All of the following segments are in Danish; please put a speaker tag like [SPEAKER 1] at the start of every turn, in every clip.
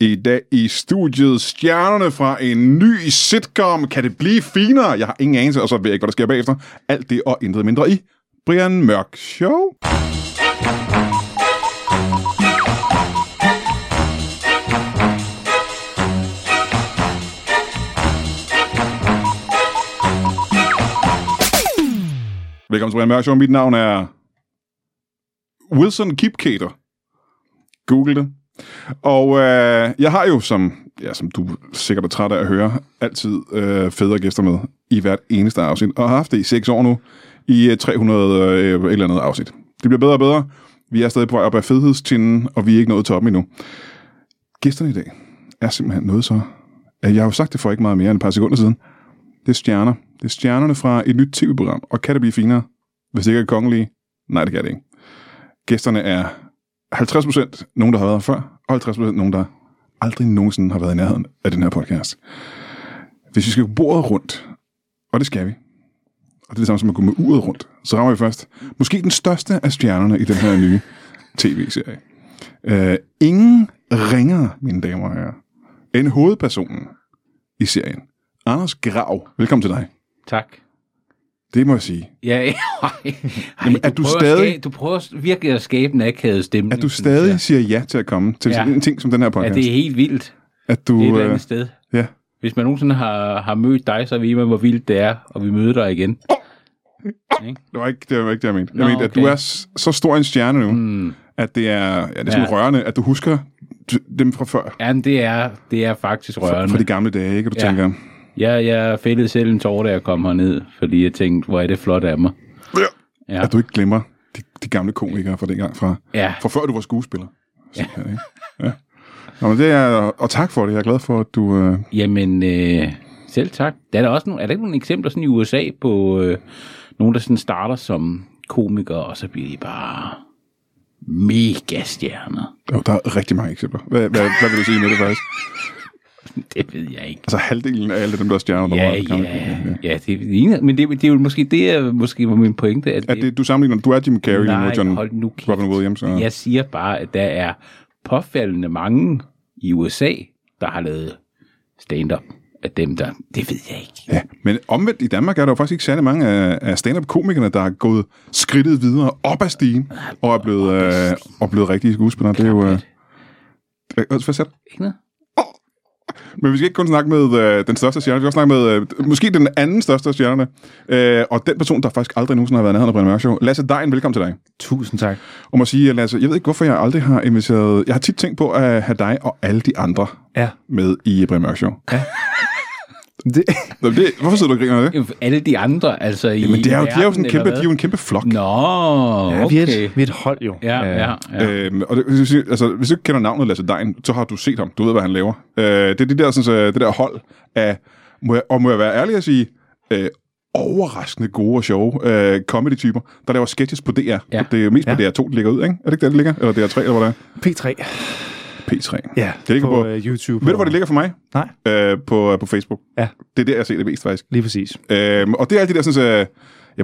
[SPEAKER 1] I dag i studiet stjernerne fra en ny sitcom. Kan det blive finere? Jeg har ingen anelse, og så ved jeg ikke, hvad der sker bagefter. Alt det og intet mindre i Brian Mørk Show. Velkommen til Brian Mørk Show. Mit navn er Wilson Kipketer. Google det. Og øh, jeg har jo, som, ja, som du sikkert er træt af at høre, altid øh, federe gæster med i hvert eneste afsnit, og har haft det i seks år nu, i øh, 300 øh, et eller andet afsnit. Det bliver bedre og bedre. Vi er stadig på vej op ad fedhedstinden, og vi er ikke nået toppen endnu. Gæsterne i dag er simpelthen noget så... Jeg har jo sagt det for ikke meget mere end et par sekunder siden. Det er stjerner. Det er stjernerne fra et nyt tv-program. Og kan det blive finere, hvis det ikke er kongelige? Nej, det kan det ikke. Gæsterne er 50% nogen, der har været her før, og 50% nogen, der aldrig nogensinde har været i nærheden af den her podcast. Hvis vi skal gå bordet rundt, og det skal vi, og det er det samme som at gå med uret rundt, så rammer vi først måske den største af stjernerne i den her nye tv-serie. Øh, ingen ringer, mine damer og herrer, end hovedpersonen i serien. Anders Grav, velkommen til dig.
[SPEAKER 2] Tak.
[SPEAKER 1] Det må jeg sige.
[SPEAKER 2] Ja, ej, ej,
[SPEAKER 1] Jamen, er du
[SPEAKER 2] prøver
[SPEAKER 1] stadig-
[SPEAKER 2] At skabe, du prøver s- virkelig at skabe en akavet stemning.
[SPEAKER 1] At du
[SPEAKER 2] synes jeg.
[SPEAKER 1] stadig siger ja til at komme til
[SPEAKER 2] Ja.
[SPEAKER 1] en ting som den her
[SPEAKER 2] Ja,
[SPEAKER 1] podcast.
[SPEAKER 2] det er helt vildt.
[SPEAKER 1] At
[SPEAKER 2] Det er et
[SPEAKER 1] du,
[SPEAKER 2] eller
[SPEAKER 1] øh,
[SPEAKER 2] andet sted.
[SPEAKER 1] ja.
[SPEAKER 2] Hvis man nogensinde har, har mødt dig, så ved man, hvor vildt det er, og vi møder dig igen.
[SPEAKER 1] Det var ikke det, var ikke det jeg mente. Jeg
[SPEAKER 2] Nå,
[SPEAKER 1] mente, at
[SPEAKER 2] okay. Hmm.
[SPEAKER 1] du er s- så stor en stjerne nu, mm. at det er, ja, det er sådan
[SPEAKER 2] Ja.
[SPEAKER 1] rørende, at du husker d- dem fra før.
[SPEAKER 2] Jamen, det er, det er faktisk
[SPEAKER 1] Fra,
[SPEAKER 2] rørende.
[SPEAKER 1] fra de gamle dage, ikke? Og du ja.
[SPEAKER 2] Ja.
[SPEAKER 1] tænker,
[SPEAKER 2] Jeg, jeg fældede selv en tårer, da jeg kom herned, fordi jeg tænkte, hvor er det flot af mig.
[SPEAKER 1] ja.
[SPEAKER 2] Ja.
[SPEAKER 1] at du ikke glemmer de, de gamle komikere fra dengang, fra,
[SPEAKER 2] Ja,
[SPEAKER 1] fra før du var skuespiller. Ja. Ikke? ja. Nå, men det er, og tak for det. Jeg er glad for, at du... Øh,
[SPEAKER 2] jamen, øh, selv tak. Der er, der også nogle, er der ikke nogle eksempler sådan i USA på øh, nogen, der sådan starter som komikere, og så bliver de bare mega stjerner.
[SPEAKER 1] jo, der er rigtig mange eksempler. Hvad, hvad, hvad vil du sige med det faktisk?
[SPEAKER 2] Det ved jeg ikke.
[SPEAKER 1] Altså halvdelen af alle dem, der er stjerner, der
[SPEAKER 2] Ja,
[SPEAKER 1] var gamle
[SPEAKER 2] ja,
[SPEAKER 1] komikere,
[SPEAKER 2] ja, det ligner, men det, det er jo måske, det er måske var min pointe, at
[SPEAKER 1] Er det, du sammenligner, du er Jim Carrey nu,
[SPEAKER 2] nej,
[SPEAKER 1] og John
[SPEAKER 2] hold nu kæft.
[SPEAKER 1] Robin Williams. Og,
[SPEAKER 2] Jeg siger bare, at der er påfaldende mange i USA, der har lavet stand-up af dem, der... Det ved jeg ikke.
[SPEAKER 1] Ja, men omvendt i Danmark er der jo faktisk ikke særlig mange af, af stand-up-komikerne, der har gået skridtet videre op ad stigen og er blevet, øh, og blevet rigtige skuespillere. Det er jo... Øh, øh, hvad sagde du?
[SPEAKER 2] Ikke noget?
[SPEAKER 1] Men vi skal ikke kun snakke med øh, den største stjerne, vi skal også snakke med øh, måske den anden største stjerne, øh, og den person, der faktisk aldrig nogensinde har været i nærheden af Brian Mørk Show. Lasse Dejen, velkommen til dig.
[SPEAKER 3] Tusind tak.
[SPEAKER 1] Og må sige, Lasse, jeg ved ikke, hvorfor jeg aldrig har inviteret... Jeg har tit tænkt på at have dig og alle de andre
[SPEAKER 3] Ja.
[SPEAKER 1] med i Brian Mørk Show.
[SPEAKER 3] Det,
[SPEAKER 1] Nå, men Det, hvorfor sidder du og griner af det?
[SPEAKER 2] Alle de andre, altså i
[SPEAKER 1] Jamen, det er jo, de er jo,
[SPEAKER 2] verden,
[SPEAKER 1] sådan en,
[SPEAKER 2] eller
[SPEAKER 1] kæmpe, de
[SPEAKER 2] hvad?
[SPEAKER 1] er jo en kæmpe flok.
[SPEAKER 2] Nå,
[SPEAKER 3] ja, vi, er
[SPEAKER 2] okay.
[SPEAKER 3] et, vi er et hold jo.
[SPEAKER 2] Ja, ja, ja.
[SPEAKER 1] Øhm, og det, hvis, du- altså, hvis du ikke kender navnet Lasse Dejen, så har du set ham. Du ved, hvad han laver. Øh, det er det der, sådan, så, det der hold af, må jeg, og må jeg være ærlig at sige, øh, overraskende gode og sjove øh, comedy-typer, der laver sketches på DR. Ja. Det er jo mest på
[SPEAKER 3] Ja.
[SPEAKER 1] DR2, det ligger ud, ikke? Er det ikke der, det ligger? Eller DR3, eller hvad det
[SPEAKER 3] P3.
[SPEAKER 1] er? P3.
[SPEAKER 3] Ja,
[SPEAKER 1] Det ligger på...
[SPEAKER 3] på uh, YouTube.
[SPEAKER 1] Ved du, hvor det ligger for mig?
[SPEAKER 3] Nej,
[SPEAKER 1] Øh, på, på Facebook.
[SPEAKER 3] Ja.
[SPEAKER 1] Det er der, jeg ser det mest, faktisk.
[SPEAKER 3] lige præcis.
[SPEAKER 1] Øhm, og det er alt det der, sådan, så, ja,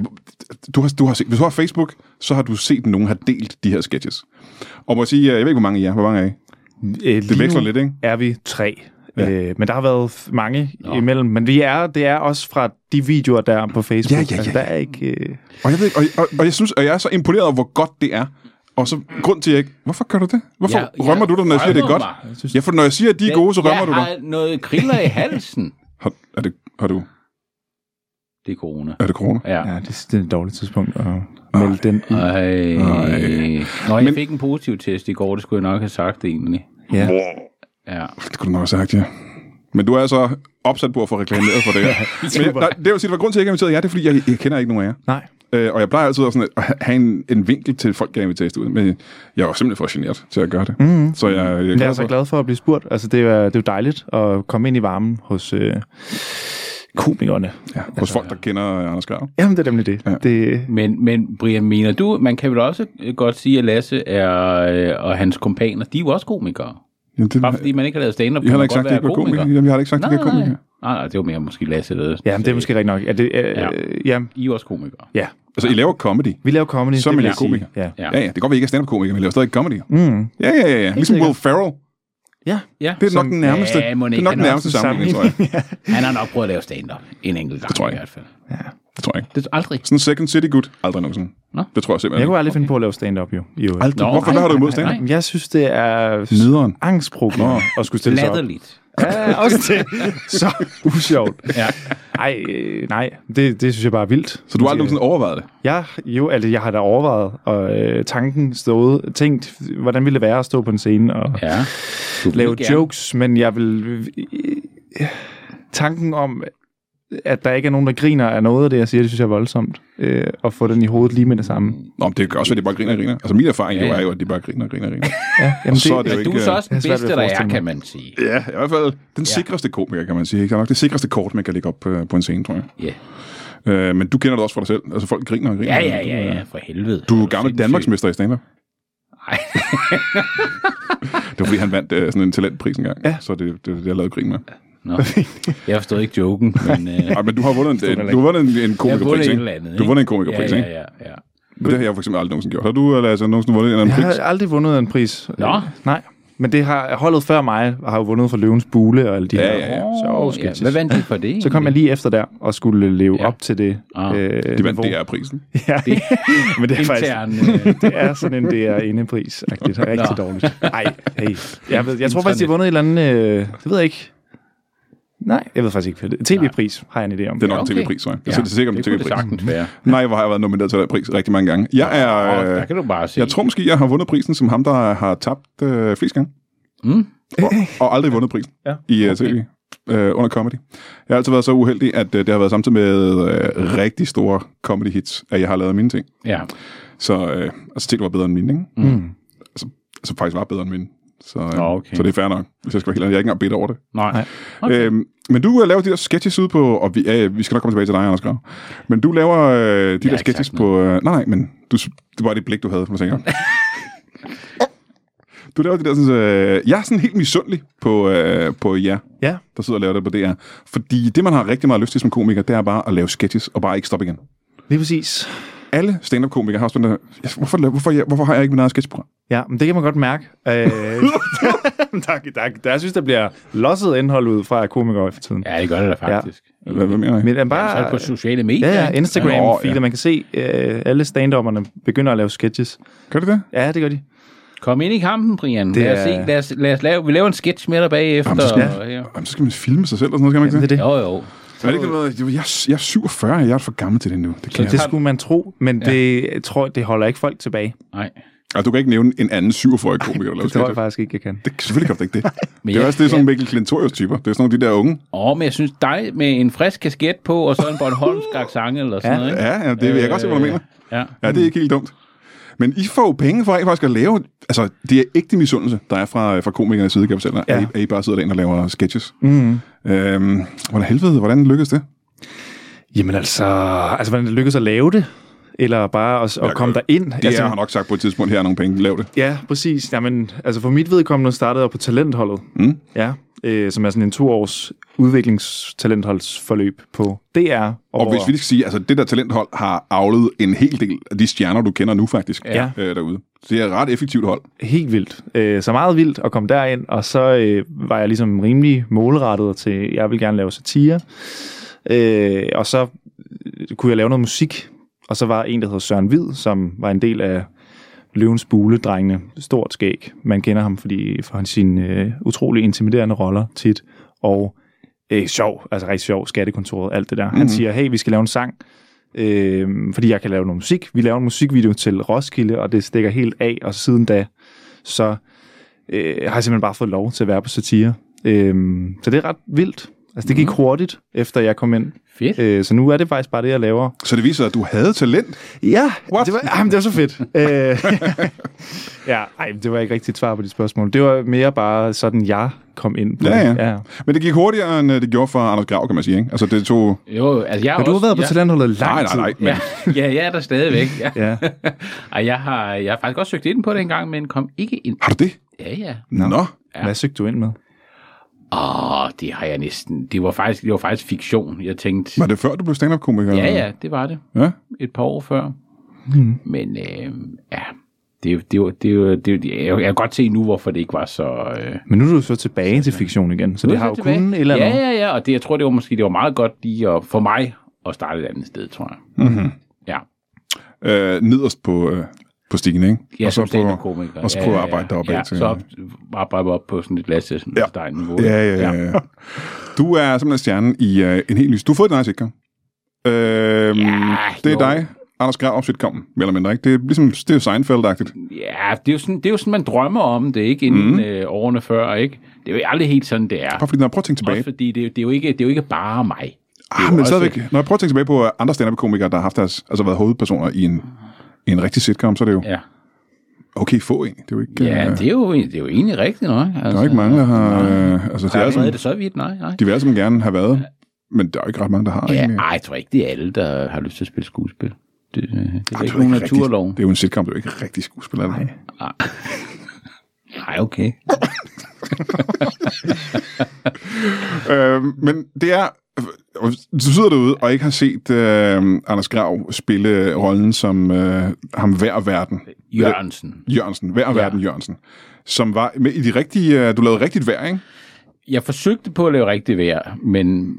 [SPEAKER 1] du har, du har set, hvis du har Facebook, så har du set, at nogen har delt de her sketches. Og må jeg sige, øh, jeg ved ikke, hvor mange I er. Hvor mange er I?
[SPEAKER 3] Øh,
[SPEAKER 1] Det veksler lidt, ikke?
[SPEAKER 3] er vi tre.
[SPEAKER 1] Ja.
[SPEAKER 3] Ja. Øh, men der har været f- mange Nå. imellem. Men vi er, det er også fra de videoer, der er på Facebook.
[SPEAKER 1] Ja, ja, ja,
[SPEAKER 3] Altså, der er ikke... Øh,
[SPEAKER 1] Og jeg, ved ikke, og, og, og jeg synes, at jeg er så imponeret over, hvor godt det er. Og så grund til, at jeg ikke... Hvorfor gør du det? Hvorfor
[SPEAKER 2] Ja,
[SPEAKER 1] ja,
[SPEAKER 2] jeg
[SPEAKER 1] rømmer du dig, når jeg siger, at det er godt?
[SPEAKER 2] rømmer mig. Jeg
[SPEAKER 3] synes-
[SPEAKER 1] ja, for når jeg siger, at de er gode, så rømmer
[SPEAKER 2] jeg
[SPEAKER 1] du dig.
[SPEAKER 2] har noget kriller i halsen.
[SPEAKER 1] Har, er, det, har du,
[SPEAKER 2] Det er corona.
[SPEAKER 1] er det corona?
[SPEAKER 2] Ja.
[SPEAKER 3] ja, det, det er et dårligt tidspunkt at melde den ud.
[SPEAKER 2] Ej.
[SPEAKER 1] Ej.
[SPEAKER 2] Nå, jeg
[SPEAKER 1] Men-
[SPEAKER 2] Men... fik en positiv test i går, det skulle jeg nok have sagt egentlig.
[SPEAKER 3] Ja.
[SPEAKER 2] Ja.
[SPEAKER 1] Det kunne du nok have sagt, ja. Men du er altså opsat på at få reklameret for det her. Men jeg,
[SPEAKER 3] Super.
[SPEAKER 1] nej, det er jo sige, at grund til, at jeg ikke har inviteret jer, det er, fordi jeg, jeg kender ikke nogen af jer.
[SPEAKER 3] Nej.
[SPEAKER 1] Øh, og jeg plejer altid at, sådan, at have en, en vinkel til folk, jeg inviterer ud. Men jeg var simpelthen for generet til at gøre det. Mm-hmm. Så jeg, jeg,
[SPEAKER 3] Jeg er så glad for at blive spurgt. Altså, det er, det er jo dejligt at komme ind i varmen hos øh, komikerne.
[SPEAKER 1] Ja, hos altså, folk, der kender Anders Grav.
[SPEAKER 3] Jamen, det er nemlig det.
[SPEAKER 1] Ja.
[SPEAKER 3] Ja. det
[SPEAKER 2] Men, men Brian, mener du, man kan vel også øh, godt sige, at Lasse er, øh, og hans kompaner, de er jo også komikere.
[SPEAKER 1] Jamen, det,
[SPEAKER 2] Bare fordi man ikke har lavet stand-up,
[SPEAKER 1] jeg
[SPEAKER 2] kan
[SPEAKER 1] har
[SPEAKER 2] man
[SPEAKER 1] ikke sagt, at
[SPEAKER 2] godt
[SPEAKER 1] det ikke var
[SPEAKER 2] være
[SPEAKER 1] komiker. Jamen, jeg har ikke sagt, at det ikke var
[SPEAKER 2] Nej, nej.
[SPEAKER 1] komiker.
[SPEAKER 2] nej, nej, det var mere måske Lasse. Der.
[SPEAKER 3] ja, men det er måske rigtigt nok. Ja, det, øh,
[SPEAKER 2] Ja.
[SPEAKER 3] ja. Øh, ja,
[SPEAKER 2] I er også komikere.
[SPEAKER 3] ja.
[SPEAKER 1] Altså, I laver comedy.
[SPEAKER 3] Vi laver comedy.
[SPEAKER 1] Så er
[SPEAKER 3] det
[SPEAKER 1] man
[SPEAKER 3] vil
[SPEAKER 1] jo
[SPEAKER 3] jeg sige.
[SPEAKER 1] komiker.
[SPEAKER 3] Ja.
[SPEAKER 1] Ja, ja, det kan godt være, I ikke er stand-up-komikere, men I laver stadig comedy.
[SPEAKER 3] Mm.
[SPEAKER 1] Ja, ja, ja, ja. Ligesom
[SPEAKER 3] sikkert.
[SPEAKER 1] Will Ferrell.
[SPEAKER 3] Ja.
[SPEAKER 2] Ja.
[SPEAKER 1] Det er nok
[SPEAKER 3] Som-
[SPEAKER 1] den nærmeste,
[SPEAKER 2] Ja, må
[SPEAKER 1] det er
[SPEAKER 2] ikke,
[SPEAKER 1] nok
[SPEAKER 2] han
[SPEAKER 1] den
[SPEAKER 2] har
[SPEAKER 1] nærmeste
[SPEAKER 3] sådan en
[SPEAKER 1] sammenligning, tror jeg.
[SPEAKER 2] Han har nok prøvet at lave stand-up en enkelt gang
[SPEAKER 1] tror jeg
[SPEAKER 2] i
[SPEAKER 1] ikke.
[SPEAKER 2] hvert fald.
[SPEAKER 1] Det tror jeg ikke.
[SPEAKER 2] Det er aldrig.
[SPEAKER 1] Sådan Second City Good, aldrig nogensinde.
[SPEAKER 2] Nå.
[SPEAKER 1] Det tror jeg
[SPEAKER 3] Jeg
[SPEAKER 1] simpelthen
[SPEAKER 3] kunne aldrig finde på at lave stand-up, jo. jo.
[SPEAKER 1] ikke. Aldrig.
[SPEAKER 2] Nå,
[SPEAKER 1] Hvorfor?
[SPEAKER 2] nej,
[SPEAKER 1] Hvad har du
[SPEAKER 2] nej,
[SPEAKER 1] imod
[SPEAKER 2] nej,
[SPEAKER 1] stand
[SPEAKER 2] nej.
[SPEAKER 3] Jeg synes, det er
[SPEAKER 1] Nederen.
[SPEAKER 3] angstproblem at skulle stille sig op.
[SPEAKER 2] Latterligt.
[SPEAKER 3] Ja, også det. Så usjovt.
[SPEAKER 2] Ja.
[SPEAKER 3] Ej, øh, nej, det, det synes jeg bare er vildt.
[SPEAKER 1] Så du har aldrig nogensinde overvejet det?
[SPEAKER 3] Jeg, jo, altså, jeg har da overvejet, og øh, tanken stået, tænkt, hvordan ville det være at stå på en scene og ja.
[SPEAKER 2] ja. Du vil
[SPEAKER 3] lave
[SPEAKER 2] gerne.
[SPEAKER 3] jokes, men jeg vil... Øh, tanken om, at der ikke er nogen, der griner af noget af det, jeg siger, det synes jeg er voldsomt. Øh, at få den i hovedet lige med det samme.
[SPEAKER 1] Nå, men det gør også, at de bare griner og griner. Altså, min erfaring
[SPEAKER 2] Ja,
[SPEAKER 1] ja, ja.
[SPEAKER 2] ja.
[SPEAKER 1] er jo, at de bare griner og griner og griner.
[SPEAKER 3] Ja, jamen
[SPEAKER 1] så er det jo
[SPEAKER 2] Men du er
[SPEAKER 1] ikke,
[SPEAKER 2] så
[SPEAKER 1] øh,
[SPEAKER 2] også
[SPEAKER 3] jeg
[SPEAKER 2] den
[SPEAKER 3] har svært ved
[SPEAKER 2] bedste, der
[SPEAKER 3] at forestille
[SPEAKER 2] er,
[SPEAKER 3] mig.
[SPEAKER 2] kan man sige.
[SPEAKER 1] Ja, i hvert fald den ja. sikreste komiker, kan man sige. Ikke? Der er nok det sikreste kort, man kan lægge op øh, på en scene, tror jeg.
[SPEAKER 2] Ja,
[SPEAKER 1] Øh, men du kender det også fra dig selv. Altså, folk griner og griner.
[SPEAKER 2] ja, ja, ja, ja for helvede.
[SPEAKER 1] Du er jo
[SPEAKER 2] sindssyg.
[SPEAKER 1] gammel Danmarksmester i stand Det
[SPEAKER 2] Nej,
[SPEAKER 1] var fordi, han vandt øh, sådan en talentpris engang. Ja. Så det, det, det har jeg lavet grin med.
[SPEAKER 2] Nå. jeg forstod ikke joken, men øh,
[SPEAKER 1] Ej, men du har vundet en,
[SPEAKER 3] heller
[SPEAKER 1] du
[SPEAKER 3] ikke.
[SPEAKER 1] har vundet en, en
[SPEAKER 2] jeg har vundet
[SPEAKER 1] komikerpris,
[SPEAKER 2] et
[SPEAKER 1] ikke?
[SPEAKER 2] eller andet.
[SPEAKER 1] Du har vundet en
[SPEAKER 2] ja,
[SPEAKER 1] komikerpris,
[SPEAKER 2] ja,
[SPEAKER 1] ikke?
[SPEAKER 2] ja, ja.
[SPEAKER 1] Det har jeg for eksempel aldrig nogensinde gjort. Har du eller, altså, nogensinde vundet en eller
[SPEAKER 3] Jeg
[SPEAKER 1] anden pris?
[SPEAKER 3] har aldrig vundet en pris.
[SPEAKER 2] Nå.
[SPEAKER 3] Øh, Nej. Men det har holdet før mig, har jo vundet for Løvens Bule og alle de
[SPEAKER 1] Ja,
[SPEAKER 3] her.
[SPEAKER 1] ja, ja.
[SPEAKER 3] Sjove
[SPEAKER 2] ja.
[SPEAKER 3] sketches.
[SPEAKER 2] Hvad vandt de for det?
[SPEAKER 3] Så kom jeg lige efter der og skulle leve
[SPEAKER 2] Ja.
[SPEAKER 3] ja. op til det.
[SPEAKER 2] Ah.
[SPEAKER 3] øh,
[SPEAKER 1] Det vandt
[SPEAKER 3] niveau.
[SPEAKER 1] DR-prisen.
[SPEAKER 3] Ja. Men det er faktisk
[SPEAKER 2] intern. Øh,
[SPEAKER 3] det er sådan en dr indepris agtigt Rigtig
[SPEAKER 2] Nå.
[SPEAKER 3] dårligt. Nej, hey. Jeg, ved, jeg tror faktisk, de har vundet et eller andet... Øh, det ved jeg ikke. Nej, jeg ved faktisk ikke. hvad det- TV-pris har jeg en idé om.
[SPEAKER 1] Det er nok
[SPEAKER 2] okay.
[SPEAKER 1] en tv-pris, tror jeg.
[SPEAKER 2] Ja,
[SPEAKER 1] Ja, så det er sikkert en
[SPEAKER 2] det kunne det
[SPEAKER 1] tv-pris.
[SPEAKER 2] sagtens være.
[SPEAKER 1] Nej, hvor har jeg været nomineret til den pris rigtig mange gange. Jeg er...
[SPEAKER 2] Åh,
[SPEAKER 1] øh,
[SPEAKER 2] der kan du bare se.
[SPEAKER 1] Jeg tror måske, jeg har vundet prisen som ham, der har tabt øh, flest gange.
[SPEAKER 2] Mm.
[SPEAKER 1] Og, og aldrig vundet prisen
[SPEAKER 3] Ja.
[SPEAKER 1] i øh, tv øh, under comedy. Jeg har altid været så uheldig, at øh, det har været samtidig med øh, rigtig store comedy hits, at jeg har lavet mine ting.
[SPEAKER 2] Ja.
[SPEAKER 1] Så øh, altså, ting, der var bedre end mine, ikke?
[SPEAKER 3] Mm.
[SPEAKER 1] Altså, altså faktisk var bedre end mine. Så, øh,
[SPEAKER 2] Nå, okay.
[SPEAKER 1] så det er fair nok, hvis jeg skal være helt ærlig. Jeg er ikke engang bedt over det.
[SPEAKER 2] Nej.
[SPEAKER 1] Okay. Øhm, men du øh, laver de der sketches ude på, og vi, øh, vi skal nok komme tilbage til dig, Anders Grav. Men du laver øh, de der
[SPEAKER 2] ikke
[SPEAKER 1] sketches
[SPEAKER 2] sagt
[SPEAKER 1] på... Øh, nej, nej, men du, det var det blik, du havde, for tænker. du laver de der sådan... Øh, jeg er sådan helt misundelig på, øh, på jer,
[SPEAKER 3] Ja.
[SPEAKER 1] der sidder og laver det på DR. Fordi det, man har rigtig meget lyst til som komiker, det er bare at lave sketches og bare ikke stoppe igen.
[SPEAKER 3] Lige præcis. Alle.
[SPEAKER 1] Stand-up-komikere har også den der... "Jeg- Hvorfor, la- hvorfor, jeg, hvorfor har jeg ikke min eget sketchprogram?
[SPEAKER 3] Ja, men det kan man godt mærke. Øh, der, der, der, jeg synes, der bliver losset indhold ud fra komikere for tiden.
[SPEAKER 2] Ja, det gør det da faktisk. Ja.
[SPEAKER 1] Hvad, hvad mener jeg?
[SPEAKER 3] Men er
[SPEAKER 2] Bare, så er
[SPEAKER 3] bare...
[SPEAKER 2] det på sociale medier.
[SPEAKER 3] ja, ja,
[SPEAKER 2] ikke?
[SPEAKER 1] Nå, ja.
[SPEAKER 3] Instagram-feed, ja. man kan se, øh, alle stand begynder at lave sketches.
[SPEAKER 1] Gør det det?
[SPEAKER 3] Ja, det gør de.
[SPEAKER 2] Kom ind i kampen, Brian.
[SPEAKER 3] Det
[SPEAKER 2] lad, os
[SPEAKER 3] er-
[SPEAKER 2] se, lad, os, lad os lave, vi laver en sketch med dig bagefter.
[SPEAKER 1] Jamen, så skal-
[SPEAKER 2] og, ja.
[SPEAKER 1] Jamen, så skal man filme sig selv og sådan noget, skal man ikke
[SPEAKER 3] Det er
[SPEAKER 1] det?
[SPEAKER 3] Altså, det.
[SPEAKER 2] Jo, jo.
[SPEAKER 1] Er det ikke noget, jeg, jeg er 47, jeg er for gammel til det nu. Det kan jeg
[SPEAKER 3] Det skulle man tro, men
[SPEAKER 2] Ja.
[SPEAKER 3] det jeg tror det holder ikke folk tilbage.
[SPEAKER 2] Nej.
[SPEAKER 1] Altså, du kan ikke nævne en anden 47-årig komiker, der laver
[SPEAKER 3] Det tror jeg
[SPEAKER 1] sketches.
[SPEAKER 3] faktisk ikke, jeg kan.
[SPEAKER 1] Det, selvfølgelig kan du ikke det.
[SPEAKER 2] Men
[SPEAKER 1] det er
[SPEAKER 2] jeg-
[SPEAKER 1] også det, er sådan nogle
[SPEAKER 2] jeg-
[SPEAKER 1] Mikkel Klintorius-typer. Det er sådan nogle af de der unge.
[SPEAKER 2] Åh, men jeg synes dig med en frisk kasket på, og så en Bornholmsk accent eller sådan
[SPEAKER 3] Ja.
[SPEAKER 2] noget, ikke?
[SPEAKER 1] Ja, ja det jeg kan godt se, hvad du
[SPEAKER 3] Øh,
[SPEAKER 1] mener.
[SPEAKER 2] Ja.
[SPEAKER 1] Ja, det er ikke helt dumt. Men I får jo penge for, at I faktisk at lave... Altså, det er ægte misundelse, der er fra, fra komikernes side, kan jeg fortælle dig,
[SPEAKER 3] Ja.
[SPEAKER 1] at, I, at I bare sidder derinde og laver sketches.
[SPEAKER 3] Mm.
[SPEAKER 1] Øhm, hvordan helvede, hvordan lykkedes det?
[SPEAKER 3] Jamen altså, altså hvordan det lykkedes at lave det, eller bare at, at komme derind.
[SPEAKER 1] Det altså,
[SPEAKER 3] altså,
[SPEAKER 1] har nok sagt på et tidspunkt, her er nogle penge, lav det.
[SPEAKER 3] Ja, præcis. Jamen, altså for mit vedkommende startede jeg på talentholdet.
[SPEAKER 1] Mm.
[SPEAKER 3] Ja, øh, som er sådan en to-års udviklingstalentholdsforløb på DR.
[SPEAKER 1] Og hvis vi lige skal sige, altså det der talenthold har avlet en hel del af de stjerner, du kender nu faktisk,
[SPEAKER 3] Ja.
[SPEAKER 1] øh, derude. Så det er et ret effektivt hold.
[SPEAKER 3] Helt vildt. Øh, så meget vildt at komme derind, og så øh, var jeg ligesom rimelig målrettet til, jeg vil gerne lave satire. Øh, og så øh, kunne jeg lave noget musik, og så var en, der hed Søren Hvid, som var en del af Løvens Bule-drengene. Stort skæg. Man kender ham fordi, for hans- sine øh, utrolig intimiderende roller tit, og øh, sjov, altså rigtig sjov, skattekontoret, alt det der. Mm-hmm. Han siger, hey, vi skal lave en sang, øh, fordi jeg kan lave noget musik. Vi laver en musikvideo til Roskilde, og det stikker helt af, og siden da, så øh, har jeg simpelthen bare fået lov til at være på satire. Øh, så det er ret vildt. Altså, det gik hurtigt, efter jeg kom ind.
[SPEAKER 2] Fedt.
[SPEAKER 3] Øh, så nu er det faktisk bare det, jeg laver.
[SPEAKER 1] Så det viser sig, at du havde talent.
[SPEAKER 3] Ja,
[SPEAKER 1] What?
[SPEAKER 3] det var, jamen, det var så fedt. Øh, ja, ej, det var ikke rigtigt svar på dit spørgsmål. Det var mere bare sådan, jeg kom ind på
[SPEAKER 1] Ja,
[SPEAKER 3] det.
[SPEAKER 1] ja. Men det gik hurtigere, end øh, det gjorde for Anders Grav, kan man sige. Ikke? Altså, det tog...
[SPEAKER 2] Jo, altså jeg
[SPEAKER 3] Men du har
[SPEAKER 2] også-
[SPEAKER 3] været på
[SPEAKER 2] jeg-
[SPEAKER 3] talentholdet lang
[SPEAKER 1] Nej, nej, nej.
[SPEAKER 3] tid.
[SPEAKER 1] Men,
[SPEAKER 2] Ja, ja, jeg er der stadigvæk. Ja.
[SPEAKER 3] Ja.
[SPEAKER 2] Og jeg har, jeg har faktisk også søgt ind på det en gang, men kom ikke ind.
[SPEAKER 1] Har du det?
[SPEAKER 2] Ja, ja.
[SPEAKER 1] Nå. Nå.
[SPEAKER 2] Ja.
[SPEAKER 3] Hvad søgte du ind med?
[SPEAKER 2] Åh, det har jeg næsten. Det var faktisk, det var faktisk fiktion. Jeg tænkte,
[SPEAKER 1] Var det før, du blev stand-up-komiker?
[SPEAKER 2] ja, ja, det var det.
[SPEAKER 1] ja?
[SPEAKER 2] Et par år før.
[SPEAKER 3] Hmm.
[SPEAKER 2] Men øh, ja, Det, er jo- det, er jo- det, er jo- det, er jo- jeg, jeg kan godt se nu, hvorfor det ikke var så... Øh,
[SPEAKER 3] Men nu er du så tilbage til fiktion igen, så
[SPEAKER 2] Nu er
[SPEAKER 3] det
[SPEAKER 2] jeg
[SPEAKER 3] har jo
[SPEAKER 2] tilbage.
[SPEAKER 3] kun et eller andet.
[SPEAKER 2] Ja, ja, ja, og det, jeg tror, det var måske det var meget godt lige at, for mig at starte et andet sted, tror jeg.
[SPEAKER 1] Mm-hmm.
[SPEAKER 2] Ja,
[SPEAKER 1] Øh, nederst på, øh, på stigen, ikke?
[SPEAKER 2] ja
[SPEAKER 1] og så
[SPEAKER 2] som stand
[SPEAKER 1] prøver-
[SPEAKER 2] komiker.
[SPEAKER 1] og så prøver at arbejde deropad
[SPEAKER 2] ja,
[SPEAKER 1] til-
[SPEAKER 2] så op, arbejde op på sådan et lasse sådan
[SPEAKER 1] Ja.
[SPEAKER 2] ja. niveau.
[SPEAKER 1] Ja, ja, ja. ja. Du er simpelthen stjernen i øh, en helt lys. Du har fået et nice income. Øh, ja, det er
[SPEAKER 2] jo.
[SPEAKER 1] dig, Anders Grav, om sitcomen, mere eller mindre. Ikke? Det er ligesom det er jo Seinfeld-agtigt.
[SPEAKER 2] Ja, det er jo sådan, det er jo sådan man drømmer om det, ikke? Inden
[SPEAKER 1] Mhm.
[SPEAKER 2] mm. øh, årene før, ikke? Det er jo aldrig helt sådan, det er.
[SPEAKER 1] Bare fordi, når jeg prøver at tænke tilbage.
[SPEAKER 2] Også fordi det, er jo- det, er jo ikke, det er jo ikke bare mig.
[SPEAKER 1] Ah,
[SPEAKER 2] jo
[SPEAKER 1] men
[SPEAKER 2] også-
[SPEAKER 1] stadigvæk, når jeg prøver at tænke tilbage på øh, andre stand-up-komikere, der har haft deres, altså været hovedpersoner i en, i en rigtig sitcom, så er det jo
[SPEAKER 2] Ja,
[SPEAKER 1] okay få en. Det er jo ikke, øh,
[SPEAKER 2] ja det, er jo, det er jo egentlig rigtigt nok. Altså,
[SPEAKER 1] der er jo ikke mange, der har... Øh, altså, det er
[SPEAKER 2] Hvad er
[SPEAKER 1] sådan,
[SPEAKER 2] det så vidt? Nej, nej.
[SPEAKER 1] de vil alle sammen gerne have været, men der er jo ikke ret mange, der har
[SPEAKER 2] Ja,
[SPEAKER 1] egentlig. Ah,
[SPEAKER 2] ej, jeg tror ikke, det er alle, der har lyst til at spille skuespil. Det, øh, det er
[SPEAKER 1] Ej,
[SPEAKER 2] ikke
[SPEAKER 1] jo
[SPEAKER 2] nogen
[SPEAKER 1] rigtig-
[SPEAKER 2] naturlov.
[SPEAKER 1] det er jo en sitcom, det er jo ikke rigtig skuespiller. Nej.
[SPEAKER 2] Nej, okay.
[SPEAKER 1] Øh, men det er... og Hvis du sidder derude og ikke har set øh, Anders Grav spille rollen som øh, ham hver verden.
[SPEAKER 2] Jørgensen.
[SPEAKER 1] Jørgensen, hver verden Jørgensen. Som var med i de rigtige... Øh, du lavede rigtigt vejr, ikke?
[SPEAKER 2] Jeg forsøgte på at lave rigtig vejr, men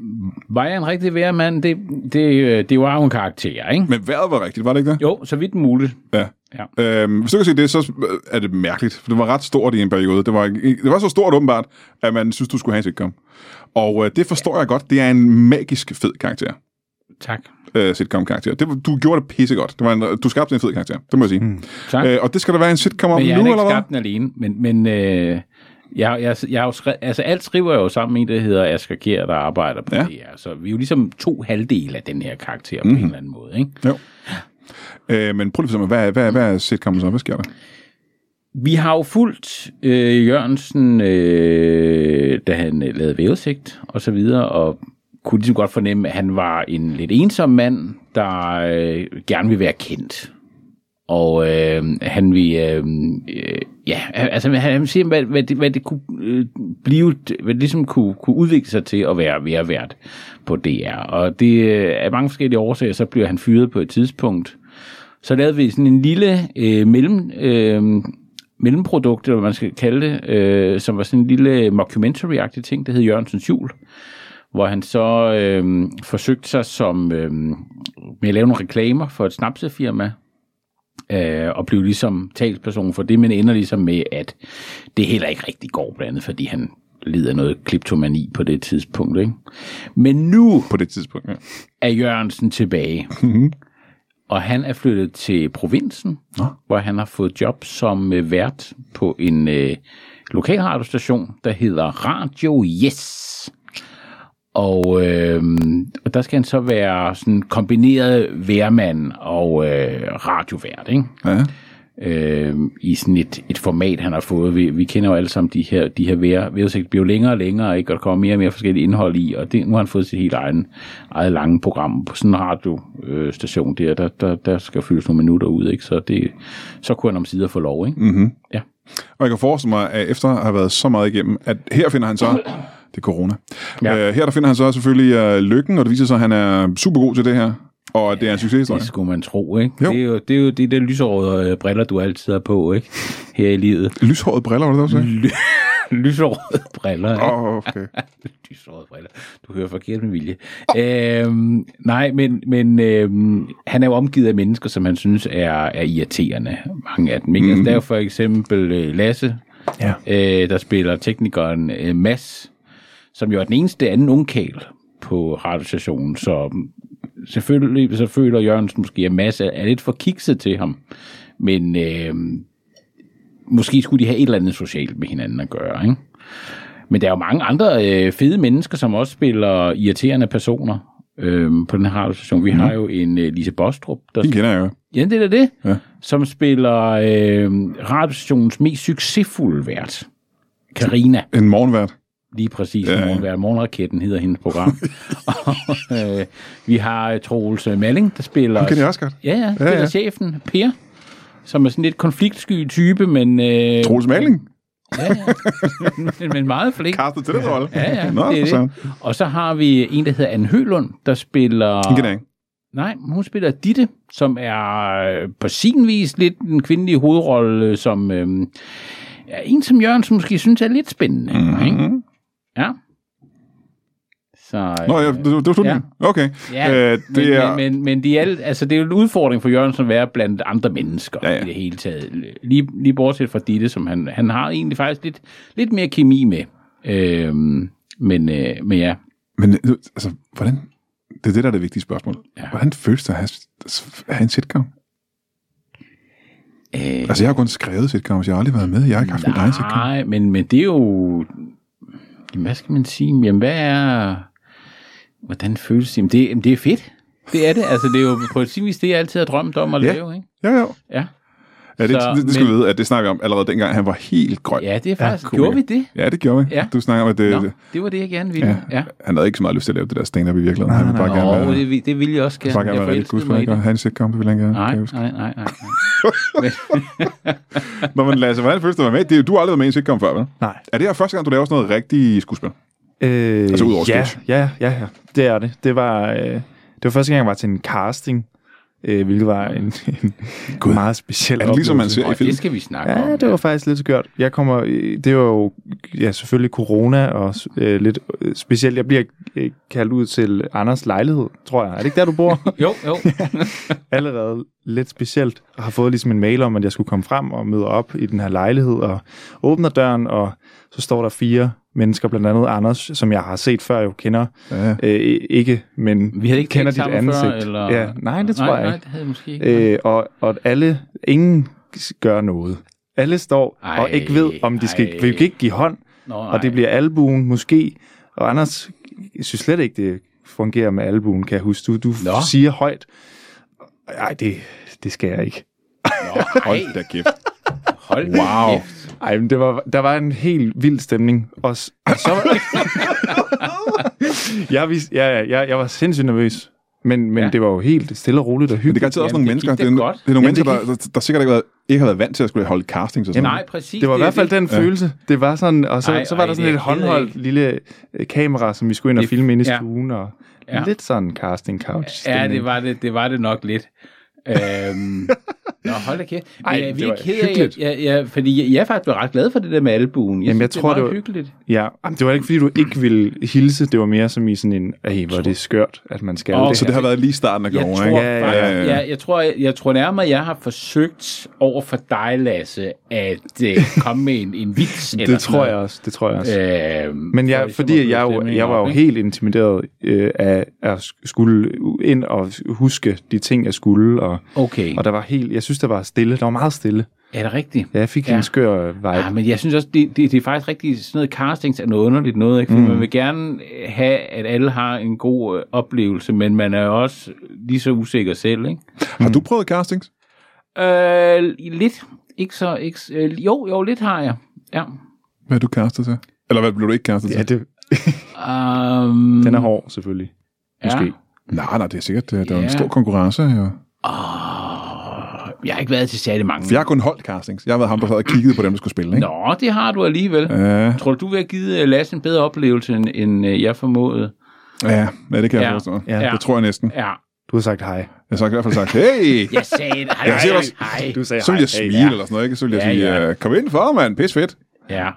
[SPEAKER 2] var jeg en rigtig vejr, mand? Det, det, øh, det var jo en karakter, ikke?
[SPEAKER 1] Men vejret var rigtigt, var det ikke det?
[SPEAKER 2] Jo, så vidt muligt.
[SPEAKER 1] Ja.
[SPEAKER 2] Ja.
[SPEAKER 1] Øhm, hvis du kan se det, så er det mærkeligt, for det var ret stort i en periode. Det var, ikke- det var så stort åbenbart, at man synes, du skulle have en sitcom. Og øh, det forstår jeg godt. Det er en magisk fed karakter,
[SPEAKER 2] Tak.
[SPEAKER 1] øh, sitcom-karakter. Det, var- du gjorde det pissegodt. Det var en, du skabte en fed karakter, det må jeg sige. Mm.
[SPEAKER 2] Hmm, Tak.
[SPEAKER 1] Øh, og det skal der være en sitcom om
[SPEAKER 2] Men
[SPEAKER 1] nu,
[SPEAKER 2] jeg har
[SPEAKER 1] eller
[SPEAKER 2] ikke
[SPEAKER 1] hvad?
[SPEAKER 2] skabt den alene, men, men øh, jeg, jeg, jeg har jo skrevet, altså alt skriver jeg jo sammen med en, der hedder Asger Kjær, der arbejder på
[SPEAKER 1] Ja. Mhm.
[SPEAKER 2] ja. det her. Så vi er jo ligesom to halvdele af den her karakter mm-hmm. på en eller anden måde, ikke?
[SPEAKER 1] Jo. Øh, men prøv lige at fortælle mig, hvad, hvad, hvad er sitcomen så? Hvad sker der?
[SPEAKER 2] Vi har jo fulgt øh, Jørgensen, øh, da han øh, lavede vævesigt og så videre, og kunne ligesom godt fornemme, at han var en lidt ensom mand, der øh, gerne vil være kendt. Og øh, han vil, øh, øh, ja, altså han, han vil se, hvad, hvad, det, hvad det kunne øh, blive, hvad det ligesom kunne, kunne udvikle sig til at være være vært på DR. Og det øh, af mange forskellige årsager, så bliver han fyret på et tidspunkt, så lavede vi sådan en lille øh, mellem, øh, mellemprodukt, eller hvad man skal kalde det, øh, som var sådan en lille mockumentary-agtig ting, der hed Jørgensens Jul, hvor han så øh, forsøgte sig som, øh, med at lave nogle reklamer for et snapsefirma, øh, og blev ligesom talsperson for det, men ender ligesom med, at det heller ikke rigtig går, blandt andet fordi han lider af noget kleptomani på det tidspunkt. Ikke? Men nu
[SPEAKER 1] På det tidspunkt, ja.
[SPEAKER 2] er Jørgensen tilbage. og han er flyttet til provinsen, Nå. hvor han har fået job som øh, vært på en øh, lokal radiostation, der hedder Radio Yes. Og, øh, og der skal han så være sådan kombineret værmand og øh, radiovært, ikke?
[SPEAKER 1] ja.
[SPEAKER 2] øh, i sådan et, et format, han har fået. Vi, vi kender jo alle sammen de her, de her vejr, vejrudsigt bliver jo længere og længere, ikke? og der kommer mere og mere forskellige indhold i, og det, nu har han fået sit helt egen, eget lange program på sådan en radiostation øh, station der, der, der, der skal fyldes nogle minutter ud, ikke? Så, det, så kunne han om sider få lov. Ikke? Mm-hmm. Ja.
[SPEAKER 1] Og jeg kan forestille mig, at efter at have været så meget igennem, at her finder han så... Det er corona. Ja.
[SPEAKER 2] Ja.
[SPEAKER 1] Øh, her der finder han så selvfølgelig øh, lykken, og det viser sig, at han er super god til det her, og at det er en succeshistorie.
[SPEAKER 2] Det skulle man tro, ikke?
[SPEAKER 1] Jo.
[SPEAKER 2] Det er jo det, er jo det der lyserøde øh, briller, du altid har på, ikke? Her i livet.
[SPEAKER 1] Lyshåret briller, var det også? Ly-
[SPEAKER 2] lyserøde briller, ikke?
[SPEAKER 1] oh, okay.
[SPEAKER 2] Lyserøde briller. Du hører forkert med vilje. Øhm, nej, men, men øhm, han er jo omgivet af mennesker, som han synes er, er irriterende. Mange af dem. Ikke? Altså, der er jo for eksempel øh, Lasse,
[SPEAKER 3] Ja.
[SPEAKER 2] øh, der spiller teknikeren øh, Mads, som jo er den eneste anden ungkæl på radiostationen, så mm, selvfølgelig så føler Jørgensen måske, at Mads er, er lidt for kikset til ham. Men øh, måske skulle de have et eller andet socialt med hinanden at gøre, ikke? Men der er jo mange andre øh, fede mennesker, som også spiller irriterende personer øh, på den her radiostation. Vi mm. har jo en øh, Lise Bostrup, der
[SPEAKER 1] Den kender jeg jo.
[SPEAKER 2] Ja, det er da det.
[SPEAKER 1] Ja.
[SPEAKER 2] Ja. Som spiller øh, radiostationens mest succesfulde vært. Karina,
[SPEAKER 1] En morgenvært.
[SPEAKER 2] lige præcis.
[SPEAKER 1] Ja, ja.
[SPEAKER 2] Ja, ja. Morgenraketten hedder hendes program. og, øh, vi har øh, Troels øh, Malling, der spiller...
[SPEAKER 1] Den kender jeg også godt.
[SPEAKER 2] Ja, ja, spiller
[SPEAKER 1] ja.
[SPEAKER 2] ja. chefen, Per, som er sådan lidt konfliktsky type, men... Øh,
[SPEAKER 1] Troels Maling.
[SPEAKER 2] ja, ja. men meget flink.
[SPEAKER 1] Kastet til den rolle.
[SPEAKER 2] Ja, ja,
[SPEAKER 1] Nå,
[SPEAKER 2] det er
[SPEAKER 1] for
[SPEAKER 2] det. Og så har vi en, der hedder Anne Hølund, der spiller...
[SPEAKER 1] Den kender jeg ikke.
[SPEAKER 2] Nej, hun spiller Ditte, som er øh, på sin vis lidt en kvindelig hovedrolle, øh, som øh, er en, som Jørgen som måske synes er lidt spændende. Mm-hmm. Ikke? Ja. Så, øh,
[SPEAKER 1] Nå, ja, det, det var slutningen. Ja. Okay.
[SPEAKER 2] Ja,
[SPEAKER 1] øh,
[SPEAKER 2] det men, er... men, men, men de alt, altså, det er jo en udfordring for Jørgensen at være blandt andre mennesker
[SPEAKER 1] Ja,
[SPEAKER 2] ja,
[SPEAKER 1] ja.
[SPEAKER 2] ja. i det hele taget. Lige, lige bortset fra Ditte, som han, han har egentlig faktisk lidt, lidt mere kemi med. Øhm, men, øh, men ja,
[SPEAKER 1] Men øh, altså, hvordan... Det er det, der er det vigtige spørgsmål. Ja.
[SPEAKER 2] Ja.
[SPEAKER 1] Hvordan føles det at have, at have en sitcom?
[SPEAKER 2] øh,
[SPEAKER 1] Altså, jeg har kun skrevet sitcoms. Jeg har aldrig været med. Jeg har ikke haft en egen sitcom.
[SPEAKER 2] nej, men, men det er jo... Jamen, hvad skal man sige? Jamen, hvad er... Hvordan føles det? Jamen, det, jamen, det er fedt. Det er det. Altså, det er jo på sin vis det, jeg altid har drømt om at
[SPEAKER 1] Ja.
[SPEAKER 2] lave, ikke?
[SPEAKER 1] Ja, ja.
[SPEAKER 2] Ja.
[SPEAKER 1] ja det,
[SPEAKER 2] Så,
[SPEAKER 1] det, det skal
[SPEAKER 2] men-
[SPEAKER 1] vi vide, at det snakker vi om allerede dengang, han var helt grøn.
[SPEAKER 2] Ja, det er faktisk... Ja,
[SPEAKER 1] cool.
[SPEAKER 2] gjorde vi det?
[SPEAKER 1] Ja, det gjorde vi. Øh, Ja.
[SPEAKER 2] Ja.
[SPEAKER 1] Du snakker om, at det,
[SPEAKER 2] Nå,
[SPEAKER 1] det,
[SPEAKER 2] det var det, jeg gerne ville. Ja. ja.
[SPEAKER 1] han havde ikke så meget lyst til at lave det der stand-up i virkeligheden. han ville bare
[SPEAKER 2] Nå,
[SPEAKER 1] gerne være,
[SPEAKER 2] det, vil- det ville jeg også gerne.
[SPEAKER 1] bare gerne være rigtig
[SPEAKER 2] forelskede mig i
[SPEAKER 1] skuespiller.
[SPEAKER 2] det.
[SPEAKER 1] Han en sitcom, det ville han gerne. kan
[SPEAKER 2] Nej,
[SPEAKER 1] jeg huske.
[SPEAKER 2] nej, nej, nej.
[SPEAKER 1] Nå, men Lasse, hvordan føles det at være med? Det, er jo- du har aldrig været med i en sitcom før, vel?
[SPEAKER 3] Nej.
[SPEAKER 1] Er det her første gang, du laver sådan noget rigtig skuespil?
[SPEAKER 3] Øh,
[SPEAKER 1] Altså, ud over
[SPEAKER 3] ja,
[SPEAKER 1] sketch.
[SPEAKER 3] ja, ja, ja, det er det. Det var, øh, det var første gang, jeg var til en casting, øh, hvilket var en, en
[SPEAKER 1] Gud.
[SPEAKER 3] meget speciel
[SPEAKER 1] Er det ligesom, man
[SPEAKER 3] oplevelse.
[SPEAKER 1] ser i
[SPEAKER 2] Og
[SPEAKER 1] film?
[SPEAKER 2] det skal vi snakke om.
[SPEAKER 3] Ja, det var faktisk lidt skørt. Jeg kommer, øh, det var jo ja, selvfølgelig corona og øh, lidt øh, specielt. Jeg bliver øh, kaldt ud til Anders lejlighed, tror jeg. Er det ikke der, du bor?
[SPEAKER 2] Jo, jo.
[SPEAKER 3] allerede lidt specielt, og har fået ligesom en mail om, at jeg skulle komme frem og møde op i den her lejlighed, og åbner døren, og så står der fire mennesker, blandt andet Anders, som jeg har set før, jo kender.
[SPEAKER 1] Ja.
[SPEAKER 3] Øh, ikke, men
[SPEAKER 2] Vi havde ikke
[SPEAKER 3] kender
[SPEAKER 2] talt sammen Før, eller...
[SPEAKER 3] ja, nej, det tror
[SPEAKER 2] nej,
[SPEAKER 3] jeg
[SPEAKER 2] Nej,
[SPEAKER 3] ikke.
[SPEAKER 2] det havde jeg måske ikke.
[SPEAKER 3] Øh, og, og alle, ingen s- gør noget. Alle står ej, og
[SPEAKER 2] Ej,
[SPEAKER 3] ikke ved, om de skal,
[SPEAKER 2] ej.
[SPEAKER 3] vi kan ikke give hånd,
[SPEAKER 2] Nå,
[SPEAKER 3] ej. og det bliver albuen måske, og Anders synes slet ikke, det fungerer med albuen, kan jeg huske. Du, du
[SPEAKER 2] Nå.
[SPEAKER 3] siger højt, ej, det, det skal jeg ikke.
[SPEAKER 2] Nå, ej,
[SPEAKER 1] Hold da kæft.
[SPEAKER 2] hold da
[SPEAKER 1] Wow.
[SPEAKER 2] kæft.
[SPEAKER 3] Ej, men det var, der var en helt vild stemning. Og s- og så var... jeg, vidste, ja, ja, jeg, jeg var sindssygt nervøs. Men, men ja.
[SPEAKER 2] Ja.
[SPEAKER 3] det var jo helt stille og roligt og
[SPEAKER 1] Men det er
[SPEAKER 3] hyggeligt.
[SPEAKER 1] garanteret også
[SPEAKER 2] Jamen,
[SPEAKER 1] nogle
[SPEAKER 2] det
[SPEAKER 1] mennesker.
[SPEAKER 2] gik da
[SPEAKER 1] Det er,
[SPEAKER 2] godt.
[SPEAKER 1] det er nogle
[SPEAKER 3] Jamen, det
[SPEAKER 1] mennesker, der, der, der sikkert ikke, har været, ikke har været vant til at skulle holde castings og sådan
[SPEAKER 2] Nej, præcis.
[SPEAKER 3] Det var i hvert fald
[SPEAKER 2] det.
[SPEAKER 3] den følelse. Det var sådan, og så,
[SPEAKER 2] Ej,
[SPEAKER 3] ej, så var
[SPEAKER 2] ej,
[SPEAKER 3] der
[SPEAKER 2] det er
[SPEAKER 3] sådan et
[SPEAKER 2] jeg ked af,
[SPEAKER 3] håndholdt lille øh, kamera, som vi skulle ind og
[SPEAKER 2] Det-
[SPEAKER 3] filme inde i
[SPEAKER 2] ja.
[SPEAKER 3] stuen. Og
[SPEAKER 2] Ja.
[SPEAKER 3] Lidt sådan casting couch
[SPEAKER 2] Ja, det var det, det, var det nok lidt. øhm, nå, hold da kæft. Men
[SPEAKER 3] Ej,
[SPEAKER 2] jeg er
[SPEAKER 3] det
[SPEAKER 2] virkelig
[SPEAKER 3] var
[SPEAKER 2] ked af,
[SPEAKER 3] hyggeligt.
[SPEAKER 2] jeg, jeg, jeg, fordi jeg, jeg er faktisk blevet ret glad for det der med albuen. Jeg
[SPEAKER 3] Jamen, jeg
[SPEAKER 2] synes, det
[SPEAKER 3] tror,
[SPEAKER 2] er meget
[SPEAKER 3] det var-
[SPEAKER 2] hyggeligt.
[SPEAKER 3] Ja, Jamen, det var ikke, fordi du ikke ville hilse. Det var mere som i sådan en, ej, hvor er det skørt, at man skal
[SPEAKER 2] Åh,
[SPEAKER 1] noget.
[SPEAKER 3] det
[SPEAKER 1] Så det har været lige starten af
[SPEAKER 2] Jeg
[SPEAKER 1] corona,
[SPEAKER 2] tror,
[SPEAKER 1] ikke?
[SPEAKER 3] Ja,
[SPEAKER 2] ja,
[SPEAKER 3] ja,
[SPEAKER 1] ja,
[SPEAKER 2] ja,
[SPEAKER 1] ja.
[SPEAKER 2] ja. Jeg, jeg, tror, jeg, jeg tror nærmere, jeg har forsøgt over for dig, Lasse, at øh, komme med en, en vits. eller
[SPEAKER 3] Det tror jeg også, det tror jeg også.
[SPEAKER 2] sådan noget. Øhm,
[SPEAKER 3] Men
[SPEAKER 2] for
[SPEAKER 3] jeg,
[SPEAKER 2] ligesom
[SPEAKER 3] fordi
[SPEAKER 2] at
[SPEAKER 3] jeg,
[SPEAKER 2] bryde
[SPEAKER 3] jo,
[SPEAKER 2] stemningen
[SPEAKER 3] jeg var
[SPEAKER 2] op,
[SPEAKER 3] jo
[SPEAKER 2] ikke?
[SPEAKER 3] helt intimideret øh, af at skulle ind og huske de ting, jeg skulle. Og,
[SPEAKER 2] Okay,
[SPEAKER 3] og der var helt, jeg synes, der var stille. Der var meget stille.
[SPEAKER 2] er det rigtigt?
[SPEAKER 3] Ja, jeg fik ja.
[SPEAKER 2] Ja.
[SPEAKER 3] en skør vibe.
[SPEAKER 2] Ja, men jeg synes også, det, det, det er faktisk rigtig sådan noget castings er noget underligt noget, ikke? Fordi mm. man vil gerne øh, have, at alle har en god øh, oplevelse, men man er jo også lige så usikker selv, ikke?
[SPEAKER 1] Har du prøvet castings?
[SPEAKER 2] Øh, lidt. Ikke så, ikke, s- øh, jo, jo, lidt har jeg. Ja.
[SPEAKER 1] Hvad er du castet til? Eller hvad blev du ikke castet til?
[SPEAKER 3] ja, det,
[SPEAKER 2] Um,
[SPEAKER 3] den er hård, selvfølgelig. måske.
[SPEAKER 2] Ja.
[SPEAKER 1] Nej, nej, det er sikkert. Det er yeah. en
[SPEAKER 2] Ja.
[SPEAKER 1] stor konkurrence. Ja.
[SPEAKER 2] Åh, jeg har ikke været til særlig mange.
[SPEAKER 1] For jeg har kun holdt castings. Jeg har været ham, der sad og kiggede på dem, der skulle spille. Ikke?
[SPEAKER 2] Nå, det har du alligevel. Ja.
[SPEAKER 1] Ja,
[SPEAKER 2] Tror du, du vil have givet øh, Lasse en bedre oplevelse, end, end øh, jeg formåede?
[SPEAKER 1] ja, ja, det kan jeg
[SPEAKER 2] Ja.
[SPEAKER 1] forstå.
[SPEAKER 3] Ja.
[SPEAKER 1] Det tror jeg næsten.
[SPEAKER 2] Ja,
[SPEAKER 3] Du har sagt hej.
[SPEAKER 1] Jeg har i hvert fald sagt, hey!
[SPEAKER 2] jeg sagde det. Hej,
[SPEAKER 1] Jeg siger
[SPEAKER 2] hej,
[SPEAKER 1] også-
[SPEAKER 2] hej.
[SPEAKER 3] Du sagde
[SPEAKER 1] Så ville jeg smile
[SPEAKER 3] ja.
[SPEAKER 1] eller sådan noget, ikke? Så ville jeg
[SPEAKER 2] Ja,
[SPEAKER 1] sige,
[SPEAKER 2] ja.
[SPEAKER 1] øh, kom ind for, mand, pis fedt.
[SPEAKER 2] Ja.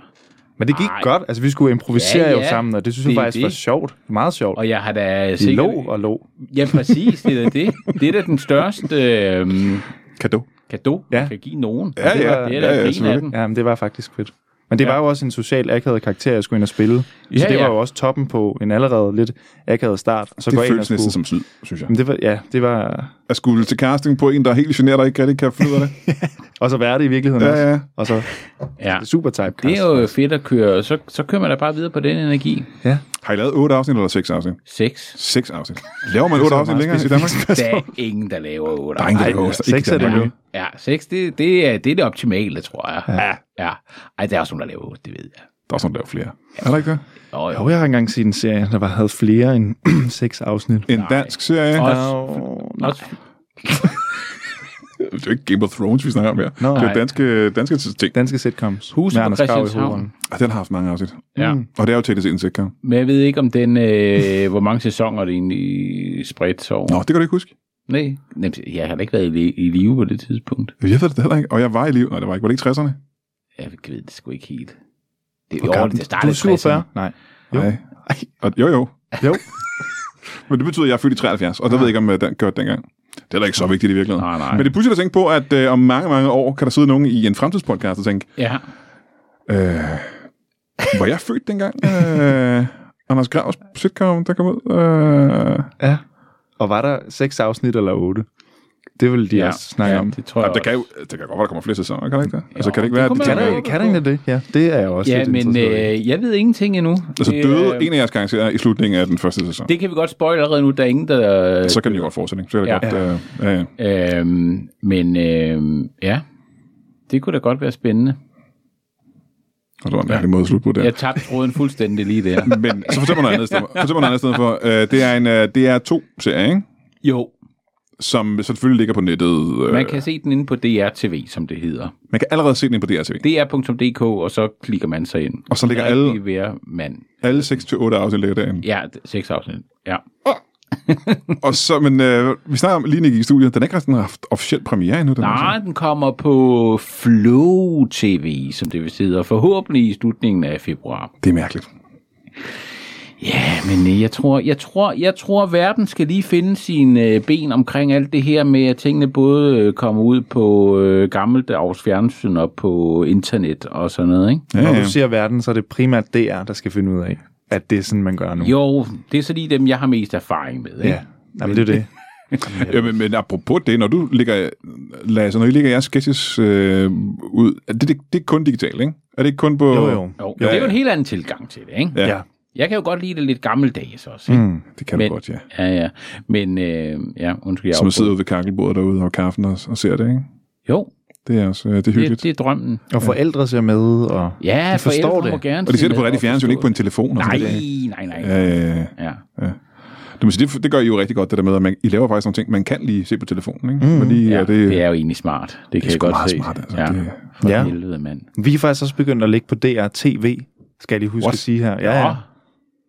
[SPEAKER 3] Men det gik
[SPEAKER 2] Ej.
[SPEAKER 3] godt. Altså, vi skulle improvisere
[SPEAKER 2] Ja,
[SPEAKER 3] jo
[SPEAKER 2] ja.
[SPEAKER 3] sammen, og det synes jeg
[SPEAKER 2] Det er
[SPEAKER 3] faktisk
[SPEAKER 2] det.
[SPEAKER 3] var sjovt. Meget sjovt.
[SPEAKER 2] Og jeg har da
[SPEAKER 3] Vi
[SPEAKER 2] sikkert...
[SPEAKER 3] lå og lå.
[SPEAKER 2] Ja, præcis. Det er da det. Det er da den største øh,
[SPEAKER 1] Kado.
[SPEAKER 2] kado,
[SPEAKER 3] Ja.
[SPEAKER 2] man kan give nogen.
[SPEAKER 1] Ja,
[SPEAKER 3] det
[SPEAKER 1] ja,
[SPEAKER 3] var-
[SPEAKER 2] Det er
[SPEAKER 1] ja,
[SPEAKER 2] da
[SPEAKER 1] ja,
[SPEAKER 2] ja, ja, af
[SPEAKER 1] selvfølgelig.
[SPEAKER 2] den.
[SPEAKER 3] Ja, men det var faktisk fedt. Men det ja.
[SPEAKER 2] Ja.
[SPEAKER 3] var jo også en social akavet karakter, jeg skulle ind og spille. Så
[SPEAKER 2] Ja,
[SPEAKER 3] det var
[SPEAKER 2] ja.
[SPEAKER 3] jo også toppen på en allerede lidt akavet start. Så
[SPEAKER 1] Det
[SPEAKER 3] går jeg ind
[SPEAKER 1] føles
[SPEAKER 3] og skulle...
[SPEAKER 1] næsten som syd, synes jeg.
[SPEAKER 3] Men det var, ja, det var...
[SPEAKER 1] At skulle til casting på en, der er helt generet og ikke rigtig kan finde ud af det.
[SPEAKER 3] Og så være det i virkeligheden
[SPEAKER 1] Ja,
[SPEAKER 3] ja, også.
[SPEAKER 1] ja.
[SPEAKER 3] Og så
[SPEAKER 2] Ja.
[SPEAKER 3] super typecast.
[SPEAKER 2] Det er jo fedt at køre. Så, så kører man da bare videre på den energi.
[SPEAKER 3] Ja.
[SPEAKER 1] Har I lavet otte afsnit eller seks afsnit?
[SPEAKER 2] Seks.
[SPEAKER 1] Seks afsnit. Laver man otte afsnit længere i Danmark?
[SPEAKER 2] Der er ingen, der laver otte.
[SPEAKER 1] Der er ingen, der
[SPEAKER 3] Ej,
[SPEAKER 1] laver
[SPEAKER 3] seks
[SPEAKER 1] ikke i
[SPEAKER 3] er det
[SPEAKER 1] Danmark.
[SPEAKER 3] nu.
[SPEAKER 2] Ja, seks, det, det, er, det er det optimale, tror jeg. Ja. ja. Ej, der er også nogen, der laver otte, det ved jeg.
[SPEAKER 1] Der er også nogen, der laver flere. Er der ikke det?
[SPEAKER 2] Jo, jo.
[SPEAKER 3] Jo, jeg har engang set en serie, der var, havde flere end seks afsnit.
[SPEAKER 1] En dansk serie.
[SPEAKER 2] Også,
[SPEAKER 3] Nå,
[SPEAKER 2] også,
[SPEAKER 1] Det er jo ikke Game of Thrones, vi snakker om her.
[SPEAKER 3] Nå,
[SPEAKER 1] det er
[SPEAKER 3] nej.
[SPEAKER 1] jo danske, danske ting.
[SPEAKER 3] danske sitcoms.
[SPEAKER 2] Huset
[SPEAKER 3] med
[SPEAKER 2] på
[SPEAKER 3] Anders Grav i
[SPEAKER 2] Christianshavn.
[SPEAKER 3] hovedrollen.
[SPEAKER 1] Og den har haft mange afsnit.
[SPEAKER 2] ja.
[SPEAKER 1] Og det er jo teknisk set en sitcom.
[SPEAKER 2] Men jeg ved ikke, om den, øh, hvor mange sæsoner det egentlig spredt sig over.
[SPEAKER 1] Nå, det kan du ikke huske.
[SPEAKER 2] Nej, nemt, jeg har da ikke været i, li- i live på det tidspunkt.
[SPEAKER 1] Jeg ved det heller ikke, og jeg var i liv. Nej, det var ikke. Var det ikke 60'erne?
[SPEAKER 2] Jeg ved det sgu ikke helt. Det,
[SPEAKER 1] Hvor
[SPEAKER 2] jo,
[SPEAKER 1] gammel-
[SPEAKER 2] det
[SPEAKER 3] Du
[SPEAKER 2] startede
[SPEAKER 3] er
[SPEAKER 2] i 60'erne.
[SPEAKER 3] 47? Nej. Jo.
[SPEAKER 1] Nej. Og, jo, jo.
[SPEAKER 3] Jo.
[SPEAKER 1] Men det betyder, at jeg er født i 73, og der ved jeg ikke, om øh, den gjorde dengang. Det er da ikke så vigtigt i virkeligheden.
[SPEAKER 2] Nej, nej.
[SPEAKER 1] Men det er pudsigt at tænke på, at øh, om mange, mange år kan der sidde nogen i en fremtidspodcast og tænke,
[SPEAKER 2] Ja,
[SPEAKER 1] øh, var jeg født dengang? Øh, Anders Gravs sitcom, der kom ud? Øh,
[SPEAKER 3] Ja. Og var der seks afsnit eller otte? Det vil de ja.
[SPEAKER 2] Ja.
[SPEAKER 3] også snakke ja. om.
[SPEAKER 2] det tror jeg
[SPEAKER 1] Jamen, der,
[SPEAKER 2] også.
[SPEAKER 1] kan jo, der kan godt være, der kommer flere sæsoner, kan der ikke det? Altså, kan det ikke
[SPEAKER 2] det
[SPEAKER 1] være,
[SPEAKER 2] kunne
[SPEAKER 1] at de
[SPEAKER 2] man
[SPEAKER 3] Kan
[SPEAKER 1] tænker,
[SPEAKER 2] jo.
[SPEAKER 3] der, kan der ikke det? Ja, det er jeg også
[SPEAKER 2] Ja,
[SPEAKER 3] lidt
[SPEAKER 2] men
[SPEAKER 3] interesseret i.
[SPEAKER 2] øh, jeg ved ingenting endnu.
[SPEAKER 1] altså
[SPEAKER 2] Det,
[SPEAKER 1] døde
[SPEAKER 2] øh,
[SPEAKER 1] en af jeres karakterer i slutningen af den første sæson?
[SPEAKER 2] Det kan vi godt spoil allerede nu, der er ingen, der...
[SPEAKER 1] Så kan det jo godt fortsætte, ikke? Så kan det
[SPEAKER 2] Ja.
[SPEAKER 1] godt... Øh, ja, ja.
[SPEAKER 2] Øhm, men øhm, ja, det kunne da godt være spændende.
[SPEAKER 1] Og det var en mærkelig måde at slutte på der.
[SPEAKER 2] Jeg tabte tråden fuldstændig lige der.
[SPEAKER 1] Men så fortæl mig noget andet sted. Fortæl mig noget andet sted for. Øh, det er en øh, DR2-serie, ikke?
[SPEAKER 2] Jo,
[SPEAKER 1] som selvfølgelig ligger på nettet. Øh,
[SPEAKER 2] man kan se den inde på DRTV, som det hedder.
[SPEAKER 1] man kan allerede se den inde på DRTV.
[SPEAKER 2] dr.dk, og så klikker man sig ind.
[SPEAKER 1] Og så ligger alle,
[SPEAKER 2] Rigtig være mand.
[SPEAKER 1] alle 6-8 afsnit ligger derinde.
[SPEAKER 2] Ja, d- seks afsnit. Ja.
[SPEAKER 1] Og så, men øh, vi snakker om lige Nick i studiet. Den har ikke sådan haft officiel premiere endnu. Den
[SPEAKER 2] Nej, den kommer på Flow TV, som det vil hedder, forhåbentlig i slutningen af februar.
[SPEAKER 1] Det er mærkeligt.
[SPEAKER 2] Ja, men øh, jeg tror, jeg tror, jeg tror, verden skal lige finde sine øh, ben omkring alt det her med, at tingene både øh, kommer ud på øh, gammeldags fjernsyn og på internet og sådan noget, ikke?
[SPEAKER 1] Ja,
[SPEAKER 3] Når
[SPEAKER 1] ja.
[SPEAKER 3] du siger verden, så er det primært DR, der skal finde ud af, at det er sådan, man gør nu.
[SPEAKER 2] Jo, det er så lige dem, jeg har mest erfaring med, ikke?
[SPEAKER 3] Ja, Jamen, det er det.
[SPEAKER 1] ja men, men apropos det, når du ligger, Lasse, når I ligger jeres sketches øh, ud, er det, det, det er kun digitalt, ikke? Er det ikke kun på...
[SPEAKER 3] Jo, jo.
[SPEAKER 2] Jo,
[SPEAKER 1] Ja,
[SPEAKER 2] det er jo
[SPEAKER 1] ja.
[SPEAKER 2] en helt anden tilgang til det, ikke?
[SPEAKER 1] Ja.
[SPEAKER 3] Ja.
[SPEAKER 2] Jeg kan jo godt lide det lidt gammeldags også, ikke? Mm.
[SPEAKER 1] Det kan du
[SPEAKER 2] Men-
[SPEAKER 1] godt, ja.
[SPEAKER 2] Ja, ja. Men, øh, ja, undskyld, jeg
[SPEAKER 1] Som at
[SPEAKER 2] afbrød.
[SPEAKER 1] sidde ude ved kakkelbordet derude og kaffen og, og ser det, ikke?
[SPEAKER 2] Jo,
[SPEAKER 1] Det er også øh, det er hyggeligt.
[SPEAKER 2] det, det er drømmen.
[SPEAKER 3] Og forældre ser med, og...
[SPEAKER 2] Ja,
[SPEAKER 3] De forstår
[SPEAKER 2] forældre
[SPEAKER 3] det.
[SPEAKER 2] må gerne
[SPEAKER 1] Og de ser det på
[SPEAKER 2] med
[SPEAKER 1] rigtig
[SPEAKER 2] og
[SPEAKER 1] fjernsyn,
[SPEAKER 2] forstå
[SPEAKER 1] ikke på en telefon. Og Sådan
[SPEAKER 2] det.
[SPEAKER 1] noget.
[SPEAKER 2] Nej, nej, nej.
[SPEAKER 1] Ja, ja,
[SPEAKER 2] Ja.
[SPEAKER 1] Det, sige, det, det gør I jo rigtig godt, det der med, at man, I laver faktisk nogle ting, man kan lige se på telefonen. Ikke? Mm. Fordi,
[SPEAKER 2] Ja,
[SPEAKER 1] ja, det,
[SPEAKER 2] det er jo egentlig smart. Det, det kan jeg
[SPEAKER 1] sgu
[SPEAKER 2] godt
[SPEAKER 1] meget
[SPEAKER 2] se.
[SPEAKER 1] smart, altså.
[SPEAKER 2] Ja,
[SPEAKER 1] Det-
[SPEAKER 2] for
[SPEAKER 3] Ja.
[SPEAKER 2] helvede, mand.
[SPEAKER 3] Vi er faktisk også begyndt at ligge på DR TV, skal jeg lige huske
[SPEAKER 1] What?
[SPEAKER 3] at sige her. Ja, ja.
[SPEAKER 2] Nå,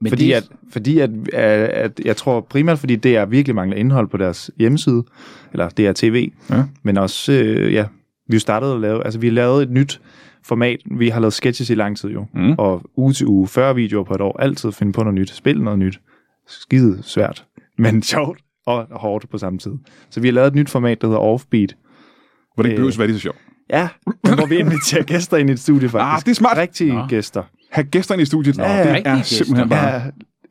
[SPEAKER 2] Men
[SPEAKER 3] Fordi,
[SPEAKER 2] det,
[SPEAKER 3] at, fordi at, at, at, jeg tror primært, fordi DR virkelig mangler indhold på deres hjemmeside, eller DR TV,
[SPEAKER 1] Ja.
[SPEAKER 3] men også, øh, ja, vi startede at lave, altså vi lavede et nyt format, vi har lavet sketches i lang tid jo,
[SPEAKER 1] Mm.
[SPEAKER 3] og uge til uge, 40 videoer på et år, altid finde på noget nyt, spille noget nyt, skide svært, men sjovt og hårdt på samme tid. Så vi har lavet et nyt format, der hedder Offbeat,
[SPEAKER 1] hvor det ikke
[SPEAKER 3] øh,
[SPEAKER 1] behøves at være lige så sjovt.
[SPEAKER 3] Ja, men hvor vi inviterer gæster ind i et studie, faktisk.
[SPEAKER 1] Ah, det er smart.
[SPEAKER 3] Rigtige
[SPEAKER 2] Nå.
[SPEAKER 3] gæster.
[SPEAKER 1] Have gæsterne i studiet, Nå,
[SPEAKER 3] ja,
[SPEAKER 1] det
[SPEAKER 2] rigtige
[SPEAKER 1] er
[SPEAKER 2] gæster.
[SPEAKER 1] simpelthen bare
[SPEAKER 3] Ja,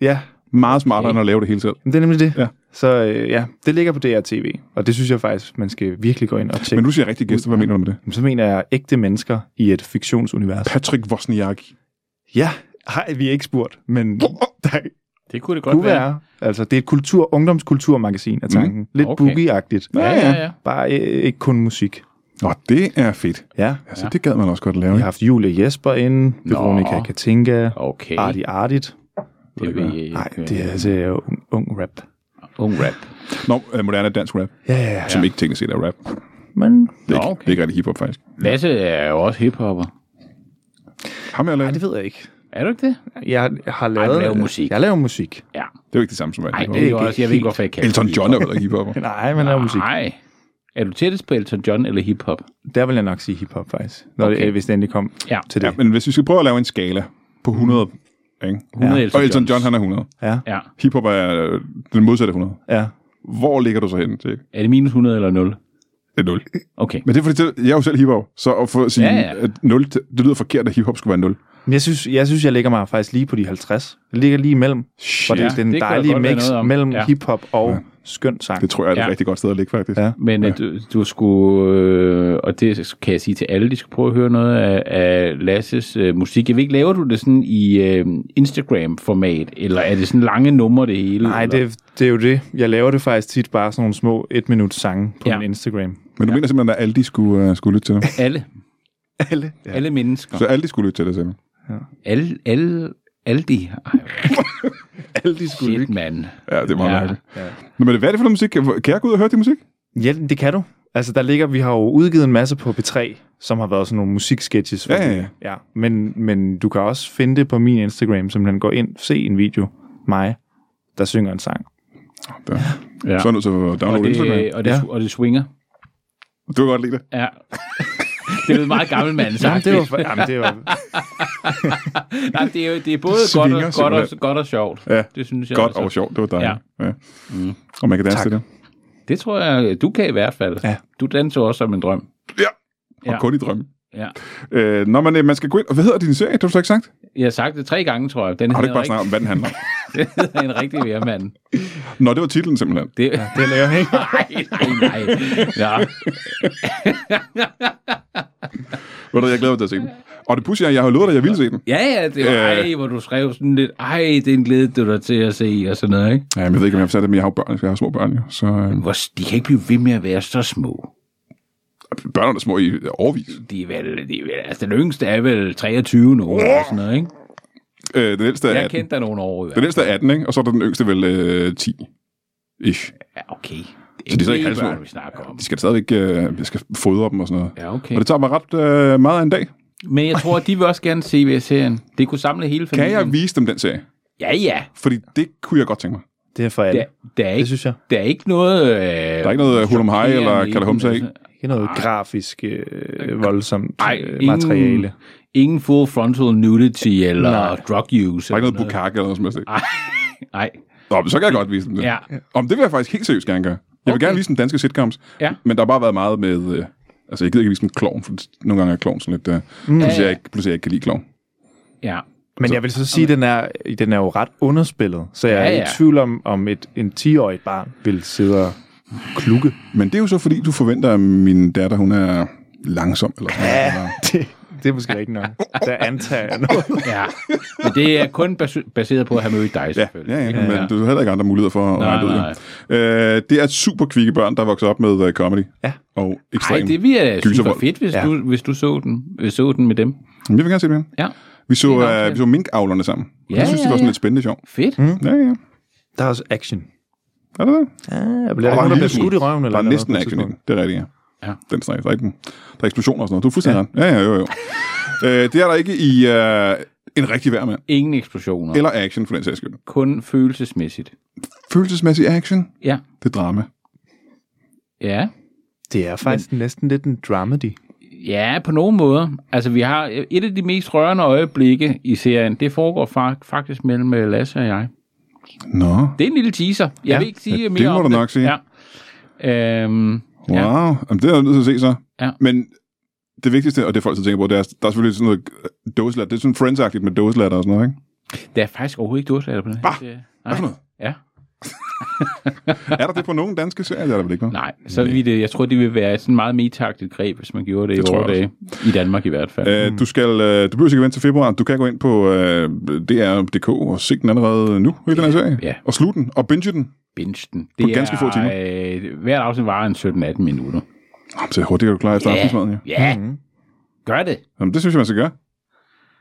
[SPEAKER 3] ja.
[SPEAKER 1] meget smartere, end at lave det hele selv.
[SPEAKER 3] Men det er nemlig det.
[SPEAKER 1] Ja.
[SPEAKER 3] Ja. Så øh, ja, det ligger på DRTV, og det synes jeg faktisk, man skal virkelig gå ind og tjekke.
[SPEAKER 1] Men nu siger jeg rigtig gæster, hvad mener du med det?
[SPEAKER 3] Men så mener jeg ægte mennesker i et fiktionsunivers.
[SPEAKER 1] Patrick Wozniak.
[SPEAKER 3] Ja, har vi ikke spurgt, men der
[SPEAKER 2] det kunne det godt
[SPEAKER 3] kunne
[SPEAKER 2] være.
[SPEAKER 3] være. Altså, det er et kultur, ungdomskulturmagasin af tanken. Mm. Lidt
[SPEAKER 2] Okay.
[SPEAKER 3] okay. boogie-agtigt.
[SPEAKER 2] Ja, ja, ja.
[SPEAKER 3] Bare øh, ikke kun musik.
[SPEAKER 1] Nå, det er fedt.
[SPEAKER 3] Ja,
[SPEAKER 1] Altså, det gad man også godt at lave.
[SPEAKER 3] vi har
[SPEAKER 1] Ja.
[SPEAKER 3] haft Julie Jesper inde, Veronica Katinka,
[SPEAKER 2] Okay.
[SPEAKER 3] Arti Artit.
[SPEAKER 2] det vil jeg ikke.
[SPEAKER 3] Nej, det er altså øh, ung, ung rap.
[SPEAKER 2] Ung rap.
[SPEAKER 1] Nå, øh, moderne dansk rap,
[SPEAKER 3] Ja, ja, ja.
[SPEAKER 1] som ikke tænker set er rap. Det
[SPEAKER 3] Men
[SPEAKER 1] er,
[SPEAKER 2] Nå,
[SPEAKER 1] ikke,
[SPEAKER 2] okay.
[SPEAKER 1] det er ikke rigtig hiphop, faktisk.
[SPEAKER 2] Lasse er jo også hiphopper.
[SPEAKER 1] Ham jeg laver,
[SPEAKER 3] Nej,
[SPEAKER 1] det
[SPEAKER 3] det ved jeg ikke.
[SPEAKER 2] Er du ikke det?
[SPEAKER 3] Jeg har lavet...
[SPEAKER 2] laver musik.
[SPEAKER 3] Jeg laver musik.
[SPEAKER 2] Ja.
[SPEAKER 1] er jo ikke det samme som at være
[SPEAKER 2] Nej,
[SPEAKER 1] hiphop.
[SPEAKER 2] det er jo
[SPEAKER 3] ikke
[SPEAKER 2] også, jeg ved ikke, hvorfor jeg kan.
[SPEAKER 1] Elton John er jo heller ikke hiphopper.
[SPEAKER 3] Nej, men jeg laver musik.
[SPEAKER 2] Nej. Er du tættest på Elton John eller hiphop?
[SPEAKER 3] Der vil jeg nok sige hiphop, faktisk. Når okay.
[SPEAKER 2] Okay.
[SPEAKER 3] det, hvis det endelig kom
[SPEAKER 2] Ja.
[SPEAKER 3] til
[SPEAKER 1] Ja,
[SPEAKER 3] det.
[SPEAKER 1] men hvis vi skal prøve at lave en skala på 100, ikke?
[SPEAKER 2] 100
[SPEAKER 1] Og Elton John, han er 100.
[SPEAKER 3] Ja,
[SPEAKER 2] Ja.
[SPEAKER 1] Hiphop er øh, den modsatte 100.
[SPEAKER 3] ja.
[SPEAKER 1] Hvor ligger du så hen til?
[SPEAKER 2] Er det minus 100 eller 0?
[SPEAKER 1] Det er 0.
[SPEAKER 2] Okay.
[SPEAKER 1] Men det er fordi, det- jeg er jo selv hiphop, så at få at sige,
[SPEAKER 2] Ja, ja.
[SPEAKER 1] at 0, det det lyder forkert, at hiphop skulle være 0.
[SPEAKER 3] Men jeg synes, jeg synes, jeg ligger mig faktisk lige på de 50. Jeg ligger lige imellem. Shit. Og det,
[SPEAKER 2] Ja,
[SPEAKER 3] ja, det er den
[SPEAKER 2] det kunne
[SPEAKER 3] dejlige
[SPEAKER 2] jeg godt være
[SPEAKER 3] mix
[SPEAKER 2] noget om.
[SPEAKER 3] mellem
[SPEAKER 2] Ja.
[SPEAKER 3] ja. hiphop og ja. skøn sang.
[SPEAKER 1] Det tror jeg er et
[SPEAKER 2] Ja.
[SPEAKER 1] rigtig godt sted at ligge, faktisk.
[SPEAKER 3] Ja.
[SPEAKER 2] Men ja. du, du skulle, øh, og det kan jeg sige til alle, de skal prøve at høre noget af, af Lasses øh, musik. Jeg ved ikke, laver du det sådan i øh, Instagram-format, eller er det sådan lange numre det hele?
[SPEAKER 3] Nej,
[SPEAKER 2] eller?
[SPEAKER 3] det, det er jo det. Jeg laver det faktisk tit bare sådan nogle små et minut sange på
[SPEAKER 2] Ja.
[SPEAKER 3] ja. min Instagram.
[SPEAKER 1] Men du mener simpelthen, at Aldi skulle, uh, skulle lytte til det?
[SPEAKER 2] Alle,
[SPEAKER 3] Alle.
[SPEAKER 2] ja. alle mennesker.
[SPEAKER 1] Så Aldi skulle lytte til det simpelthen?
[SPEAKER 2] Alle, alle, alle de... Ej,
[SPEAKER 3] Alle de skulle
[SPEAKER 2] shit,
[SPEAKER 3] lytte.
[SPEAKER 2] mand.
[SPEAKER 1] Ja, det er meget
[SPEAKER 2] Ja.
[SPEAKER 1] mærkeligt. Nå, men hvad er det for noget musik? Kan jeg gå ud og høre det musik?
[SPEAKER 3] Ja, det kan du. Altså, der ligger, vi har jo udgivet en masse på P3, som har været sådan nogle musiksketches. hvor
[SPEAKER 1] Ja, ja,
[SPEAKER 3] vi-
[SPEAKER 1] ja.
[SPEAKER 3] ja. Men, men du kan også finde det på min Instagram, som den går ind, se en video, mig, der synger en sang.
[SPEAKER 1] Der.
[SPEAKER 2] Ja.
[SPEAKER 1] Ja. Så er jeg nødt til at
[SPEAKER 2] Og
[SPEAKER 1] downloade Instagram.
[SPEAKER 2] det, og det,
[SPEAKER 3] Ja.
[SPEAKER 2] og det swinger.
[SPEAKER 1] Du kan godt lide det.
[SPEAKER 2] Ja. Det er meget gammel mand
[SPEAKER 3] Jamen,
[SPEAKER 2] sagt.
[SPEAKER 3] det var, jamen, det var,
[SPEAKER 2] Nej, det er, jo, det er både
[SPEAKER 1] Det
[SPEAKER 2] godt
[SPEAKER 1] svinger
[SPEAKER 2] og, godt,
[SPEAKER 1] simpelthen.
[SPEAKER 2] og, godt og sjovt.
[SPEAKER 1] Ja.
[SPEAKER 2] Det synes jeg altså.
[SPEAKER 1] Godt
[SPEAKER 2] også.
[SPEAKER 1] og sjovt, det var dejligt. Ja. Ja. Mm. Og man kan danse
[SPEAKER 3] Tak.
[SPEAKER 1] til det.
[SPEAKER 2] Det tror jeg, du kan i hvert fald.
[SPEAKER 3] Ja.
[SPEAKER 2] Du danser også som en drøm.
[SPEAKER 1] Ja, og
[SPEAKER 2] Ja.
[SPEAKER 1] ja. kun i drømme.
[SPEAKER 2] Ja.
[SPEAKER 1] Øh, når man, øh, man skal gå ind... Hvad hedder din serie? Det har du så ikke sagt?
[SPEAKER 2] Jeg har sagt det tre gange, tror jeg. Den
[SPEAKER 1] Har du ikke
[SPEAKER 2] hedder,
[SPEAKER 1] bare snakket om, hvad den handler om?
[SPEAKER 2] det hedder en rigtig værmand.
[SPEAKER 1] Nå, det var titlen simpelthen.
[SPEAKER 2] Det,
[SPEAKER 3] det laver jeg ikke.
[SPEAKER 2] nej, nej, nej. Ja.
[SPEAKER 1] Ved du, jeg glæder mig til at se den. Og det pusher, jeg har jo lovet dig, jeg ville se den.
[SPEAKER 2] ja, ja, det var,
[SPEAKER 1] Øh.
[SPEAKER 2] ej, hvor du skrev sådan lidt, ej, det er en glæde, du er der til at se, og sådan noget, ikke?
[SPEAKER 1] Ja, men jeg ved ikke, om jeg har sat det, men jeg har jo børn, jeg har små børn jo. Så øh,
[SPEAKER 2] Hvor, de kan ikke blive ved med at være så små.
[SPEAKER 1] børn er små i overvis.
[SPEAKER 2] De er vel, de er vel, altså den yngste er vel 23 nu, eller sådan noget, ikke?
[SPEAKER 1] Øh, den ældste er
[SPEAKER 2] Jeg
[SPEAKER 1] 18.
[SPEAKER 2] kendte dig nogle år i hvert
[SPEAKER 1] Den ældste er 18, ikke? Og så er der den yngste vel øh, 10. Ish.
[SPEAKER 2] Ja, okay. Det
[SPEAKER 1] Så de er så ikke
[SPEAKER 2] helt
[SPEAKER 1] halvsmå?
[SPEAKER 2] børn, vi snakker om.
[SPEAKER 1] De skal stadigvæk øh, jeg skal fodre dem og sådan noget.
[SPEAKER 2] Ja, okay.
[SPEAKER 1] Og det tager mig ret øh, meget af en dag.
[SPEAKER 2] Men jeg tror, de vil også gerne se ved serien. Det kunne samle hele
[SPEAKER 1] Kan
[SPEAKER 2] familien.
[SPEAKER 1] jeg vise dem den serie?
[SPEAKER 2] Ja, ja.
[SPEAKER 1] Fordi det kunne jeg godt tænke mig.
[SPEAKER 3] Det er for alle.
[SPEAKER 2] Der, der, er
[SPEAKER 3] Det
[SPEAKER 2] ikke,
[SPEAKER 3] synes jeg.
[SPEAKER 2] der er ikke noget... Øh, der
[SPEAKER 1] Der er ikke noget hulum hej eller kalahumsa i.
[SPEAKER 2] altså,
[SPEAKER 3] Ikke noget grafisk øh, voldsomt
[SPEAKER 2] Ej,
[SPEAKER 3] øh,
[SPEAKER 2] ingen-
[SPEAKER 3] materiale.
[SPEAKER 2] Ingen full frontal nudity eller
[SPEAKER 3] Nej.
[SPEAKER 2] drug use.
[SPEAKER 1] Der er ikke noget
[SPEAKER 2] eller
[SPEAKER 1] bukake eller noget som helst. ikke?
[SPEAKER 2] Nej,
[SPEAKER 1] Nå, men så kan jeg godt vise dem det.
[SPEAKER 2] ja.
[SPEAKER 1] Om det vil jeg faktisk helt seriøst gerne gøre. Jeg vil
[SPEAKER 2] Okay.
[SPEAKER 1] gerne vise dem danske sitcoms,
[SPEAKER 2] Ja.
[SPEAKER 1] men der har bare været meget med... Øh, altså, jeg gider ikke vise dem klovn, for nogle gange er klovn sådan lidt... Øh, mm.
[SPEAKER 2] Ja,
[SPEAKER 1] pludselig,
[SPEAKER 2] ja.
[SPEAKER 1] jeg ikke, pludselig jeg ikke kan lide klovn.
[SPEAKER 2] ja.
[SPEAKER 3] Men jeg vil så sige, at den er, den er jo ret underspillet, så jeg er
[SPEAKER 2] Ja,
[SPEAKER 3] ja, ja.
[SPEAKER 2] ja.
[SPEAKER 3] i tvivl om, om et, en 10-årig barn vil sidde og klukke.
[SPEAKER 1] Men det er jo så, fordi du forventer, at min datter, hun er langsom. Eller sådan noget, eller-
[SPEAKER 3] Det, det er måske ikke nok. Der antager jeg noget.
[SPEAKER 2] ja. Men det er kun bas- baseret på at have mødt dig,
[SPEAKER 1] Ja,
[SPEAKER 2] selvfølgelig.
[SPEAKER 1] ja, ja, men du har heller ikke andre muligheder for at
[SPEAKER 2] Nej,
[SPEAKER 1] regne det ud.
[SPEAKER 2] nej.
[SPEAKER 1] jo. Øh, det er super kvikke børn, der vokser op med øh, comedy.
[SPEAKER 3] Ja.
[SPEAKER 1] Og
[SPEAKER 2] Nej,
[SPEAKER 1] ekstrem.
[SPEAKER 2] det bliver super
[SPEAKER 1] Gyservold.
[SPEAKER 2] fedt, hvis,
[SPEAKER 3] Ja.
[SPEAKER 2] ja. du, hvis du så den, øh, så den med dem.
[SPEAKER 1] Men Jeg vil gerne se det igen.
[SPEAKER 2] Ja,
[SPEAKER 1] Vi så,
[SPEAKER 2] Det er en aftale.
[SPEAKER 1] øh, vi så minkavlerne sammen. Ja,
[SPEAKER 2] Ja,
[SPEAKER 1] jeg synes,
[SPEAKER 2] ja,
[SPEAKER 1] det var sådan
[SPEAKER 2] ja.
[SPEAKER 1] lidt spændende sjov.
[SPEAKER 2] fedt. Mm.
[SPEAKER 1] Ja, ja.
[SPEAKER 3] Der er også action.
[SPEAKER 1] Er det det?
[SPEAKER 3] Ja, jeg bliver,
[SPEAKER 1] der
[SPEAKER 3] der
[SPEAKER 1] en
[SPEAKER 3] bliver
[SPEAKER 1] lille
[SPEAKER 3] skudt i røven.
[SPEAKER 1] Der
[SPEAKER 3] Eller
[SPEAKER 1] er næsten
[SPEAKER 3] noget på et
[SPEAKER 1] action i den.
[SPEAKER 3] tidspunkt.
[SPEAKER 1] Det er rigtigt, ja.
[SPEAKER 2] Ja.
[SPEAKER 1] Den snak. Der er, ikke den. der er eksplosioner og sådan noget. Du er fuldstændig ret. Ja, ja, jo, jo. øh, det er der ikke i øh, en rigtig værmand.
[SPEAKER 2] Ingen eksplosioner.
[SPEAKER 1] Eller action, for den sags skyld.
[SPEAKER 2] Kun følelsesmæssigt.
[SPEAKER 1] Følelsesmæssig action,
[SPEAKER 2] Ja.
[SPEAKER 1] det er drama.
[SPEAKER 2] Ja.
[SPEAKER 3] Det er faktisk Men. næsten lidt en dramedy.
[SPEAKER 2] Ja, på nogen måder. Altså, vi har et af de mest rørende øjeblikke i serien. Det foregår fa- faktisk mellem øh, Lasse og jeg.
[SPEAKER 1] Nå,
[SPEAKER 2] Det er en lille teaser. Jeg
[SPEAKER 3] Ja,
[SPEAKER 2] vil ikke sige
[SPEAKER 1] ja,
[SPEAKER 2] mere
[SPEAKER 1] det må
[SPEAKER 2] om
[SPEAKER 1] du nok sige.
[SPEAKER 2] Ja. Øhm,
[SPEAKER 1] wow.
[SPEAKER 2] ja.
[SPEAKER 1] Ja. Jamen, det er jeg nødt til at se så.
[SPEAKER 2] Ja.
[SPEAKER 1] Men det vigtigste, og det folk så tænker på, det er, der er selvfølgelig sådan noget øh, dåselatter. Det er sådan friendsagtigt med dåselatter og sådan noget, ikke?
[SPEAKER 2] Der er faktisk overhovedet ikke dårslatter på den her.
[SPEAKER 1] Hva?
[SPEAKER 2] serie.
[SPEAKER 1] Hvad for
[SPEAKER 2] Nej.
[SPEAKER 1] noget?
[SPEAKER 2] Ja.
[SPEAKER 1] Er der det på nogen danske serier? Det er der vel ikke, hva'?
[SPEAKER 2] Nej, så vil det, jeg tror, det vil være sådan meget metagtigt greb, hvis man gjorde det,
[SPEAKER 1] Det
[SPEAKER 2] i
[SPEAKER 1] tror
[SPEAKER 2] vore
[SPEAKER 1] jeg
[SPEAKER 2] dage. I Danmark i hvert fald. Øh.
[SPEAKER 1] Øh, du, skal, øh, du behøver ikke at vente til februar. Du kan gå ind på øh, dr.dk og se den allerede nu, hele den her serie.
[SPEAKER 2] Ja.
[SPEAKER 1] Og slutte den, og binge den.
[SPEAKER 2] Binge den.
[SPEAKER 1] På ganske
[SPEAKER 2] er,
[SPEAKER 1] få timer.
[SPEAKER 2] Øh, hvert afsnit varer en 17-18 minutter.
[SPEAKER 1] Jamen, så hurtigt er du klar efter yeah. aftensmaden, ja. Mhm.
[SPEAKER 2] ja. Gør det.
[SPEAKER 1] Jamen, det synes jeg, man skal gøre.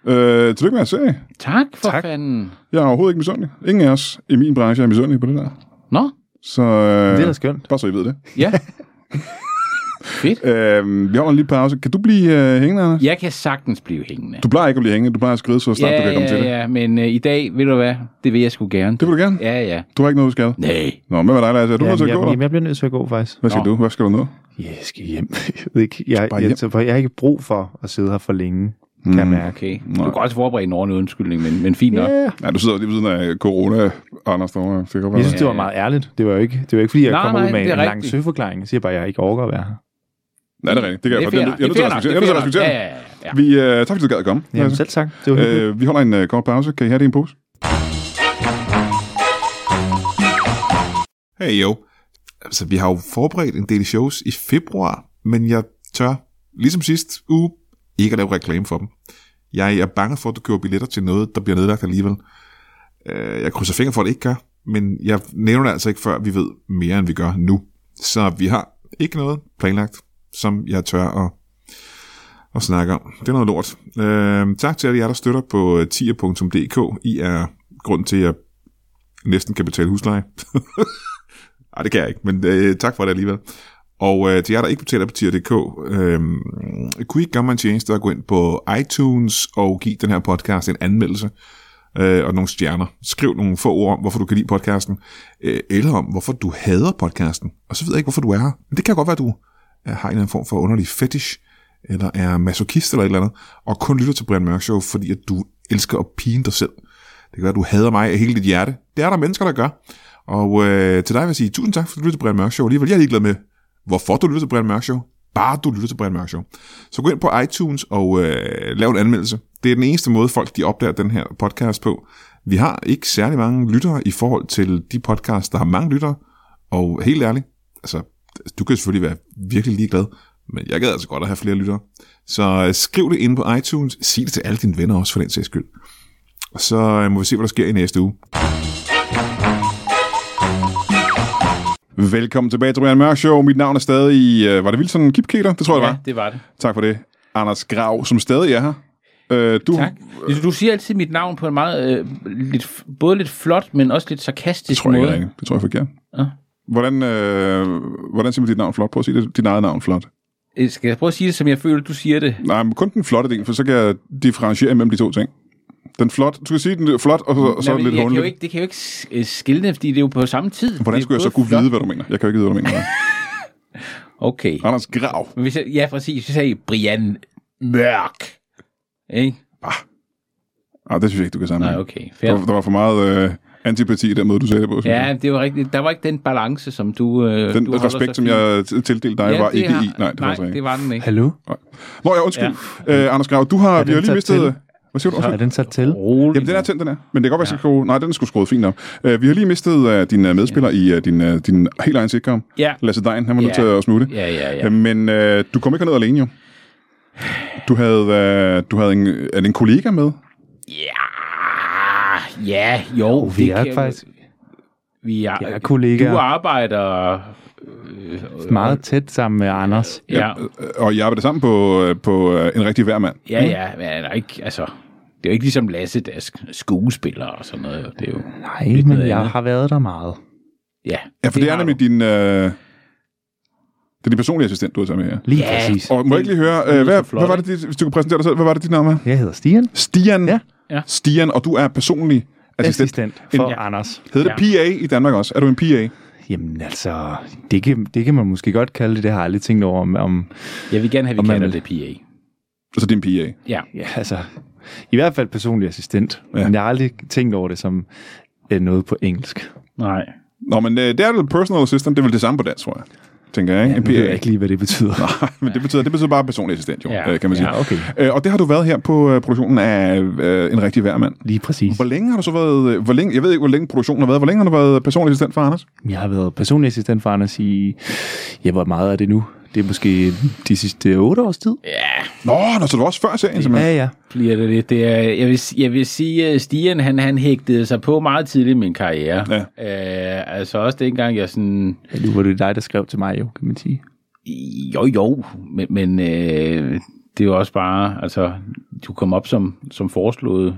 [SPEAKER 1] Øh, tillykke med jeres serie.
[SPEAKER 2] Tak for
[SPEAKER 3] Tak.
[SPEAKER 2] fanden.
[SPEAKER 1] Jeg er overhovedet ikke misundelig. Ingen af os i min branche er misundelig på det der.
[SPEAKER 2] Nå,
[SPEAKER 1] Så øh,
[SPEAKER 3] Det er da skønt.
[SPEAKER 1] bare så I ved det.
[SPEAKER 2] ja. Fedt.
[SPEAKER 1] Øh, vi holder en lille pause. Kan du blive øh, hængende, Anders?
[SPEAKER 2] Jeg kan sagtens blive hængende.
[SPEAKER 1] Du plejer ikke at blive hængende. Du plejer at skride, så snart
[SPEAKER 2] ja,
[SPEAKER 1] du kan komme
[SPEAKER 2] ja,
[SPEAKER 1] til det.
[SPEAKER 2] ja, men øh, i dag, ved du hvad, det vil jeg sgu gerne.
[SPEAKER 1] Det vil du gerne.
[SPEAKER 2] Ja, ja.
[SPEAKER 1] Du har ikke noget, du skal.
[SPEAKER 2] Nej.
[SPEAKER 1] Nå, men hvad med dig, Lasse? Er du
[SPEAKER 3] Ja,
[SPEAKER 1] nødt til
[SPEAKER 3] jeg,
[SPEAKER 1] at gå?
[SPEAKER 3] jeg,
[SPEAKER 1] eller?
[SPEAKER 3] jeg bliver nødt til at gå, faktisk.
[SPEAKER 1] Hvad skal
[SPEAKER 2] Nå.
[SPEAKER 1] du? Hvad skal du nå?
[SPEAKER 3] Jeg skal hjem. Jeg, ved ikke, jeg,
[SPEAKER 1] bare
[SPEAKER 3] jeg,
[SPEAKER 1] hjem.
[SPEAKER 3] jeg, jeg, jeg har ikke brug for at sidde her for længe, kan jeg mærke.
[SPEAKER 2] Okay. Du kan også forberede en ordentlig undskyldning, men, men fint nok.
[SPEAKER 3] Ja.
[SPEAKER 1] Ja, du sidder lige ved siden af corona, Anders derovre. Det kan godt være,
[SPEAKER 3] Jeg
[SPEAKER 1] der-
[SPEAKER 3] synes, det var meget ærligt. Det var jo ikke, det var ikke fordi jeg
[SPEAKER 2] Nej,
[SPEAKER 3] nej, kommer
[SPEAKER 2] nej,
[SPEAKER 3] ud med
[SPEAKER 2] det
[SPEAKER 3] en
[SPEAKER 2] er
[SPEAKER 3] lang
[SPEAKER 2] rigtigt.
[SPEAKER 3] søforklaring. Jeg siger bare, at jeg ikke overgår at være her.
[SPEAKER 1] Nej, det er rigtigt. Det kan jeg
[SPEAKER 2] Det er
[SPEAKER 1] godt.
[SPEAKER 2] fair
[SPEAKER 1] Jeg,
[SPEAKER 2] nok.
[SPEAKER 1] jeg, jeg, er nødt til at
[SPEAKER 2] Det
[SPEAKER 1] respektere-
[SPEAKER 2] er
[SPEAKER 1] jeg, er nødt til
[SPEAKER 2] fair
[SPEAKER 1] at respektere det.
[SPEAKER 2] nok. Ja, ja, ja, ja.
[SPEAKER 1] Vi, øh, tak fordi du gad at komme.
[SPEAKER 3] Jamen,
[SPEAKER 1] Lasse.
[SPEAKER 3] selv tak. Det var hyggeligt.
[SPEAKER 1] øh, vi holder en øh, kort pause. Kan I have det i en pose?
[SPEAKER 4] Hey jo. Altså, vi har jo forberedt en del shows i februar, men jeg tør, ligesom sidst uge, ikke at lave reklame for dem. Jeg er bange for, at du køber billetter til noget, der bliver nedlagt alligevel. Øh, Jeg krydser fingre for, at det ikke gør, men jeg nævner det altså ikke, før vi ved mere, end vi gør nu. Så vi har ikke noget planlagt, som jeg tør at, at snakke om. Det er noget lort. Øh, tak til alle jer, der støtter på øh, tier.dk. I er grund til, at jeg næsten kan betale husleje. Nej, det kan jeg ikke, men øh, tak for det alligevel. Og øh, til jer, der ikke betaler på tier.dk, øh, kunne I ikke gøre mig en tjeneste og gå ind på iTunes og give den her podcast en anmeldelse? øh, og nogle stjerner. Skriv nogle få ord om, hvorfor du kan lide podcasten, øh, eller om, hvorfor du hader podcasten. Og så ved jeg ikke, hvorfor du er her. Men det kan godt være, du øh, har en eller anden form for underlig fetish, eller er masochist eller et eller andet, og kun lytter til Brian Mørk Show, fordi at du elsker at pine dig selv. Det kan være, at du hader mig af hele dit hjerte. Det er der mennesker, der gør. Og øh, til dig vil jeg sige, tusind tak, fordi du lytter til Brian Mørk Show. Alligevel, jeg er ligeglad med, hvorfor du lytter til Brian Mørk Show. Bare du lytter til Brian Mørk Show. Så gå ind på iTunes og øh, lav en anmeldelse. Det er den eneste måde, folk de opdager den her podcast på. Vi har ikke særlig mange lyttere i forhold til de podcasts, der har mange lyttere. Og helt ærligt, altså, du kan selvfølgelig være virkelig ligeglad, men jeg gad altså godt at have flere lyttere. Så øh, skriv det inde på iTunes. Sig det til alle dine venner også, for den sags skyld. Og så øh, må vi se, hvad der sker i næste uge.
[SPEAKER 1] Velkommen tilbage til Brian Mørk Show. Mit navn er stadig, øh, var det Wilson Kipketer? Det tror jeg, det var.
[SPEAKER 2] Ja, det var det.
[SPEAKER 1] Tak for det. Anders Grav, som stadig er her. Øh, du,
[SPEAKER 2] Tak. Du, du siger altid mit navn på en meget, øh, lidt, både lidt flot, men også lidt sarkastisk
[SPEAKER 1] tror jeg
[SPEAKER 2] måde.
[SPEAKER 1] ikke er rigtigt. Det tror jeg er forkert.
[SPEAKER 2] Ja.
[SPEAKER 1] Hvordan, øh, hvordan siger man dit navn flot? Prøv at sige det, dit eget navn flot.
[SPEAKER 2] Øh, Skal jeg prøve at sige det, som jeg føler, du siger det?
[SPEAKER 1] Nej, men kun den flotte del, for så kan jeg differentiere mellem de to ting. Den flot, du skal sige den er flot, og så, og så
[SPEAKER 2] Nej, men
[SPEAKER 1] lidt
[SPEAKER 2] jeg kan jo
[SPEAKER 1] håndelig.
[SPEAKER 2] ikke, det kan jo ikke s- øh, skille, fordi det er jo på samme tid. Det
[SPEAKER 1] Hvordan
[SPEAKER 2] er
[SPEAKER 1] skulle jeg så
[SPEAKER 2] både
[SPEAKER 1] kunne
[SPEAKER 2] flot-
[SPEAKER 1] vide, hvad du mener? Jeg kan jo ikke vide, hvad du mener.
[SPEAKER 2] Okay.
[SPEAKER 1] Anders Grav.
[SPEAKER 2] Men hvis jeg, ja, præcis. Så sagde I Brian Mørk. Ikke?
[SPEAKER 1] Ah, det synes jeg ikke, du kan sammenligne.
[SPEAKER 2] Nej, okay.
[SPEAKER 1] Der,
[SPEAKER 2] Fair.
[SPEAKER 1] var- der var for meget øh, antipati i den måde, du sagde det på. synes jeg.
[SPEAKER 2] Ja, det var rigtigt. Der var ikke den balance, som du... Øh,
[SPEAKER 1] Den
[SPEAKER 2] du holder
[SPEAKER 1] respekt,
[SPEAKER 2] så
[SPEAKER 1] som
[SPEAKER 2] fint.
[SPEAKER 1] jeg t- tildelte dig, ja, var
[SPEAKER 2] det
[SPEAKER 1] ikke
[SPEAKER 2] har-
[SPEAKER 1] i. Nej, det var
[SPEAKER 2] nej,
[SPEAKER 1] altså ikke.
[SPEAKER 2] det var den ikke.
[SPEAKER 3] Hallo?
[SPEAKER 1] Nå, ja, undskyld. Ja. Øh, Anders Grav, du har, vi har
[SPEAKER 3] den
[SPEAKER 1] lige
[SPEAKER 3] sat
[SPEAKER 1] mistet...
[SPEAKER 3] til?
[SPEAKER 1] Hvad siger du?
[SPEAKER 3] Så er
[SPEAKER 1] Undskyld.
[SPEAKER 3] den sat til?
[SPEAKER 2] Rolig.
[SPEAKER 1] Jamen, den er tændt, den er. Men det kan godt være, ja. skulle... Nej, den er sgu skruet fint op. Øh, vi har lige mistet øh, din øh, medspiller i øh, din, øh, din helt egen sitcom.
[SPEAKER 2] Ja.
[SPEAKER 1] Lasse Dein, han var ja. nødt
[SPEAKER 2] Ja.
[SPEAKER 1] til at smutte.
[SPEAKER 2] Ja, ja, ja.
[SPEAKER 1] Øh, Men øh, du kom ikke ned alene, jo. Du havde, øh, du havde en, er det en kollega med.
[SPEAKER 2] Ja, ja, jo.
[SPEAKER 3] Oh, Vi
[SPEAKER 2] det
[SPEAKER 3] er
[SPEAKER 2] kan-
[SPEAKER 3] faktisk
[SPEAKER 2] Vi er,
[SPEAKER 3] vi er kollegaer.
[SPEAKER 2] Du arbejder... øh,
[SPEAKER 3] meget tæt sammen med Anders.
[SPEAKER 2] Ja,
[SPEAKER 1] Øh, Og jeg arbejdede sammen på, øh, på øh, en rigtig værmand.
[SPEAKER 2] ja, ja. Men han er ikke, altså, det er jo ikke ligesom Lasse, der er sk- skuespiller og sådan noget. jo. Det er jo...
[SPEAKER 3] Nej,
[SPEAKER 2] Lidt
[SPEAKER 3] men
[SPEAKER 2] noget
[SPEAKER 3] jeg
[SPEAKER 2] andet.
[SPEAKER 3] har været der meget.
[SPEAKER 2] Ja,
[SPEAKER 1] Ja, for det, det er
[SPEAKER 2] har
[SPEAKER 1] nemlig
[SPEAKER 2] du.
[SPEAKER 1] din... Øh, det er din personlige assistent, du er sammen med her.
[SPEAKER 3] Lige
[SPEAKER 2] Ja.
[SPEAKER 3] præcis.
[SPEAKER 1] Og må jeg ikke lige høre, øh, hvad, hvad var det, dit- hvis du kunne præsentere dig selv, hvad var det dit navn var?
[SPEAKER 3] Jeg hedder Stian.
[SPEAKER 1] Stian.
[SPEAKER 3] Ja.
[SPEAKER 2] Ja.
[SPEAKER 1] Stian, og du er personlig
[SPEAKER 3] Altså,
[SPEAKER 1] assistent. assistent.
[SPEAKER 3] Assistent for
[SPEAKER 2] Ja.
[SPEAKER 3] Anders.
[SPEAKER 1] Hedder det PA i Danmark også? Er du en PA?
[SPEAKER 3] Jamen altså, det kan, det kan man måske godt kalde det. Det har jeg aldrig tænkt over, om, om
[SPEAKER 2] Jeg vil gerne have, at
[SPEAKER 3] Og
[SPEAKER 2] vi
[SPEAKER 3] man-
[SPEAKER 2] kalder det PA.
[SPEAKER 1] Altså, det er en PA.
[SPEAKER 2] Ja.
[SPEAKER 3] ja, altså, i hvert fald personlig assistent.
[SPEAKER 1] Ja.
[SPEAKER 3] Ja. Men jeg har aldrig tænkt over det som øh, noget på engelsk.
[SPEAKER 2] Nej.
[SPEAKER 1] Nå, men øh, det er vel personal assistant, det er vel det samme på dansk, tror jeg. Tænker jeg, ikke?
[SPEAKER 3] Nu
[SPEAKER 1] En
[SPEAKER 3] ved jeg
[SPEAKER 1] PA.
[SPEAKER 3] ikke lige, hvad det betyder.
[SPEAKER 1] men det betyder, det betyder bare personlig assistent, jo,
[SPEAKER 2] Ja.
[SPEAKER 1] øh, kan man sige.
[SPEAKER 3] Ja, okay.
[SPEAKER 1] Øh, og det har du været her på øh, produktionen af øh, En Rigtig Værmand.
[SPEAKER 3] Lige præcis.
[SPEAKER 1] Hvor længe har du så været... øh, Hvor længe, jeg ved ikke, hvor længe produktionen har været. Hvor længe har du været personlig assistent for Anders?
[SPEAKER 3] Jeg har været personlig assistent for Anders i, ja, hvor meget er det nu? Det er måske de sidste otte års tid.
[SPEAKER 2] Ja,
[SPEAKER 1] Nå, nå, så det var også før serien, simpelthen.
[SPEAKER 3] Ja, ja.
[SPEAKER 2] bliver det lidt. Det er, jeg, vil, jeg vil sige, at Stian, han, han hægtede sig på meget tidligt i min karriere.
[SPEAKER 1] Ja.
[SPEAKER 2] Øh, altså også dengang, jeg sådan...
[SPEAKER 3] Ja, Nu var det dig, der skrev til mig jo, kan man sige.
[SPEAKER 2] Jo, jo, men, men øh, det er jo også bare, altså, du kom op som, som foreslået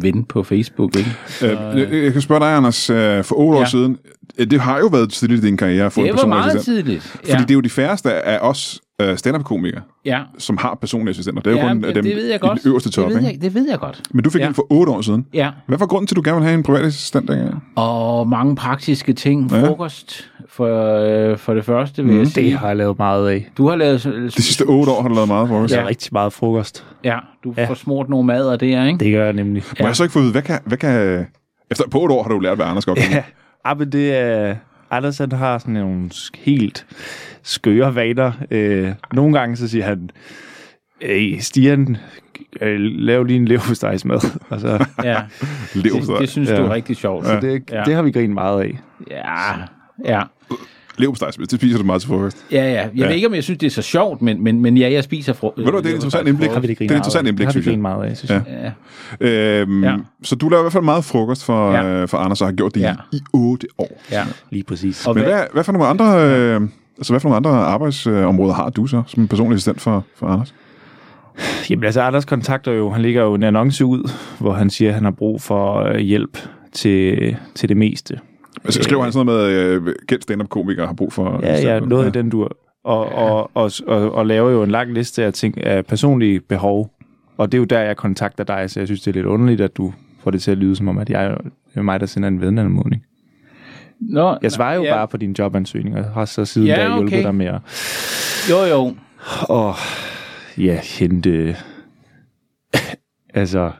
[SPEAKER 2] ven på Facebook, ikke?
[SPEAKER 1] Øh, jeg, jeg kan spørge dig, Anders, øh, for otte ja. år
[SPEAKER 2] Ja.
[SPEAKER 1] siden. øh, Det har jo været tidligt i din karriere at få en
[SPEAKER 2] Det var
[SPEAKER 1] personlig
[SPEAKER 2] meget
[SPEAKER 1] assistent.
[SPEAKER 2] tidligt.
[SPEAKER 1] Fordi det er jo de færreste af os øh, stand-up-komikere,
[SPEAKER 2] ja.
[SPEAKER 1] som har personlige assistenter. Det er jo
[SPEAKER 2] ja,
[SPEAKER 1] kun
[SPEAKER 2] ja,
[SPEAKER 1] dem
[SPEAKER 2] det ved jeg
[SPEAKER 1] i
[SPEAKER 2] godt.
[SPEAKER 1] den øverste top.
[SPEAKER 2] det, ved
[SPEAKER 1] ikke?
[SPEAKER 2] jeg, det ved jeg godt.
[SPEAKER 1] Men du fik
[SPEAKER 2] Ja.
[SPEAKER 1] den for otte år siden.
[SPEAKER 2] Ja,
[SPEAKER 1] Hvad var grunden til, at du gerne ville have en privat assistent dengang?
[SPEAKER 2] og mange praktiske ting.
[SPEAKER 1] Ja.
[SPEAKER 2] Frokost for, øh, for det første, vil mm, jeg sige.
[SPEAKER 3] Det har jeg lavet meget af.
[SPEAKER 2] Du har lavet...
[SPEAKER 1] De sidste otte år har du lavet meget for os.
[SPEAKER 3] Jeg
[SPEAKER 1] Ja.
[SPEAKER 3] har rigtig meget frokost.
[SPEAKER 2] Ja, du ja.
[SPEAKER 3] Ja.
[SPEAKER 2] får smurt nogle mader der, ikke?
[SPEAKER 3] Det gør jeg nemlig.
[SPEAKER 1] Må jeg så ikke få at vide, hvad kan, hvad kan... Efter på et år har du lært, hvad Anders godt kan.
[SPEAKER 3] Ja, ah, men det er... Anders han har sådan nogle sk- helt skøre vaner. Øh, nogle gange så siger han, Ey, Stian, øh, lav lige en leverpostejsmad. Og så,
[SPEAKER 2] Ja,
[SPEAKER 1] Lev
[SPEAKER 2] det, det synes ja.
[SPEAKER 3] Ja.
[SPEAKER 2] du er rigtig sjovt.
[SPEAKER 3] så det,
[SPEAKER 2] Ja.
[SPEAKER 3] det har vi grinet meget af.
[SPEAKER 2] Ja, ja.
[SPEAKER 1] på dig, det spiser du meget til frokost.
[SPEAKER 2] Ja, ja. Jeg ja. ved ikke, om jeg synes, det er så sjovt, men, men, men ja, jeg spiser fra...
[SPEAKER 1] Ved du, det er et interessant indblik.
[SPEAKER 3] Har vi det
[SPEAKER 1] Det
[SPEAKER 3] grinet
[SPEAKER 1] er et interessant
[SPEAKER 3] meget af.
[SPEAKER 1] indblik,
[SPEAKER 3] har vi
[SPEAKER 1] synes jeg.
[SPEAKER 3] grinet meget af, synes
[SPEAKER 1] Ja.
[SPEAKER 3] jeg.
[SPEAKER 2] Ja.
[SPEAKER 1] Øhm,
[SPEAKER 2] Ja.
[SPEAKER 1] Så du laver i hvert fald meget frokost for,
[SPEAKER 2] Ja.
[SPEAKER 1] øh, for Anders, og har gjort det
[SPEAKER 2] Ja.
[SPEAKER 1] i, i otte år.
[SPEAKER 2] ja.
[SPEAKER 3] Lige præcis.
[SPEAKER 2] Og
[SPEAKER 1] Men
[SPEAKER 2] hvad,
[SPEAKER 1] hvad, hvad, for nogle andre, øh, altså, hvad for nogle andre arbejdsområder har du så, som personlig assistent for, for Anders?
[SPEAKER 3] Jamen altså, Anders kontakter jo, han lægger jo en annonce ud, hvor han siger, at han har brug for øh, hjælp til, til det meste.
[SPEAKER 1] Altså, skriver han sådan noget med, øh, kendt stand-up-komikere har brug for...
[SPEAKER 3] Ja, ja,
[SPEAKER 1] assistent?
[SPEAKER 3] noget ja. i den dur. Og, og, og, og, og laver jo en lang liste af, ting, af personlige behov. Og det er jo der, jeg kontakter dig, så jeg synes, det er lidt underligt, at du får det til at lyde som om, at jeg det er mig, der sender en vednanmodning.
[SPEAKER 2] Nå,
[SPEAKER 3] Jeg svarer jo
[SPEAKER 2] ja,
[SPEAKER 3] ja. bare på din jobansøgning, og har så siden
[SPEAKER 2] Ja,
[SPEAKER 3] ja, da hjulpet
[SPEAKER 2] okay.
[SPEAKER 3] okay. dig med at
[SPEAKER 2] Jo, jo.
[SPEAKER 3] og, ja, hente... altså,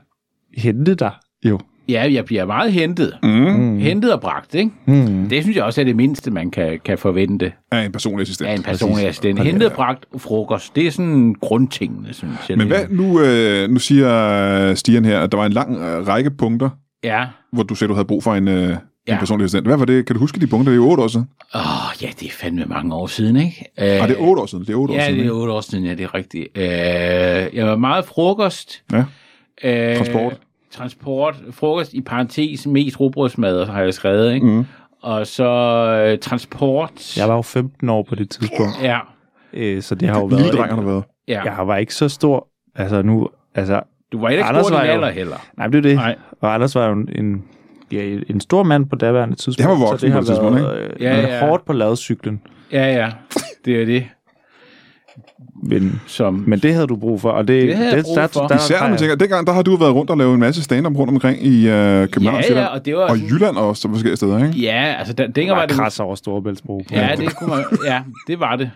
[SPEAKER 3] hente dig jo.
[SPEAKER 2] Ja, jeg bliver meget hentet.
[SPEAKER 1] Mm.
[SPEAKER 2] Mm. Hentet og bragt, ikke?
[SPEAKER 3] Mm.
[SPEAKER 2] Det synes jeg også er det mindste, man kan, kan forvente
[SPEAKER 1] Er en personlig assistent.
[SPEAKER 2] af en personlig assistent.
[SPEAKER 3] Præcis.
[SPEAKER 2] Hentet, bragt, frokost. Det er sådan grundtingene, synes jeg.
[SPEAKER 1] Men
[SPEAKER 2] det er.
[SPEAKER 1] hvad nu, øh, nu siger øh, Stian her, at der var en lang øh, række punkter,
[SPEAKER 2] Ja.
[SPEAKER 1] hvor du sagde, du havde brug for en, øh, ja.
[SPEAKER 2] Ja.
[SPEAKER 1] en personlig assistent. Hvad var det? Kan du huske de punkter? Det er jo otte år siden.
[SPEAKER 2] Åh, oh, ja, det er fandme mange år siden, ikke? Uh,
[SPEAKER 1] Ah, det er otte år siden. Det er otte år
[SPEAKER 2] Ja,
[SPEAKER 1] siden.
[SPEAKER 2] det er
[SPEAKER 1] ikke?
[SPEAKER 2] otte år siden, ja, det er rigtigt. Øh, jeg var meget frokost.
[SPEAKER 1] Ja.
[SPEAKER 2] Øh,
[SPEAKER 1] Transport.
[SPEAKER 2] Transport. Frokost i parentes, mest robrødsmad, har jeg skrevet, ikke? Mm. Og så øh, transport.
[SPEAKER 3] Jeg var jo 15 år på det tidspunkt,
[SPEAKER 2] Ja,
[SPEAKER 3] øh, så det har jo været...
[SPEAKER 1] Lille dreng har du været.
[SPEAKER 2] ja. ja.
[SPEAKER 3] Jeg var ikke så stor, altså nu... Altså,
[SPEAKER 2] Du var ikke
[SPEAKER 3] Anders
[SPEAKER 2] stor
[SPEAKER 3] var
[SPEAKER 2] din
[SPEAKER 3] jo-
[SPEAKER 2] alder heller.
[SPEAKER 3] nej, men det er det.
[SPEAKER 2] Nej.
[SPEAKER 3] Og Anders var jo en, en, ja, en stor mand på daværende tidspunkt.
[SPEAKER 1] Han var voksen
[SPEAKER 3] så
[SPEAKER 1] på
[SPEAKER 3] det
[SPEAKER 1] det
[SPEAKER 3] har
[SPEAKER 1] tidspunkt,
[SPEAKER 3] været, øh,
[SPEAKER 2] Ja, ja.
[SPEAKER 3] hårdt på ladcyklen.
[SPEAKER 2] Ja, ja. Det er det,
[SPEAKER 3] Men,
[SPEAKER 2] som...
[SPEAKER 3] men det havde du brug for, og det,
[SPEAKER 2] Det havde jeg brug
[SPEAKER 3] der,
[SPEAKER 2] for.
[SPEAKER 3] Der, der,
[SPEAKER 1] Især når
[SPEAKER 3] har
[SPEAKER 1] man
[SPEAKER 3] jeg-
[SPEAKER 1] tænker, dengang der har du været rundt og lavet en masse stand-up rundt omkring i øh, København
[SPEAKER 2] ja, ja,
[SPEAKER 1] Sjælland.
[SPEAKER 2] og det var...
[SPEAKER 1] og
[SPEAKER 2] sådan-
[SPEAKER 1] Jylland også, så forskellige steder, ikke?
[SPEAKER 2] Ja, altså, der, dengang var
[SPEAKER 3] var
[SPEAKER 2] det...
[SPEAKER 3] kras over Altså, Storebæltsbro.
[SPEAKER 2] Ja, det kunne man, ja, det var det.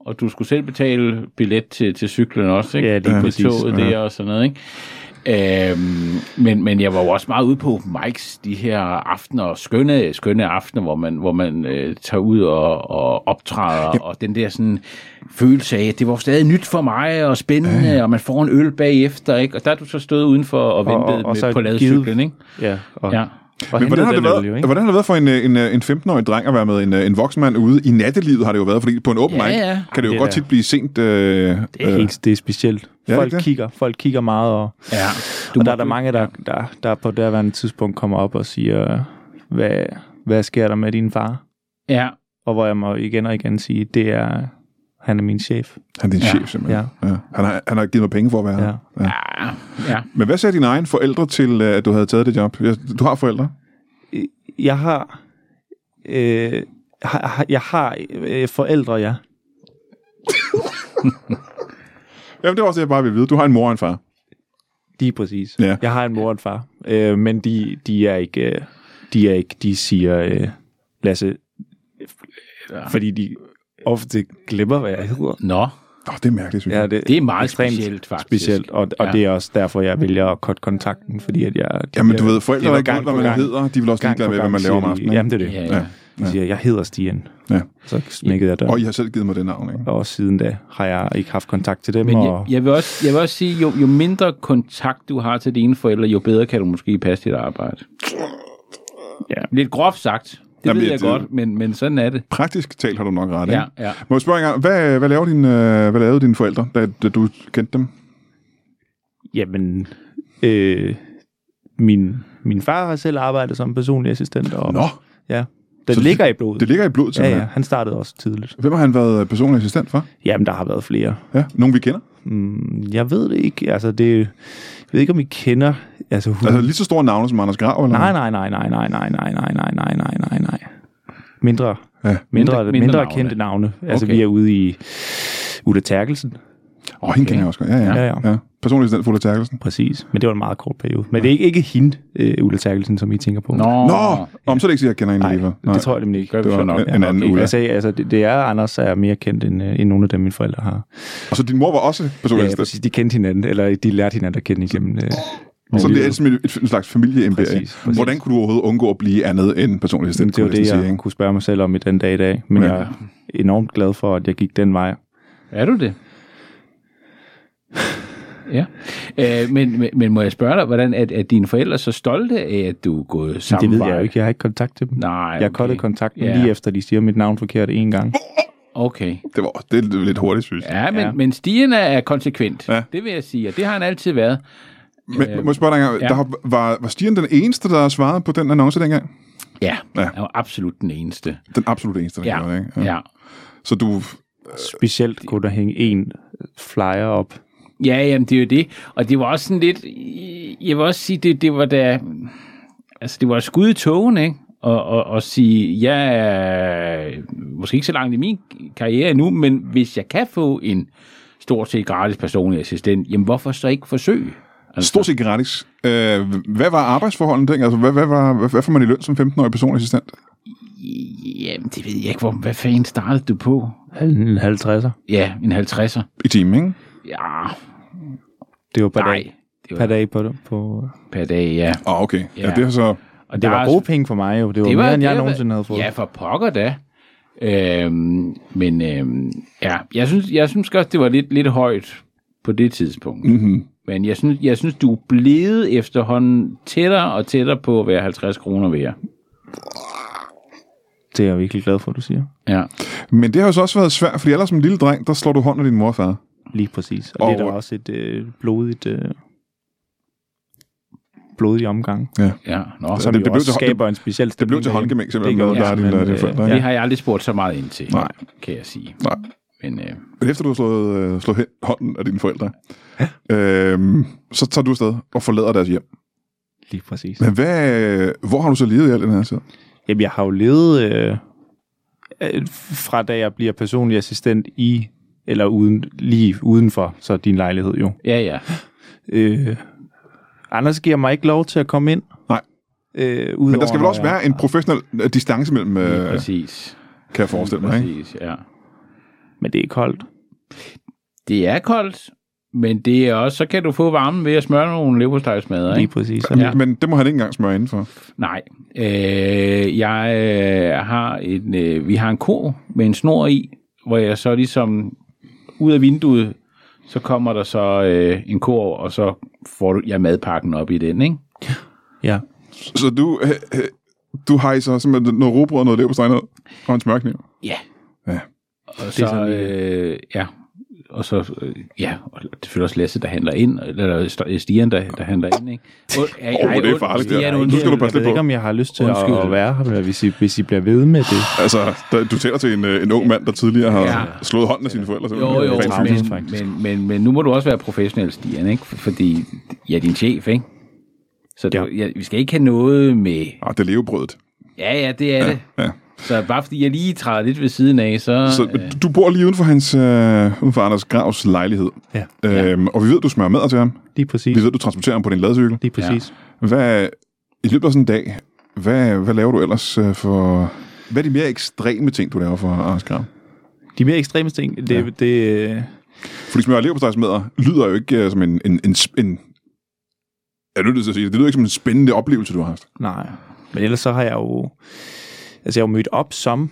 [SPEAKER 2] Og du skulle selv betale billet til, til cyklen også, ikke?
[SPEAKER 3] Ja, lige
[SPEAKER 2] Til
[SPEAKER 3] præcis.
[SPEAKER 2] toget der og sådan noget, ikke? Øhm, men, men jeg var jo også meget ude på open mics de her aftener, skønne, skønne aftener, hvor man, hvor man øh, tager ud og, og optræder, ja. og den der sådan følelse af, at det var stadig nyt for mig, og spændende, ja. og man får en øl bagefter, ikke? Og der er du så stået udenfor og ventet og, og,
[SPEAKER 3] og så
[SPEAKER 2] med, på
[SPEAKER 3] givet-
[SPEAKER 2] ladecyklen, ikke?
[SPEAKER 3] ja, og,
[SPEAKER 2] Ja.
[SPEAKER 3] og
[SPEAKER 1] Men hvordan har, det været,
[SPEAKER 3] jo,
[SPEAKER 1] hvordan har det været for en, øh, en, øh, en 15-årig dreng at være med en, øh, en voksen mand ude? I nattelivet har det jo været, fordi på en åben
[SPEAKER 2] Ja,
[SPEAKER 1] mic
[SPEAKER 2] ja.
[SPEAKER 1] kan det jo
[SPEAKER 3] Det er
[SPEAKER 1] godt
[SPEAKER 3] da-
[SPEAKER 1] tit blive sent. Øh,
[SPEAKER 3] Det er, helt, det er specielt.
[SPEAKER 1] Ja, det er
[SPEAKER 3] Folk,
[SPEAKER 1] det.
[SPEAKER 3] kigger, folk kigger meget, og,
[SPEAKER 2] Ja.
[SPEAKER 3] og der er der mange, der, der, der på derværende tidspunkt kommer op og siger, hvad, hvad sker der med din far?
[SPEAKER 2] Ja.
[SPEAKER 3] Og hvor jeg må igen og igen sige, det er, han er min chef.
[SPEAKER 1] han er din
[SPEAKER 2] Ja,
[SPEAKER 1] chef, simpelthen.
[SPEAKER 3] ja.
[SPEAKER 1] Ja. Han, har, han har givet mig penge for at være
[SPEAKER 3] Ja.
[SPEAKER 1] her. Ja.
[SPEAKER 2] Ja. ja.
[SPEAKER 1] Men hvad sagde dine egne forældre til, øh, at du havde taget det job? Ja, Du har forældre.
[SPEAKER 3] Jeg har, øh, har, har- jeg har øh, forældre, ja.
[SPEAKER 1] Jamen, det var også det, jeg bare ville vide. Du har en mor og en far.
[SPEAKER 3] Lige præcis.
[SPEAKER 1] Ja.
[SPEAKER 3] Jeg har en mor og en far, øh, men de, de, er ikke, øh, de er ikke, de siger, øh, Lasse, ja. fordi de ofte glemmer, hvad jeg hedder.
[SPEAKER 2] Nå.
[SPEAKER 1] Nå, det er mærkeligt, synes jeg. Ja,
[SPEAKER 2] Det er meget specielt, faktisk.
[SPEAKER 3] Specielt, og,
[SPEAKER 2] Ja.
[SPEAKER 3] og ja. det er også derfor, jeg vælger at cut kontakten, fordi at jeg... De
[SPEAKER 1] Jamen, du
[SPEAKER 3] bliver-
[SPEAKER 1] ved, forældre
[SPEAKER 3] det
[SPEAKER 1] er
[SPEAKER 3] var
[SPEAKER 1] ikke
[SPEAKER 3] gang
[SPEAKER 1] hvad
[SPEAKER 3] på
[SPEAKER 1] man
[SPEAKER 3] gang.
[SPEAKER 1] hedder. De vil også
[SPEAKER 3] gang
[SPEAKER 1] ligeglade
[SPEAKER 3] på
[SPEAKER 1] med, hvad
[SPEAKER 3] gang
[SPEAKER 1] man laver om
[SPEAKER 3] siger de,
[SPEAKER 1] aftenen. ikke?
[SPEAKER 3] Jamen, det er det.
[SPEAKER 2] Ja,
[SPEAKER 3] Ja,
[SPEAKER 2] ja.
[SPEAKER 3] ja.
[SPEAKER 1] Ja.
[SPEAKER 3] De siger, jeg hedder Stian.
[SPEAKER 1] Ja.
[SPEAKER 3] Så smækkede jeg døren.
[SPEAKER 1] Og I har selv givet mig det navn, ikke?
[SPEAKER 3] Og siden da har jeg ikke haft kontakt til dem.
[SPEAKER 2] Men jeg,
[SPEAKER 3] og,
[SPEAKER 2] jeg, vil også, jeg vil også sige, jo, jo mindre kontakt du har til dine forældre, jo bedre kan du måske passe dit arbejde.
[SPEAKER 3] Ja.
[SPEAKER 2] Lidt groft sagt. Det
[SPEAKER 1] Jamen,
[SPEAKER 2] Jamen, ved
[SPEAKER 1] det-
[SPEAKER 2] jeg godt, men, men sådan er det.
[SPEAKER 1] Praktisk talt har du nok ret, ikke?
[SPEAKER 2] Ja, ja.
[SPEAKER 1] Må jeg spørge en gang, hvad, hvad, laver din, øh, hvad lavede dine forældre, da, da du kendte dem?
[SPEAKER 3] Jamen, øh, min, min far har selv arbejdet som personlig assistent. Og,
[SPEAKER 1] Nå,
[SPEAKER 3] Ja, den
[SPEAKER 1] Så
[SPEAKER 3] så
[SPEAKER 1] det-
[SPEAKER 3] ligger i blodet.
[SPEAKER 1] det ligger i blodet,
[SPEAKER 3] ja,
[SPEAKER 1] simpelthen.
[SPEAKER 3] ja, han startede også tidligt.
[SPEAKER 1] Hvem har han været øh, personlig assistent for?
[SPEAKER 3] Jamen, der har været flere.
[SPEAKER 1] Ja, nogen vi kender.
[SPEAKER 3] Mm, jeg ved det ikke. Altså, det, jeg ved ikke, om I kender... Altså, hun,
[SPEAKER 1] Altså lige så store navne som Anders Grav, eller?
[SPEAKER 3] Nej, nej, nej, nej, nej, nej, nej, nej, nej, nej, nej, nej, nej. Mindre,
[SPEAKER 1] Ja.
[SPEAKER 3] ja. mindre,
[SPEAKER 2] Mindre-
[SPEAKER 3] mindre,
[SPEAKER 2] mindre
[SPEAKER 3] mindre
[SPEAKER 2] navne.
[SPEAKER 3] kendte navne. Altså,
[SPEAKER 2] Okay.
[SPEAKER 3] vi er ude i Ulla Terkelsen,
[SPEAKER 1] Åh, oh, hende kender jeg også godt. Ja, ja.
[SPEAKER 3] Ja,
[SPEAKER 1] ja, ja.
[SPEAKER 3] ja.
[SPEAKER 1] ja. Personlig assistent Fuller Terkelsen.
[SPEAKER 3] præcis. Men det var en meget kort periode. Men det er ikke, ikke hende, øh, Ulla Terkelsen, som I tænker på.
[SPEAKER 2] Nå,
[SPEAKER 1] Nå, ja. om så er det ikke sikkert, jeg kender hende alligevel.
[SPEAKER 3] nej, det tror jeg nemlig ikke.
[SPEAKER 2] Gør vi
[SPEAKER 1] det var
[SPEAKER 2] så nok.
[SPEAKER 1] en, en anden Ulla.
[SPEAKER 3] Altså, altså det, det er, Anders er mere kendt, end, øh, end nogle af dem, mine forældre har.
[SPEAKER 1] Og så din mor var også personlig
[SPEAKER 3] Ja,
[SPEAKER 1] assistent.
[SPEAKER 3] præcis. De kendte hinanden, eller de lærte hinanden at kende igennem... Øh,
[SPEAKER 1] Så det er
[SPEAKER 3] livet.
[SPEAKER 1] som et, et, en slags familieimperie.
[SPEAKER 3] Præcis, præcis.
[SPEAKER 1] Hvordan kunne du overhovedet undgå at blive andet end personlig assistent?
[SPEAKER 3] det var
[SPEAKER 1] kunne jeg
[SPEAKER 3] det,
[SPEAKER 1] næsten
[SPEAKER 3] jeg
[SPEAKER 1] sige, ikke?
[SPEAKER 3] kunne spørge mig selv om i den dag i dag. Men
[SPEAKER 1] Ja.
[SPEAKER 3] ja. jeg er enormt glad for, at jeg gik den vej.
[SPEAKER 2] er du det? Ja. Øh, men, men, men må jeg spørge dig, hvordan er, er dine forældre så stolte af, at du er gået sammen
[SPEAKER 3] Det ved jeg jo ikke. Jeg har ikke kontakt til dem.
[SPEAKER 2] Nej,
[SPEAKER 3] Jeg har okay. kontakten
[SPEAKER 2] Ja.
[SPEAKER 3] yeah. lige efter, de siger mit navn forkert en gang.
[SPEAKER 2] Okay.
[SPEAKER 1] Det var det er lidt hurtigt, synes jeg.
[SPEAKER 2] Ja, men, ja.
[SPEAKER 3] Ja.
[SPEAKER 2] men Stien er- er konsekvent.
[SPEAKER 1] Ja.
[SPEAKER 2] Ja. Det vil jeg sige, og det har han altid været.
[SPEAKER 1] Men må jeg spørge dig en gang,
[SPEAKER 2] ja.
[SPEAKER 1] der har- var, var Stian den eneste, der svarede på den annonce dengang?
[SPEAKER 2] Ja,
[SPEAKER 1] Ja.
[SPEAKER 2] ja. han var absolut den eneste.
[SPEAKER 1] Den absolut eneste, der
[SPEAKER 2] Ja,
[SPEAKER 1] gjorde det, ikke?
[SPEAKER 2] ja. ja.
[SPEAKER 1] Så du,
[SPEAKER 3] Specielt kunne der hænge en flyer op.
[SPEAKER 2] Ja, jamen det er jo det. Og det var også sådan lidt, jeg vil også sige, det, det var da, altså det var et skud i togen, ikke? Og, og, og sige, jeg er måske ikke så langt i min karriere endnu, men hvis jeg kan få en stort set gratis personlig assistent, jamen hvorfor så ikke forsøge? Altså,
[SPEAKER 1] Stort set gratis. Øh, hvad var arbejdsforholdene dengang? Altså, hvad, hvad, var, hvad, hvad får man i løn som 15-årig personassistent?
[SPEAKER 2] Jamen, det ved jeg ikke, hvor, hvad fanden startede du på?
[SPEAKER 3] En 50'er.
[SPEAKER 2] Ja, en 50'er.
[SPEAKER 1] I timen, ikke?
[SPEAKER 2] Ja,
[SPEAKER 3] Det var per
[SPEAKER 2] nej.
[SPEAKER 3] dag.
[SPEAKER 2] Det var
[SPEAKER 3] Per dag på, på
[SPEAKER 2] per dag, ja.
[SPEAKER 1] Åh, oh, okay. Ja.
[SPEAKER 2] Ja.
[SPEAKER 1] ja, det er så...
[SPEAKER 2] Og
[SPEAKER 3] Det
[SPEAKER 2] der
[SPEAKER 3] var
[SPEAKER 2] er-
[SPEAKER 3] gode penge for mig jo. Det var, det var mere, end jeg
[SPEAKER 2] det var-
[SPEAKER 3] nogensinde havde fået.
[SPEAKER 2] Ja, for pokker da. Øhm, men øhm, ja, jeg synes, jeg synes også, det var lidt, lidt højt på det tidspunkt.
[SPEAKER 3] Mhm.
[SPEAKER 1] Mm-hmm.
[SPEAKER 2] Men jeg synes, jeg synes, du er blevet efterhånden tættere og tættere på at være 50 kroner værd.
[SPEAKER 3] Det er jeg virkelig glad for, du siger.
[SPEAKER 2] Ja.
[SPEAKER 1] Men det har jo så også været svært, fordi ellers som lille dreng, der slår du hånden af din mor og far.
[SPEAKER 3] Lige præcis. Og, og det er
[SPEAKER 1] Og-
[SPEAKER 3] da også et øh, blodigt... Øh, blodig omgang.
[SPEAKER 2] ja. Nå,
[SPEAKER 1] Så
[SPEAKER 3] Som det, det, blev også til,
[SPEAKER 1] det-
[SPEAKER 3] skaber en speciel
[SPEAKER 1] Det blev til håndgemæng simpelthen,
[SPEAKER 3] Det
[SPEAKER 1] med,
[SPEAKER 3] gør
[SPEAKER 1] der er
[SPEAKER 3] det,
[SPEAKER 1] dine,
[SPEAKER 3] men,
[SPEAKER 1] dine
[SPEAKER 3] øh,
[SPEAKER 1] forældre.
[SPEAKER 2] ja.
[SPEAKER 1] ikke?
[SPEAKER 2] Det har jeg aldrig spurgt så meget ind til,
[SPEAKER 1] Nej.
[SPEAKER 2] kan jeg sige.
[SPEAKER 1] Nej.
[SPEAKER 2] Men øh,
[SPEAKER 1] Men efter du har slået, øh, slået hen, hånden af dine forældre, øhm, så tager du afsted og forlader deres hjem.
[SPEAKER 3] Lige præcis.
[SPEAKER 1] Men hvad, øh, hvor har du så levet i al den her tid?
[SPEAKER 3] Jamen, jeg har jo levet øh, øh, fra da jeg bliver personlig assistent i, eller uden, lige udenfor, så din lejlighed jo.
[SPEAKER 2] ja, ja.
[SPEAKER 3] Øh, Anders giver mig ikke lov til at komme ind.
[SPEAKER 1] Nej.
[SPEAKER 3] Øh,
[SPEAKER 1] Men der skal vel også være en professionel øh, distance mellem,
[SPEAKER 2] Lige
[SPEAKER 1] øh,
[SPEAKER 2] præcis.
[SPEAKER 1] kan jeg forestille mig. Ikke?
[SPEAKER 2] præcis, ja.
[SPEAKER 3] Men det er koldt.
[SPEAKER 2] Det er koldt, men det er også, så kan du få varmen ved at smøre nogle leverpostejsmadder, ikke?
[SPEAKER 3] Lige præcis.
[SPEAKER 2] Ja.
[SPEAKER 1] Men det må han ikke engang smøre indenfor.
[SPEAKER 2] Nej. Øh, jeg øh, har en, øh, vi har en ko med en snor i, hvor jeg så ligesom ud af vinduet, så kommer der så øh, en ko, over, og så får du- jeg madpakken op i den, ikke?
[SPEAKER 3] ja.
[SPEAKER 1] Så du, øh, øh, du hejser simpelthen noget robrød, noget leverpostej ned, og en smørkniv.
[SPEAKER 2] Ja.
[SPEAKER 1] Ja.
[SPEAKER 2] Og
[SPEAKER 3] er
[SPEAKER 2] så,
[SPEAKER 3] sådan,
[SPEAKER 2] øh, ja, og så, øh, ja, og selvfølgelig også Lasse, der handler ind, eller st- Stian, der, der handler ind, ikke? Og, ej,
[SPEAKER 1] Åh, det er farligt, det her. Nu skal du
[SPEAKER 3] Jeg
[SPEAKER 1] passe
[SPEAKER 3] ved
[SPEAKER 1] lidt
[SPEAKER 3] ikke,
[SPEAKER 1] på.
[SPEAKER 3] om jeg har lyst til at,
[SPEAKER 2] Undskyld.
[SPEAKER 3] at være her, hvis I, hvis I bliver ved med det.
[SPEAKER 1] Altså, der, du taler til en, øh, en ung mand, der tidligere har
[SPEAKER 2] Ja.
[SPEAKER 1] slået hånden af sine forældre.
[SPEAKER 2] Jo,
[SPEAKER 1] simpelthen.
[SPEAKER 2] jo,
[SPEAKER 1] Rent
[SPEAKER 3] men-
[SPEAKER 1] fysisk.
[SPEAKER 3] fysisk,
[SPEAKER 2] men,
[SPEAKER 3] faktisk.
[SPEAKER 2] men, men, men nu må du også være professionel, Stian, ikke? Fordi jeg er din chef, ikke? Så du, ja. vi skal ikke have noget med...
[SPEAKER 1] Ah, det er levebrødet.
[SPEAKER 2] Ja, ja, det er ja, det.
[SPEAKER 1] ja.
[SPEAKER 2] Så bare fordi jeg lige træder lidt ved siden af, så...
[SPEAKER 1] Så
[SPEAKER 2] øh,
[SPEAKER 1] du bor lige uden for, hans, øh, uden for Anders Gravs lejlighed.
[SPEAKER 3] Ja.
[SPEAKER 1] Øhm, og vi ved, du smører mad til ham.
[SPEAKER 3] Lige præcis.
[SPEAKER 1] Vi ved, du transporterer ham på din ladcykel.
[SPEAKER 3] Lige præcis.
[SPEAKER 1] Hvad, I løbet af sådan en dag, hvad, hvad laver du ellers øh, for... Hvad er de mere ekstreme ting, du laver for Anders Grav?
[SPEAKER 3] De mere ekstreme ting, det, ja. det, øh,
[SPEAKER 1] Fordi smør og leverpostejsmadder lyder jo ikke øh, som en... en, en, sp- en jeg er nødt til at sige det. Det lyder ikke som en spændende oplevelse, du har haft.
[SPEAKER 3] Nej, men ellers så har jeg jo... Altså, jeg har jo mødt op som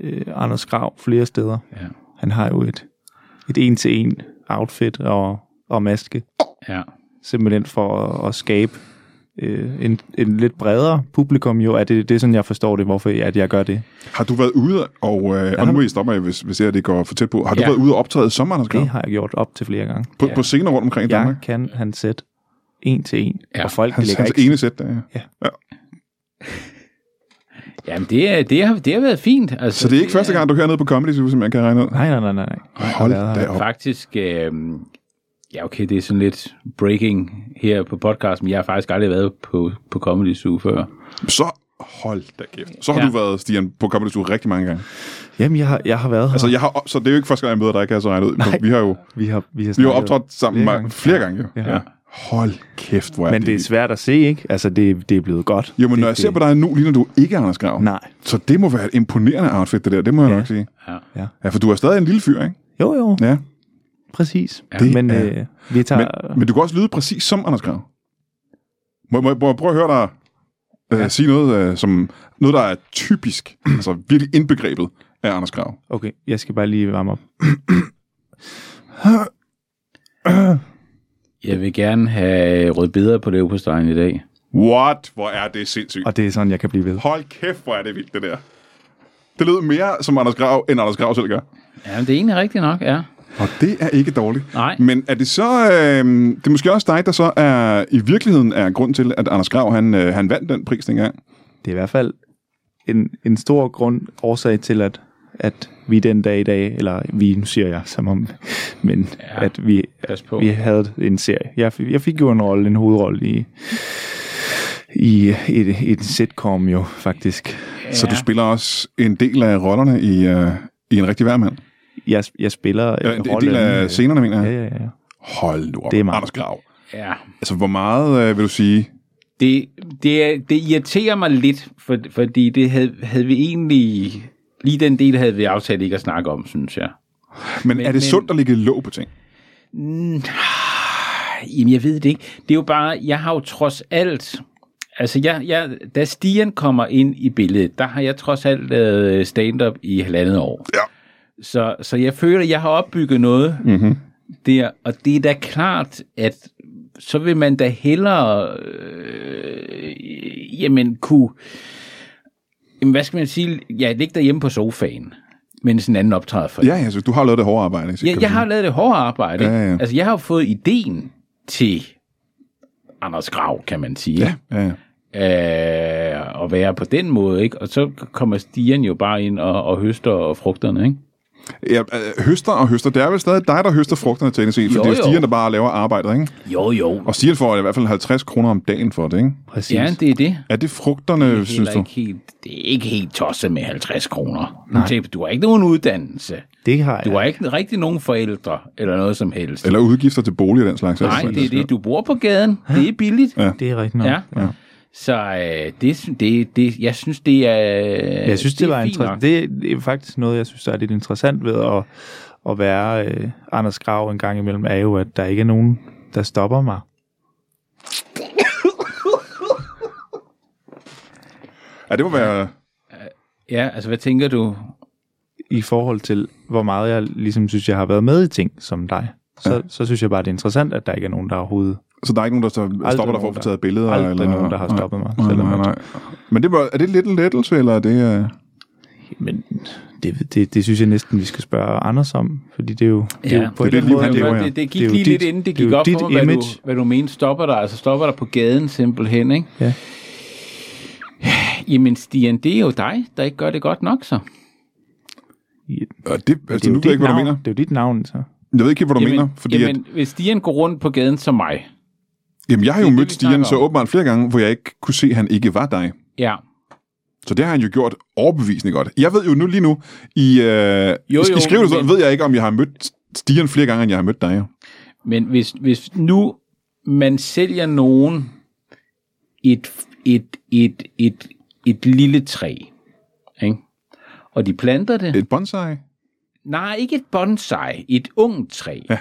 [SPEAKER 3] øh, Anders Grav flere steder.
[SPEAKER 2] Ja.
[SPEAKER 3] Han har jo et, et en-til-en outfit og, og maske,
[SPEAKER 2] ja.
[SPEAKER 3] simpelthen for at, at skabe øh, en, en lidt bredere publikum jo. Er det, det er sådan, jeg forstår det, hvorfor at jeg gør det.
[SPEAKER 1] Har du været ude, og, øh, og nu må I stoppe mig, hvis, hvis det her det går for tæt på. Har du
[SPEAKER 2] Ja.
[SPEAKER 1] været ude og optræde som Anders Grav?
[SPEAKER 3] Det har jeg gjort op til flere gange.
[SPEAKER 1] På, på scener rundt omkring i
[SPEAKER 3] Jeg
[SPEAKER 1] Danmark?
[SPEAKER 3] kan han sæt en-til-en,
[SPEAKER 2] Ja,
[SPEAKER 3] ja, og folk
[SPEAKER 1] Hans,
[SPEAKER 3] lægger
[SPEAKER 1] hans
[SPEAKER 3] ikke...
[SPEAKER 1] ene sæt, der er.
[SPEAKER 2] Jamen, det, er, det, har, det har været fint. Altså,
[SPEAKER 1] Så det er ikke første gang, du er hernede på Comedy Zoo, som jeg kan regne ud?
[SPEAKER 3] Nej, nej, nej, nej. nej. Jeg har
[SPEAKER 1] Hold
[SPEAKER 3] været her.
[SPEAKER 1] da op.
[SPEAKER 2] Faktisk, øh, ja okay, det er sådan lidt breaking her på podcast, men jeg har faktisk aldrig været på, på Comedy Zoo før.
[SPEAKER 1] Så hold da kæft. Så har
[SPEAKER 2] Ja.
[SPEAKER 1] du været, Stian, på Comedy Zoo rigtig mange gange.
[SPEAKER 3] Jamen, jeg har, jeg har været her.
[SPEAKER 1] Altså, jeg har, så det er jo ikke første gang, jeg møder dig, kan jeg så regne ud. Men Vi har jo
[SPEAKER 3] vi har, vi har,
[SPEAKER 1] vi har
[SPEAKER 3] snakket-
[SPEAKER 1] optrådt sammen
[SPEAKER 3] flere
[SPEAKER 1] flere
[SPEAKER 3] gange.
[SPEAKER 1] gange. flere gange. Jo.
[SPEAKER 3] Ja.
[SPEAKER 1] Ja. Hold kæft, hvor er
[SPEAKER 3] Men det er svært at se, ikke? Altså, det, det er blevet godt.
[SPEAKER 1] Jo, men
[SPEAKER 3] det,
[SPEAKER 1] når jeg ser på dig nu, ligner du ikke Anders Grav.
[SPEAKER 3] Nej.
[SPEAKER 1] Så det må være et imponerende outfit, det der. Det må jeg
[SPEAKER 3] Ja.
[SPEAKER 1] nok sige.
[SPEAKER 2] Ja.
[SPEAKER 3] Ja.
[SPEAKER 1] Ja, for du er stadig en lille fyr, ikke?
[SPEAKER 3] Jo, jo,
[SPEAKER 1] Ja.
[SPEAKER 3] præcis.
[SPEAKER 2] Ja.
[SPEAKER 3] Ja, men
[SPEAKER 1] Det
[SPEAKER 3] øh, vi tager...
[SPEAKER 1] Men, men du kan også lyde præcis som Anders Grav. Må, må, må jeg prøve at høre dig øh, ja. sige noget, øh, som, noget, der er typisk, altså virkelig indbegrebet af Anders Grav?
[SPEAKER 3] Okay, jeg skal bare lige varme op.
[SPEAKER 2] Jeg vil gerne have rødbeder på leverpostejen i dag.
[SPEAKER 1] What? Hvor er det sindssygt.
[SPEAKER 3] Og det er sådan, jeg kan blive ved.
[SPEAKER 1] Hold kæft, hvor er det vildt, det der. Det lød mere som Anders Grav, end Anders Grav selv gør.
[SPEAKER 2] Ja, det er egentlig rigtigt nok, ja.
[SPEAKER 1] Og det er ikke dårligt.
[SPEAKER 2] Nej.
[SPEAKER 1] Men er det så... Øh, det er måske også dig, der så er, i virkeligheden er grund til, at Anders Grav, han, øh, han vandt den pris dengang.
[SPEAKER 3] Det er i hvert fald en, en stor grund, årsag til, at, at vi den dag i dag, eller vi, nu siger jeg som om, men ja, at vi,
[SPEAKER 2] pas på.
[SPEAKER 3] vi havde en serie. Jeg, fik- jeg fik jo en rolle, en hovedrolle i, i et, et sitcom jo, faktisk.
[SPEAKER 1] Ja. Så du spiller også en del af rollerne i, øh, i En Rigtig Værmand.
[SPEAKER 3] Jeg, jeg spiller
[SPEAKER 1] Eller
[SPEAKER 3] en,
[SPEAKER 1] en, en
[SPEAKER 3] rolle... øh,
[SPEAKER 1] øh, del af scenerne, mener
[SPEAKER 3] Ja,
[SPEAKER 1] jeg.
[SPEAKER 3] ja, ja.
[SPEAKER 1] Hold nu op,
[SPEAKER 3] Det er mig.
[SPEAKER 1] Anders Grav.
[SPEAKER 2] Ja.
[SPEAKER 1] Altså, hvor meget øh, vil du sige?
[SPEAKER 2] Det, det, er- det irriterer mig lidt, for, fordi det havde, havde vi egentlig... Lige den del havde vi aftalt ikke at snakke om, synes jeg.
[SPEAKER 1] Men, men er det
[SPEAKER 2] men-
[SPEAKER 1] men, sundt at ligge låg på ting?
[SPEAKER 2] Jamen, jeg ved det ikke. Det er jo bare, jeg har jo trods alt... Altså, jeg, jeg, da Stian kommer ind i billedet, der har jeg trods alt lavet stand-up i halvandet år.
[SPEAKER 1] Ja.
[SPEAKER 2] Så, så jeg føler, at jeg har opbygget noget mm-hmm. der, og det er da klart, at så vil man da hellere, øh, jamen, kunne, jamen, hvad skal man sige, ja, ligge derhjemme på sofaen, mens en anden optræder for
[SPEAKER 1] Ja, altså, du har lavet det hårde arbejde. ikke? Så
[SPEAKER 2] Ja,
[SPEAKER 1] kan
[SPEAKER 2] jeg
[SPEAKER 1] man-
[SPEAKER 2] har lavet det hårde arbejde.
[SPEAKER 1] Ja, ja.
[SPEAKER 2] Altså, jeg har jo fået ideen til Anders Grav, kan man sige.
[SPEAKER 1] Ja, ja, ja.
[SPEAKER 2] Øh, at være på den måde, ikke? Og så kommer Stian jo bare ind og, og høster og frugterne, ikke?
[SPEAKER 1] Ja, øh, høster og høster. Det er vel stadig dig, der høster frugterne til NSE, for
[SPEAKER 2] Jo,
[SPEAKER 1] det er
[SPEAKER 2] jo.
[SPEAKER 1] jo Stian, der bare laver arbejdet, ikke?
[SPEAKER 2] Jo, jo.
[SPEAKER 1] Og Stian får i hvert fald 50 kroner om dagen for det, ikke?
[SPEAKER 3] Præcis.
[SPEAKER 2] Ja, det er det.
[SPEAKER 1] Er det frugterne, det synes
[SPEAKER 2] Heller
[SPEAKER 1] du?
[SPEAKER 2] ikke helt, det er ikke helt tosset med 50 kroner. Tænk, Du har ikke nogen uddannelse.
[SPEAKER 3] det har jeg.
[SPEAKER 2] Du har ikke rigtig nogen forældre, eller noget som helst.
[SPEAKER 1] Eller udgifter til bolig og den slags?
[SPEAKER 2] Nej,
[SPEAKER 1] altså.
[SPEAKER 2] det er det. Du bor på gaden. Det er billigt. Ja.
[SPEAKER 3] Det er rigtigt nok.
[SPEAKER 2] ja. Så øh, det, sy- det, det, jeg synes, det er
[SPEAKER 3] Jeg synes, det,
[SPEAKER 2] er
[SPEAKER 3] det, var
[SPEAKER 2] fint nok.
[SPEAKER 3] interessant. Det, det er faktisk noget, jeg synes, der er lidt interessant ved at, at være øh, Anders Grav en gang imellem, er jo, at der ikke er nogen, der stopper mig.
[SPEAKER 1] Ja, det må være...
[SPEAKER 2] Ja, altså hvad tænker du?
[SPEAKER 3] i forhold til, hvor meget jeg ligesom synes, jeg har været med i ting som dig. Så, ja. så synes jeg bare, det er interessant, at der ikke er nogen, der overhovedet...
[SPEAKER 1] Så altså, der er ikke nogen, der så stopper dig for at
[SPEAKER 3] nogen,
[SPEAKER 1] få
[SPEAKER 3] der-
[SPEAKER 1] taget billeder?
[SPEAKER 3] aldrig
[SPEAKER 1] eller...
[SPEAKER 3] nogen, der har stoppet mig,
[SPEAKER 1] Nej,
[SPEAKER 3] selvom
[SPEAKER 1] nej,
[SPEAKER 3] jeg-
[SPEAKER 1] nej. Men det, må- er det lidt en lettelse, eller er det... Uh...
[SPEAKER 3] Men det, det, det synes jeg næsten, vi skal spørge Anders om, fordi det er jo... Det
[SPEAKER 2] Ja.
[SPEAKER 3] er jo på
[SPEAKER 1] Det er
[SPEAKER 3] en
[SPEAKER 1] det liv,
[SPEAKER 3] eller anden måde-
[SPEAKER 1] han
[SPEAKER 2] Det,
[SPEAKER 1] lever,
[SPEAKER 2] var,
[SPEAKER 1] ja.
[SPEAKER 2] det, det gik
[SPEAKER 3] Det er jo
[SPEAKER 2] lige lidt
[SPEAKER 3] dit-
[SPEAKER 2] inden det
[SPEAKER 3] det er
[SPEAKER 2] gik
[SPEAKER 3] jo
[SPEAKER 2] op
[SPEAKER 3] dit
[SPEAKER 2] for mig, hvad du,
[SPEAKER 3] image.
[SPEAKER 2] hvad du mente stopper dig. Altså stopper dig på gaden simpelthen, ikke?
[SPEAKER 3] Ja.
[SPEAKER 2] Jamen Stian, det er jo dig, der ikke gør det godt nok så.
[SPEAKER 3] Ja,
[SPEAKER 1] Og det,
[SPEAKER 3] Det er
[SPEAKER 1] altså,
[SPEAKER 3] jo
[SPEAKER 1] nu ved jeg
[SPEAKER 3] dit
[SPEAKER 1] ikke, hvad du
[SPEAKER 3] navn.
[SPEAKER 1] mener.
[SPEAKER 3] Det er jo dit navn, så.
[SPEAKER 1] Jeg ved ikke, helt, hvad du
[SPEAKER 2] jamen,
[SPEAKER 1] mener, fordi jamen,
[SPEAKER 2] jamen hvis Stian går rundt på gaden som mig,
[SPEAKER 1] at, jamen, jeg har jo
[SPEAKER 2] det er det,
[SPEAKER 1] mødt
[SPEAKER 2] vi
[SPEAKER 1] Stian
[SPEAKER 2] snakker
[SPEAKER 1] så
[SPEAKER 2] om.
[SPEAKER 1] åbenbart flere gange, hvor jeg ikke kunne se, at han ikke var dig.
[SPEAKER 2] ja,
[SPEAKER 1] Så det har han jo gjort overbevisende godt. Jeg ved jo nu lige nu, i, øh, jo, jo, i
[SPEAKER 2] jo,
[SPEAKER 1] skrivelsen
[SPEAKER 2] men-
[SPEAKER 1] ved jeg ikke, om jeg har mødt Stian flere gange, end jeg har mødt dig.
[SPEAKER 2] men hvis, hvis nu man sælger nogen et, et, et, et, et lille træ, ikke? og de planter det.
[SPEAKER 1] Et bonsai?
[SPEAKER 2] Nej, ikke et bonsai, et ungt træ.
[SPEAKER 1] Ja,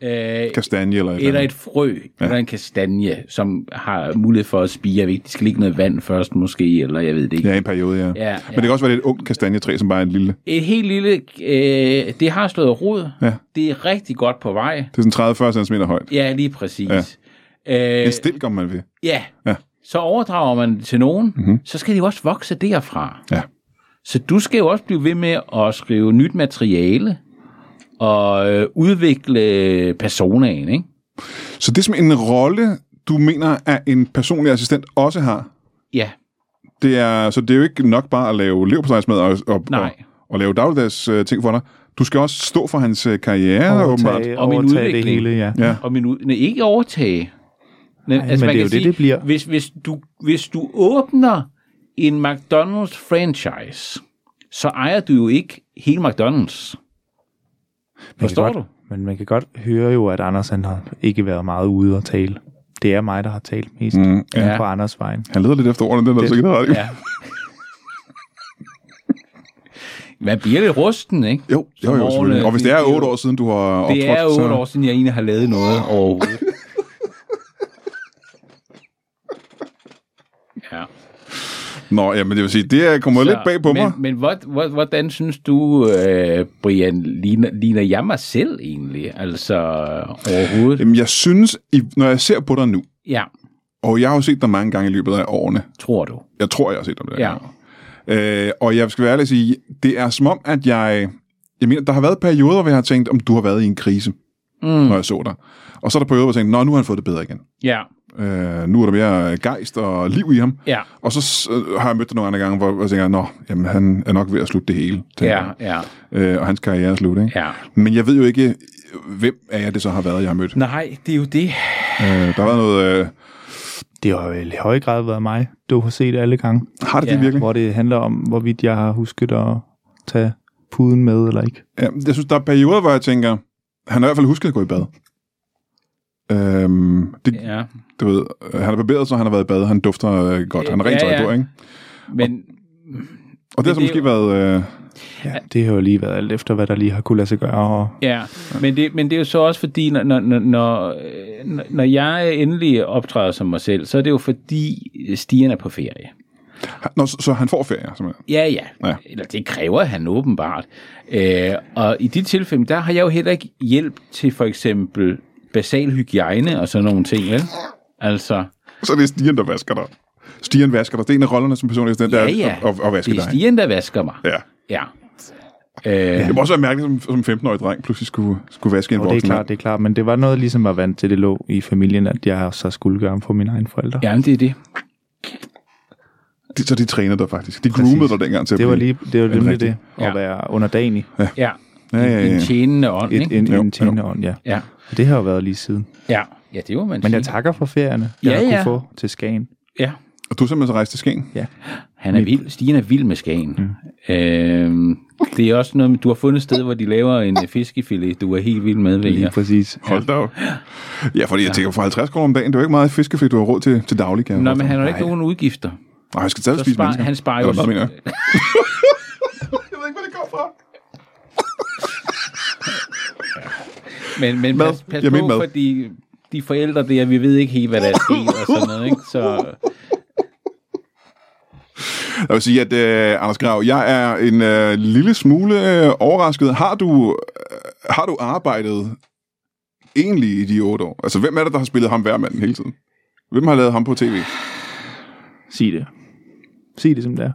[SPEAKER 1] ja.
[SPEAKER 2] Øh,
[SPEAKER 1] kastanje eller,
[SPEAKER 2] Eller
[SPEAKER 1] andet.
[SPEAKER 2] et frø, ja. eller en kastanje, som har mulighed for at spire. Jeg ved ikke, de skal ligge noget vand først måske, eller jeg ved det ikke.
[SPEAKER 1] Ja, i en periode, ja.
[SPEAKER 2] Ja,
[SPEAKER 1] Men
[SPEAKER 2] ja.
[SPEAKER 1] det kan også være, det er et ungt kastanjetræ, som bare er en lille.
[SPEAKER 2] Et helt lille, øh, det har slået rod.
[SPEAKER 1] Ja.
[SPEAKER 2] Det er rigtig godt på vej.
[SPEAKER 1] Det er sådan 30-40 cm højt.
[SPEAKER 2] Ja, lige præcis. Ja. Øh,
[SPEAKER 1] En stilk, om man vil.
[SPEAKER 2] ja.
[SPEAKER 1] Ja. Mhm.
[SPEAKER 2] Så overdrager man det til nogen, mm-hmm. så skal det jo også vokse derfra.
[SPEAKER 1] Ja.
[SPEAKER 2] Så du skal jo også blive ved med at skrive nyt materiale og øh, udvikle personaen, ikke?
[SPEAKER 1] Så det er som en rolle, du mener, at en personlig assistent også har.
[SPEAKER 2] Ja,
[SPEAKER 1] Det er, så det er jo ikke nok bare at lave leverpostejsmad og, og, og,
[SPEAKER 2] Nej.
[SPEAKER 1] og lave dagligdags øh, ting for dig. Du skal også stå for hans øh, karriere, åbenbart.
[SPEAKER 3] Overtage,
[SPEAKER 2] Og min
[SPEAKER 3] overtage det
[SPEAKER 2] udvikling.
[SPEAKER 3] hele, ja.
[SPEAKER 1] Ja.
[SPEAKER 2] og minut, nej, ikke overtage. altså, Nej,
[SPEAKER 3] men det er jo det, det bliver.
[SPEAKER 2] Hvis, hvis, du, hvis du åbner en McDonald's franchise, så ejer du jo ikke hele McDonald's.
[SPEAKER 3] Man kan
[SPEAKER 2] Forstår
[SPEAKER 3] godt,
[SPEAKER 2] du?
[SPEAKER 3] Men man kan godt høre jo, at Anders han har ikke været meget ude og tale. Det er mig, der har talt mest mm,
[SPEAKER 2] ja.
[SPEAKER 3] ja. på Anders vejen.
[SPEAKER 1] Han leder lidt efter ordene, den er der sikkert ret. i.
[SPEAKER 2] Ja. Man bliver lidt rusten, ikke?
[SPEAKER 1] Jo, jo, jo, selvfølgelig. Og hvis det er otte år siden, du har optrådt,
[SPEAKER 2] øh, Det er jo otte
[SPEAKER 1] så...
[SPEAKER 2] år siden, jeg egentlig har lavet noget overhovedet. ja.
[SPEAKER 1] Nå, ja, men det vil sige, det øh, kommer lidt bag på
[SPEAKER 2] men,
[SPEAKER 1] mig.
[SPEAKER 2] Men hvor, hvor, hvordan synes du, øh, Brian, ligner, ligner jeg mig selv egentlig? Altså overhovedet?
[SPEAKER 1] Jamen, jeg synes, i- når jeg ser på dig nu,
[SPEAKER 2] Ja,
[SPEAKER 1] og jeg har jo set dig mange gange i løbet af årene.
[SPEAKER 2] tror du.
[SPEAKER 1] Jeg tror, jeg har set dig mange
[SPEAKER 2] Ja.
[SPEAKER 1] gange. Øh, og jeg skal være ærlig og sige, det er som om, at jeg... Jeg mener, der har været perioder, hvor jeg har tænkt, om du har været i en krise, mm. når jeg så dig. Og så er der perioder, hvor jeg tænkte, nå, nu har han fået det bedre igen.
[SPEAKER 2] Ja,
[SPEAKER 1] Øh, nu er der mere gejst og liv i ham.
[SPEAKER 2] ja,
[SPEAKER 1] Og så s- øh, har jeg mødt dig nogle andre gange, hvor jeg tænker, nå, jamen, han er nok ved at slutte det hele. tænker
[SPEAKER 2] ja, ja,
[SPEAKER 1] jeg. Øh, og hans karriere er slut, ikke?
[SPEAKER 2] ja.
[SPEAKER 1] Men jeg ved jo ikke, hvem af jer det så har været, jeg har mødt.
[SPEAKER 2] Nej, det er jo det.
[SPEAKER 1] Øh, der har været noget... Øh,
[SPEAKER 3] Det har jo i høj grad været mig, du har set alle gange.
[SPEAKER 1] har det ja,
[SPEAKER 2] Ja,
[SPEAKER 1] det virkelig?
[SPEAKER 3] Hvor det handler om, hvorvidt jeg har husket at tage puden med eller ikke.
[SPEAKER 1] Ja, jeg synes, der er perioder, hvor jeg tænker, han har i hvert fald husket at gå i bad. Øhm, det, ja.
[SPEAKER 2] Ja.
[SPEAKER 1] du ved, øh, han er barberet, så han har været i bad, han dufter øh, godt, han har rent
[SPEAKER 2] Ja,
[SPEAKER 1] tøj
[SPEAKER 2] ja.
[SPEAKER 1] på, ikke?
[SPEAKER 2] Men
[SPEAKER 1] Og det har så
[SPEAKER 2] det er
[SPEAKER 1] måske været... Øh,
[SPEAKER 3] Ja, det har jo lige været alt efter, hvad der lige har kunne lade sig gøre. Og
[SPEAKER 2] Ja, men det, men det er jo så også fordi, når, når, når- når, øh, når- når jeg endelig optræder som mig selv, så er det jo fordi, øh, stigen er på ferie.
[SPEAKER 1] han- nå, så, så han får ferie, simpelthen.
[SPEAKER 2] Ja, ja.
[SPEAKER 1] Ja.
[SPEAKER 2] ja. Eller det kræver han åbenbart. Øh, og i de tilfælde, der har jeg jo heller ikke hjælp til for eksempel basal hygiejne og sådan nogle ting, vel? Altså,
[SPEAKER 1] Så er det Stian, der vasker dig. Stian vasker dig. Det er en af rollerne som personlig assistent, der
[SPEAKER 2] ja,
[SPEAKER 1] er
[SPEAKER 2] ja.
[SPEAKER 1] at, at, at vaske
[SPEAKER 2] det er
[SPEAKER 1] dig.
[SPEAKER 2] stigen, der vasker mig.
[SPEAKER 1] Ja.
[SPEAKER 2] ja. Øh,
[SPEAKER 1] Det må også være mærkeligt, som, som 15-årig dreng pludselig skulle, skulle vaske en
[SPEAKER 3] det er
[SPEAKER 1] voksen.
[SPEAKER 3] klart, det er klart. Men det var noget, ligesom var vant til, det lå i familien, at jeg så skulle gøre for mine egne forældre.
[SPEAKER 2] jamen, det er det.
[SPEAKER 1] mand. De, så de træner dig faktisk. De groomede dig dengang til at
[SPEAKER 3] Det var
[SPEAKER 1] blive-
[SPEAKER 3] lige det, var
[SPEAKER 1] en
[SPEAKER 3] nemlig
[SPEAKER 1] rigtig-
[SPEAKER 3] det, at
[SPEAKER 2] Ja.
[SPEAKER 3] være underdanig.
[SPEAKER 2] Ja.
[SPEAKER 1] Ja, ja, ja.
[SPEAKER 2] En tjenende ånd,
[SPEAKER 3] Et,
[SPEAKER 2] ikke?
[SPEAKER 3] en,
[SPEAKER 1] Jo,
[SPEAKER 3] en tjenende ånd, ja.
[SPEAKER 2] Ja.
[SPEAKER 3] Og det har jo været lige siden.
[SPEAKER 2] ja. Ja, det må man
[SPEAKER 3] Men
[SPEAKER 2] sige.
[SPEAKER 3] jeg takker for ferierne, jeg
[SPEAKER 2] Ja,
[SPEAKER 3] har
[SPEAKER 2] ja.
[SPEAKER 3] kunne få til Skagen.
[SPEAKER 2] Ja.
[SPEAKER 1] Og du er simpelthen så rejst til Skagen?
[SPEAKER 2] Han er vild. Stigen er vild med Skagen. Mm. Øhm, det er også noget, med- du har fundet et sted, hvor de laver en øh, fiskefilet, du er helt vild med, ved
[SPEAKER 3] Lige
[SPEAKER 2] jeg.
[SPEAKER 3] præcis.
[SPEAKER 1] Hold da op. Ja, fordi jeg tænker, for 50 kroner om dagen, det er jo ikke meget fiskeflæk, du har råd til, til daglig. Kan jeg
[SPEAKER 2] Nå, men
[SPEAKER 1] forestille
[SPEAKER 2] han har
[SPEAKER 1] mig.
[SPEAKER 2] jo ikke nogen udgifter.
[SPEAKER 1] Nej, han skal stadig
[SPEAKER 2] Så
[SPEAKER 1] spise
[SPEAKER 2] spar,
[SPEAKER 1] mennesker.
[SPEAKER 2] han sparer jo...
[SPEAKER 1] Eller hvad mener jeg? Jeg ved ikke, hvor det går fra.
[SPEAKER 2] Men, men
[SPEAKER 1] Mad.
[SPEAKER 2] pas, pas
[SPEAKER 1] Jeg
[SPEAKER 2] på,
[SPEAKER 1] mente mad.
[SPEAKER 2] fordi de forældre der, vi ved ikke helt, hvad der er sket og sådan noget, ikke? Så
[SPEAKER 1] Jeg vil sige, at øh, Anders Grav, jeg er en øh, lille smule øh, overrasket. Har du, øh, har du arbejdet egentlig i de otte år? Altså, hvem er det, der har spillet ham hver mand hele tiden? Hvem har lavet ham på tv?
[SPEAKER 3] Sig det. Sig det, som det er.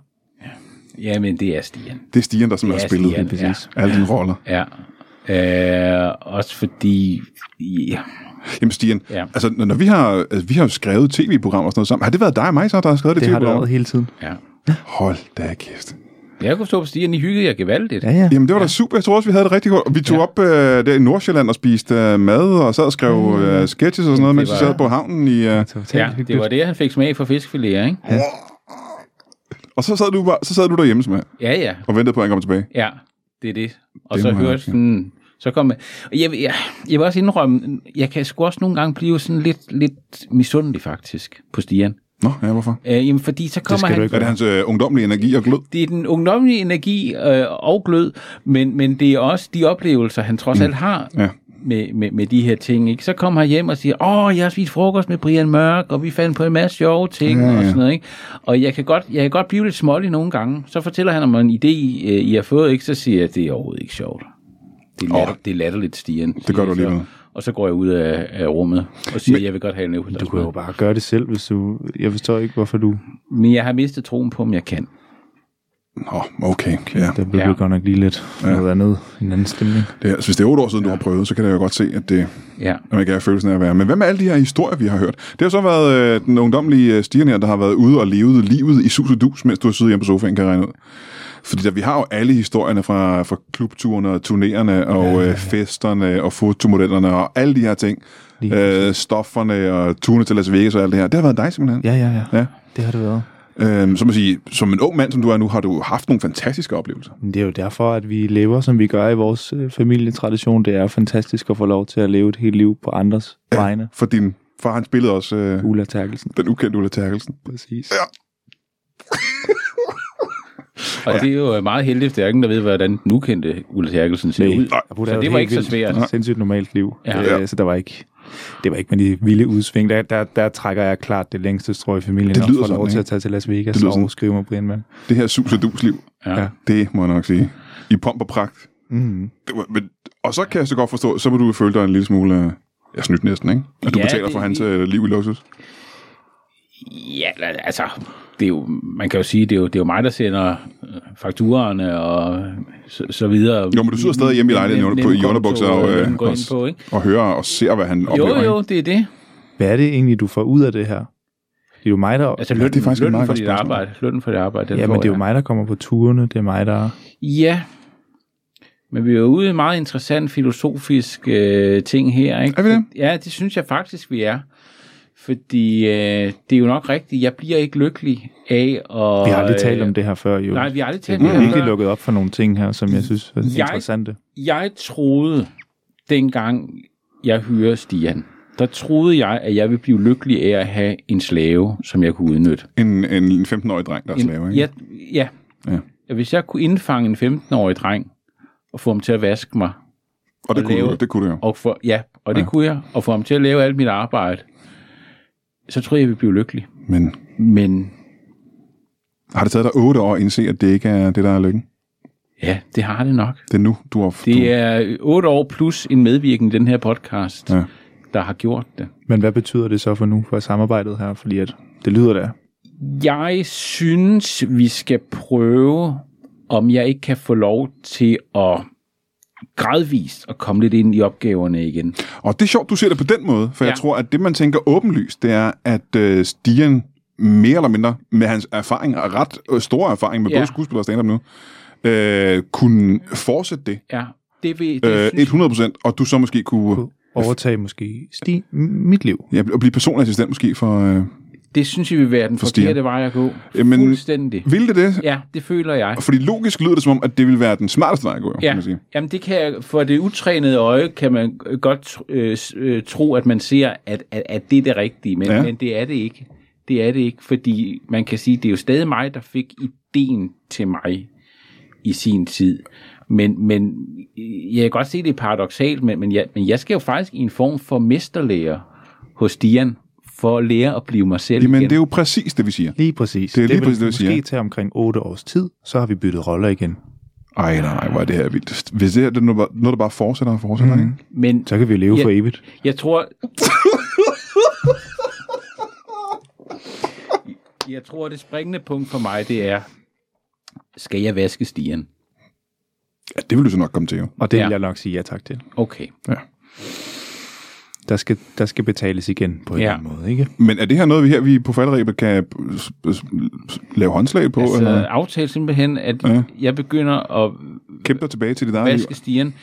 [SPEAKER 2] jamen, det er Stigen.
[SPEAKER 1] Det er Stian, der simpelthen
[SPEAKER 2] Ja,
[SPEAKER 1] har spillet
[SPEAKER 2] Stian,
[SPEAKER 1] Stian,
[SPEAKER 2] ja.
[SPEAKER 1] ja. alle dine roller.
[SPEAKER 2] Ja. Øh, også fordi... Ja.
[SPEAKER 1] Jamen Stian, ja.
[SPEAKER 2] Ja.
[SPEAKER 1] altså når når vi har, altså, vi har jo skrevet tv-programmer og sådan noget sammen, har det været dig og mig så, der har skrevet det,
[SPEAKER 3] Det har det
[SPEAKER 1] tv-program?
[SPEAKER 3] været hele tiden.
[SPEAKER 2] ja.
[SPEAKER 1] Hold da kæft.
[SPEAKER 2] Jeg kunne stå på Stigen, I hyggede jer gevaldigt.
[SPEAKER 3] Ja, ja.
[SPEAKER 1] Jamen det var ja. da super, jeg tror også, vi havde det rigtig godt. Vi tog ja. op øh, der i Nordsjælland og spiste øh, mad og sad og skrev øh, sketches og sådan noget, mens vi
[SPEAKER 2] var-
[SPEAKER 1] sad på havnen i... Øh,
[SPEAKER 3] Totalt
[SPEAKER 2] Ja, det var det, han fik smag for fiskefiléer, ikke?
[SPEAKER 1] og så sad du, bare, så sad du derhjemme simpelthen,
[SPEAKER 2] Ja, ja.
[SPEAKER 1] og ventede på, at han kom tilbage.
[SPEAKER 2] Ja, det er det. Og
[SPEAKER 1] Det
[SPEAKER 2] det så
[SPEAKER 1] må jeg
[SPEAKER 2] hørte
[SPEAKER 1] sige.
[SPEAKER 2] sådan, så kom jeg, og jeg, vil- jeg, jeg vil også indrømme, jeg kan sgu også nogle gange blive sådan lidt, lidt misundelig faktisk på Stian.
[SPEAKER 1] Nå, ja, hvorfor?
[SPEAKER 2] Øh, jamen, fordi så kommer
[SPEAKER 3] skal du
[SPEAKER 2] han,
[SPEAKER 3] ikke
[SPEAKER 1] Er det hans øh, ungdomlige energi og glød?
[SPEAKER 2] det er den ungdomlige energi øh, og glød, men, men det er også de oplevelser, han
[SPEAKER 1] Mm.
[SPEAKER 2] trods alt har
[SPEAKER 1] Ja.
[SPEAKER 2] med, med, med de her ting. Ikke? Så kommer han hjem og siger, åh, jeg har spist frokost med Brian Mørk, og vi fandt på en masse sjove ting, ja, ja. og sådan noget. Ikke? Og jeg kan, godt, jeg kan godt blive lidt smålig nogle gange. Så fortæller han om en idé, øh, I har fået, ikke? så siger jeg, det er overhovedet ikke sjovt. Det er, latter, det er latterligt, Stian. siger
[SPEAKER 1] gør du
[SPEAKER 2] jeg så.
[SPEAKER 1] alligevel.
[SPEAKER 2] Og så går jeg ud af, af rummet og siger, men, jeg vil godt have en øvrigt.
[SPEAKER 3] Du kunne jo bare gøre det selv, hvis du... Jeg forstår ikke, hvorfor du...
[SPEAKER 2] Men jeg har mistet troen på, om jeg kan.
[SPEAKER 1] Nå, okay. Ja.
[SPEAKER 3] Der blev
[SPEAKER 2] Ja.
[SPEAKER 3] ja. godt nok lige lidt ja. noget andet. En anden stemning.
[SPEAKER 1] Det, er- altså, hvis det er otte år siden, du har prøvet, så kan jeg jo godt se, at det,
[SPEAKER 2] Ja.
[SPEAKER 1] at man kan have følelsen af at være. Men hvad med alle de her historier, vi har hørt? Det har så været øh, den ungdomlige øh, stigen her, der har været ude og levet livet i sus og dus, mens du har siddet hjemme på sofaen, kan jeg regne ud. Fordi der, vi har jo alle historierne fra, fra klubturene og turnerende og øh, festerne og fotomodellerne og alle de her ting. Øh, stofferne og turene til Las Vegas og alt det her. Det har været dig simpelthen.
[SPEAKER 3] Ja, ja, ja.
[SPEAKER 1] Ja.
[SPEAKER 3] Det har det været.
[SPEAKER 1] Øhm, så må sige, som en ung mand, som du er nu, har du haft nogle fantastiske oplevelser.
[SPEAKER 3] Men det er jo derfor, at vi lever, som vi gør i vores øh, familietradition. Det er fantastisk at få lov til at leve et helt liv på andres ja. vegne.
[SPEAKER 1] For din far, han spillede også øh,
[SPEAKER 3] Ulla Terkelsen,
[SPEAKER 1] den ukendte Ulla Terkelsen.
[SPEAKER 3] præcis.
[SPEAKER 2] Og ja. det er jo meget heldigt, hvis der er ingen, der ved, hvordan den ukendte Ulla Terkelsen ser
[SPEAKER 3] Nej.
[SPEAKER 2] ud.
[SPEAKER 3] Jeg boede
[SPEAKER 2] Så
[SPEAKER 3] jo
[SPEAKER 2] det var
[SPEAKER 3] helt
[SPEAKER 2] ikke så
[SPEAKER 3] vildt.
[SPEAKER 2] svært.
[SPEAKER 3] Sindssygt normalt liv.
[SPEAKER 2] Ja.
[SPEAKER 3] Ja. Øh, så der var ikke, det var ikke med de vilde udsving. Der, der, der trækker jeg klart det længste strå i familien.
[SPEAKER 1] Det lyder
[SPEAKER 3] og får
[SPEAKER 1] sådan,
[SPEAKER 3] lov til
[SPEAKER 1] ikke?
[SPEAKER 3] at tage til Las Vegas
[SPEAKER 1] Det lyder
[SPEAKER 3] og
[SPEAKER 1] sådan.
[SPEAKER 3] skrive mig Brian Mørk.
[SPEAKER 1] Det her sus og dus liv,
[SPEAKER 2] Ja.
[SPEAKER 1] det må jeg nok sige. I pomp og pragt.
[SPEAKER 3] Mm.
[SPEAKER 1] Det var, men, og så kan jeg så godt forstå, så må du føle dig en lille smule øh, ja, snydt næsten, ikke? At du ja,
[SPEAKER 2] Ja,
[SPEAKER 1] betaler
[SPEAKER 2] det-
[SPEAKER 1] for hans øh, liv i luksus.
[SPEAKER 2] Ja, altså, det er jo, man kan jo sige, det er jo, det er jo mig, der sender øh, fakturerne og så, så videre.
[SPEAKER 1] Jo, men du sidder stadig hjemme i lejligheden
[SPEAKER 2] Nem-
[SPEAKER 1] i under- på- i
[SPEAKER 2] nemkonto,
[SPEAKER 1] underbukser og, øh,
[SPEAKER 2] nem går ind
[SPEAKER 1] også-
[SPEAKER 2] på, ikke?
[SPEAKER 1] Og hører og ser, hvad han oplever.
[SPEAKER 2] Jo,
[SPEAKER 1] ikke?
[SPEAKER 2] jo, det er det.
[SPEAKER 3] Hvad er det egentlig, du får ud af det her? Det er jo mig, der...
[SPEAKER 2] Altså
[SPEAKER 1] Ja, det er
[SPEAKER 2] lønnen, ja,
[SPEAKER 1] faktisk et
[SPEAKER 2] det lønnen
[SPEAKER 1] meget
[SPEAKER 2] for
[SPEAKER 1] godt
[SPEAKER 2] dit
[SPEAKER 1] spørgsmål.
[SPEAKER 2] arbejde. Lønnen for dit arbejde. Den
[SPEAKER 3] ja,
[SPEAKER 2] får
[SPEAKER 3] men det er jo
[SPEAKER 2] jeg.
[SPEAKER 3] mig, der kommer på turene. Det er mig, der...
[SPEAKER 2] Ja. Men vi er jo ude i en meget interessant filosofisk øh, ting her, ikke?
[SPEAKER 1] Er vi det?
[SPEAKER 2] Ja, det synes jeg faktisk, vi er. Fordi øh, det er jo nok rigtigt. Jeg bliver ikke lykkelig af at... øh,
[SPEAKER 3] Vi har aldrig talt om det her før, jo.
[SPEAKER 2] Nej, vi har aldrig talt
[SPEAKER 3] det
[SPEAKER 2] om det
[SPEAKER 3] er
[SPEAKER 2] her
[SPEAKER 3] virkelig
[SPEAKER 2] før.
[SPEAKER 3] lukket op for nogle ting her, som jeg synes er
[SPEAKER 2] Jeg-
[SPEAKER 3] interessante.
[SPEAKER 2] Jeg troede, dengang jeg hører Stian, der troede jeg, at jeg ville blive lykkelig af at have en slave, som jeg kunne udnytte.
[SPEAKER 1] En, en 15-årig dreng, der er slave, ikke?
[SPEAKER 2] ja, ja.
[SPEAKER 1] Ja.
[SPEAKER 2] ja. Hvis jeg kunne indfange en 15-årig dreng og få ham til at vaske mig,
[SPEAKER 1] og det
[SPEAKER 2] og
[SPEAKER 1] kunne,
[SPEAKER 2] lave-
[SPEAKER 1] du, det kunne du jo.
[SPEAKER 2] og få, ja, og det ja. kunne jeg, og få ham til at lave alt mit arbejde, så troede jeg, jeg ville blive lykkelig.
[SPEAKER 1] Men
[SPEAKER 2] Men
[SPEAKER 1] har det taget dig otte år at indse, at det ikke er det, der er lykken?
[SPEAKER 2] ja, det har det nok.
[SPEAKER 1] Det er nu, du har... du,
[SPEAKER 2] Det er otte år plus en medvirkning i den her podcast,
[SPEAKER 1] Ja.
[SPEAKER 2] ja. der har gjort det.
[SPEAKER 3] Men hvad betyder det så for nu, for samarbejdet her? Fordi at det lyder da
[SPEAKER 2] Jeg synes, vi skal prøve, om jeg ikke kan få lov til at gradvist at komme lidt ind i opgaverne igen.
[SPEAKER 1] Og det er sjovt, du ser det på den måde, for ja. jeg
[SPEAKER 2] Ja.
[SPEAKER 1] tror, at det, man tænker åbenlyst, det er, at øh, Stian mere eller mindre med hans erfaring, og ret øh, store erfaring med ja.
[SPEAKER 2] Ja.
[SPEAKER 1] både skuespil og stand-up nu, øh, kunne fortsætte det,
[SPEAKER 2] Ja, det vil det
[SPEAKER 1] øh,
[SPEAKER 2] synes,
[SPEAKER 1] 100%, og du så måske kunne
[SPEAKER 3] overtage måske sti, m- mit liv.
[SPEAKER 1] ja, bl- blive personlig assistent måske for... Øh,
[SPEAKER 2] det synes jeg vil være den
[SPEAKER 1] Forstår.
[SPEAKER 2] forkerte vej at gå.
[SPEAKER 1] Jamen-
[SPEAKER 2] Fuldstændig.
[SPEAKER 1] ville det det?
[SPEAKER 2] Ja, det føler jeg.
[SPEAKER 1] Fordi logisk lyder det som om, at det ville være den smarteste vej at gå, jo, kan
[SPEAKER 2] Ja,
[SPEAKER 1] man sige.
[SPEAKER 2] jamen det kan jeg, for det utrænede øje kan man godt øh, s- øh, tro, at man ser, at, at, at det er det rigtige, men,
[SPEAKER 1] Ja.
[SPEAKER 2] ja. men det er det ikke. Det er det ikke, fordi man kan sige, det er jo stadig mig, der fik ideen til mig i sin tid. Men, men øh, jeg kan godt se, det er paradoxalt, men, men, jeg, men jeg skal jo faktisk i en form for mesterlærer hos Dian, for at lære at blive mig selv
[SPEAKER 1] Jamen,
[SPEAKER 2] igen.
[SPEAKER 1] det er jo præcis det, vi siger.
[SPEAKER 3] Lige præcis.
[SPEAKER 1] Det er lige
[SPEAKER 3] vil
[SPEAKER 1] præcis det, jeg
[SPEAKER 3] måske
[SPEAKER 1] siger.
[SPEAKER 3] tage omkring 8 års tid, så har vi byttet roller igen.
[SPEAKER 1] Ej, nej, nej, hvor er det her vildt. Hvis det her det er noget, noget, der bare fortsætter og fortsætter,
[SPEAKER 2] Mhm.
[SPEAKER 1] mm. ikke?
[SPEAKER 2] Men
[SPEAKER 3] Så kan vi leve
[SPEAKER 2] Ja.
[SPEAKER 3] for evigt.
[SPEAKER 2] Jeg tror... jeg tror, det springende punkt for mig, det er, skal jeg vaske stigen?
[SPEAKER 1] Ja, det vil du så nok komme til, jo.
[SPEAKER 3] Og det vil
[SPEAKER 2] Ja.
[SPEAKER 3] jeg nok sige ja tak til.
[SPEAKER 2] Okay.
[SPEAKER 3] Der skal, der skal betales igen på en
[SPEAKER 2] Ja.
[SPEAKER 3] eller anden måde, ikke?
[SPEAKER 1] Men er det her noget, vi her vi på faldrebet kan s- s- s- lave håndslag på? Altså,
[SPEAKER 2] Altså,
[SPEAKER 1] eller
[SPEAKER 2] aftale simpelthen, at
[SPEAKER 1] Ja.
[SPEAKER 2] ja. jeg begynder at
[SPEAKER 1] kæmpe dig tilbage til dit eget liv?
[SPEAKER 2] vaske stigen.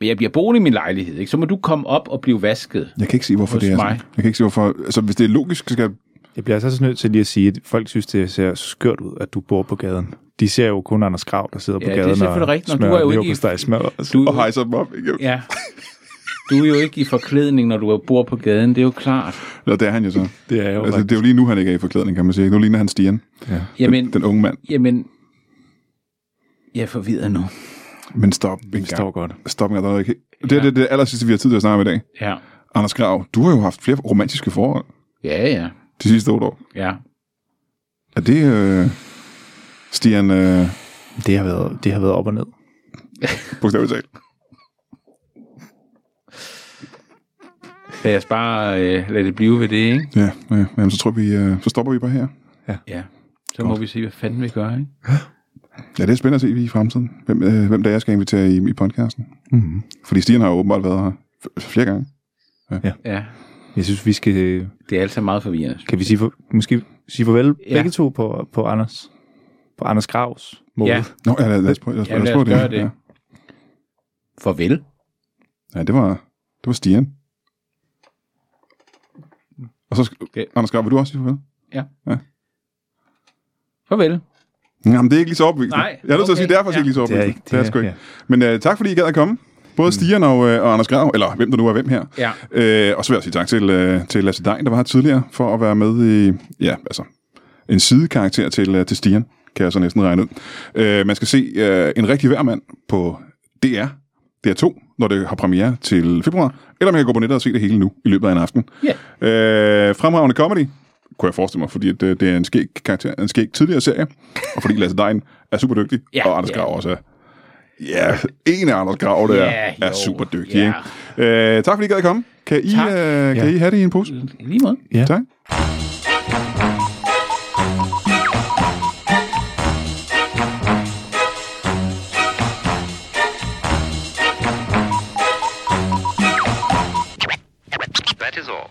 [SPEAKER 2] Men jeg bliver boende i min lejlighed, ikke? så må du komme op og blive vasket.
[SPEAKER 1] Jeg kan ikke se, hvorfor
[SPEAKER 2] Hos
[SPEAKER 1] det er sådan.
[SPEAKER 2] mig.
[SPEAKER 1] Jeg kan ikke se, hvorfor... Altså, hvis det er logisk, så skal...
[SPEAKER 3] Jeg bliver altså også nødt til lige at sige, at folk synes, det ser skørt ud, at du bor på gaden. De ser jo kun Anders Grav, der sidder
[SPEAKER 2] Ja,
[SPEAKER 3] på
[SPEAKER 2] det er
[SPEAKER 3] gaden
[SPEAKER 2] selvfølgelig
[SPEAKER 3] og
[SPEAKER 2] rigtigt, når
[SPEAKER 3] smører
[SPEAKER 2] du er jo ikke i-
[SPEAKER 3] leverpostej i smør. Altså.
[SPEAKER 2] Du,
[SPEAKER 1] Og hejse dem op. Ikke?
[SPEAKER 2] ja. du er jo ikke i forklædning, når du bor på gaden, det er jo klart.
[SPEAKER 1] Eller det er han jo så.
[SPEAKER 3] Det er jo
[SPEAKER 1] Altså,
[SPEAKER 3] rigtigt.
[SPEAKER 1] det er jo lige nu, han ikke er i forklædning, kan man sige. Nu ligner han Stian,
[SPEAKER 2] Jamen,
[SPEAKER 1] den, den unge mand.
[SPEAKER 2] jamen jeg er forvirret nu.
[SPEAKER 1] Men stop en
[SPEAKER 3] Det står
[SPEAKER 1] gang.
[SPEAKER 3] godt.
[SPEAKER 1] Stop en gang, der er noget, jeg kan- Det er det, det aller sidste, vi har tid til at snakke om i dag.
[SPEAKER 2] Ja,
[SPEAKER 1] Anders Grav, du har jo haft flere romantiske forhold
[SPEAKER 2] ja, ja.
[SPEAKER 1] de sidste otte år.
[SPEAKER 2] ja.
[SPEAKER 1] Er det, øh, Stian, øh,
[SPEAKER 3] Det har, været, det har været op og ned.
[SPEAKER 1] bogstaveligt talt?
[SPEAKER 2] Lad os bare øh, lade det blive ved det, ikke?
[SPEAKER 1] Ja, ja, jamen, så tror vi, øh, så stopper vi bare her.
[SPEAKER 2] Ja. Så Godt. må vi se, hvad fanden vi gør, ikke?
[SPEAKER 1] Ja, det er spændende at se vi i fremtiden, hvem, øh, hvem der jeg skal invitere i, i podcasten.
[SPEAKER 3] Mm-hmm.
[SPEAKER 1] Fordi Stian har jo åbenbart været her f- flere gange.
[SPEAKER 2] Ja.
[SPEAKER 3] Jeg synes, vi skal...
[SPEAKER 2] Det er altså meget forvirrende.
[SPEAKER 3] Kan vi sige for, måske sige farvel ja.
[SPEAKER 2] Ja.
[SPEAKER 3] begge to på, på Anders? På Anders Gravs måde.
[SPEAKER 2] Ja.
[SPEAKER 1] Nå, ja, lad, lad os prøve, lad os,
[SPEAKER 2] Jamen,
[SPEAKER 1] lad os
[SPEAKER 2] lad
[SPEAKER 1] prøve
[SPEAKER 2] os
[SPEAKER 1] det.
[SPEAKER 2] gøre det.
[SPEAKER 1] Ja.
[SPEAKER 2] Farvel.
[SPEAKER 1] ja, det var, det var Stian. Og så, sk-
[SPEAKER 2] Okay.
[SPEAKER 1] Anders Grav, vil du også sige farvel?
[SPEAKER 2] Farvel.
[SPEAKER 1] Jamen, det er ikke lige så opvist.
[SPEAKER 2] Nej,
[SPEAKER 1] Jeg er nødt til at sige,
[SPEAKER 2] okay,
[SPEAKER 1] derfor er det
[SPEAKER 2] ja.
[SPEAKER 1] ikke lige så opvist. Det er, det sgu ikke.
[SPEAKER 3] ja.
[SPEAKER 1] Men øh, tak, fordi I gad at komme. Både Stian og, øh, og Anders Grav, eller hvem der nu er hvem her.
[SPEAKER 2] Ja.
[SPEAKER 1] Øh, og så vil jeg sige tak til, øh, til Lasse Dein, der var her tidligere, for at være med i, ja, altså, en sidekarakter til, øh, til Stian, kan jeg så næsten regne ud. Øh, man skal se øh, En rigtig værmand på DR, DR2, når det har premiere til februar, eller man kan gå på nettet og se det hele nu, i løbet af en aften.
[SPEAKER 2] Ja.
[SPEAKER 1] Øh, fremragende comedy, kunne jeg forestille mig, fordi at, øh, det er en skæg, karakter, en skæg tidligere serie, og fordi Lasse Dein er super dygtig,
[SPEAKER 2] Ja,
[SPEAKER 1] og Anders
[SPEAKER 2] ja.
[SPEAKER 1] Grav også er. Ja, en af Anders Grav, der
[SPEAKER 2] Ja,
[SPEAKER 1] er
[SPEAKER 2] jo,
[SPEAKER 1] super dygtig.
[SPEAKER 2] ja.
[SPEAKER 1] Ikke? Øh, tak fordi I gad at komme. Kan I, øh,
[SPEAKER 2] Tak.
[SPEAKER 1] kan
[SPEAKER 3] Ja.
[SPEAKER 1] I have det i en pose?
[SPEAKER 2] I Lige måde.
[SPEAKER 3] Ja.
[SPEAKER 1] Tak.
[SPEAKER 5] That is all.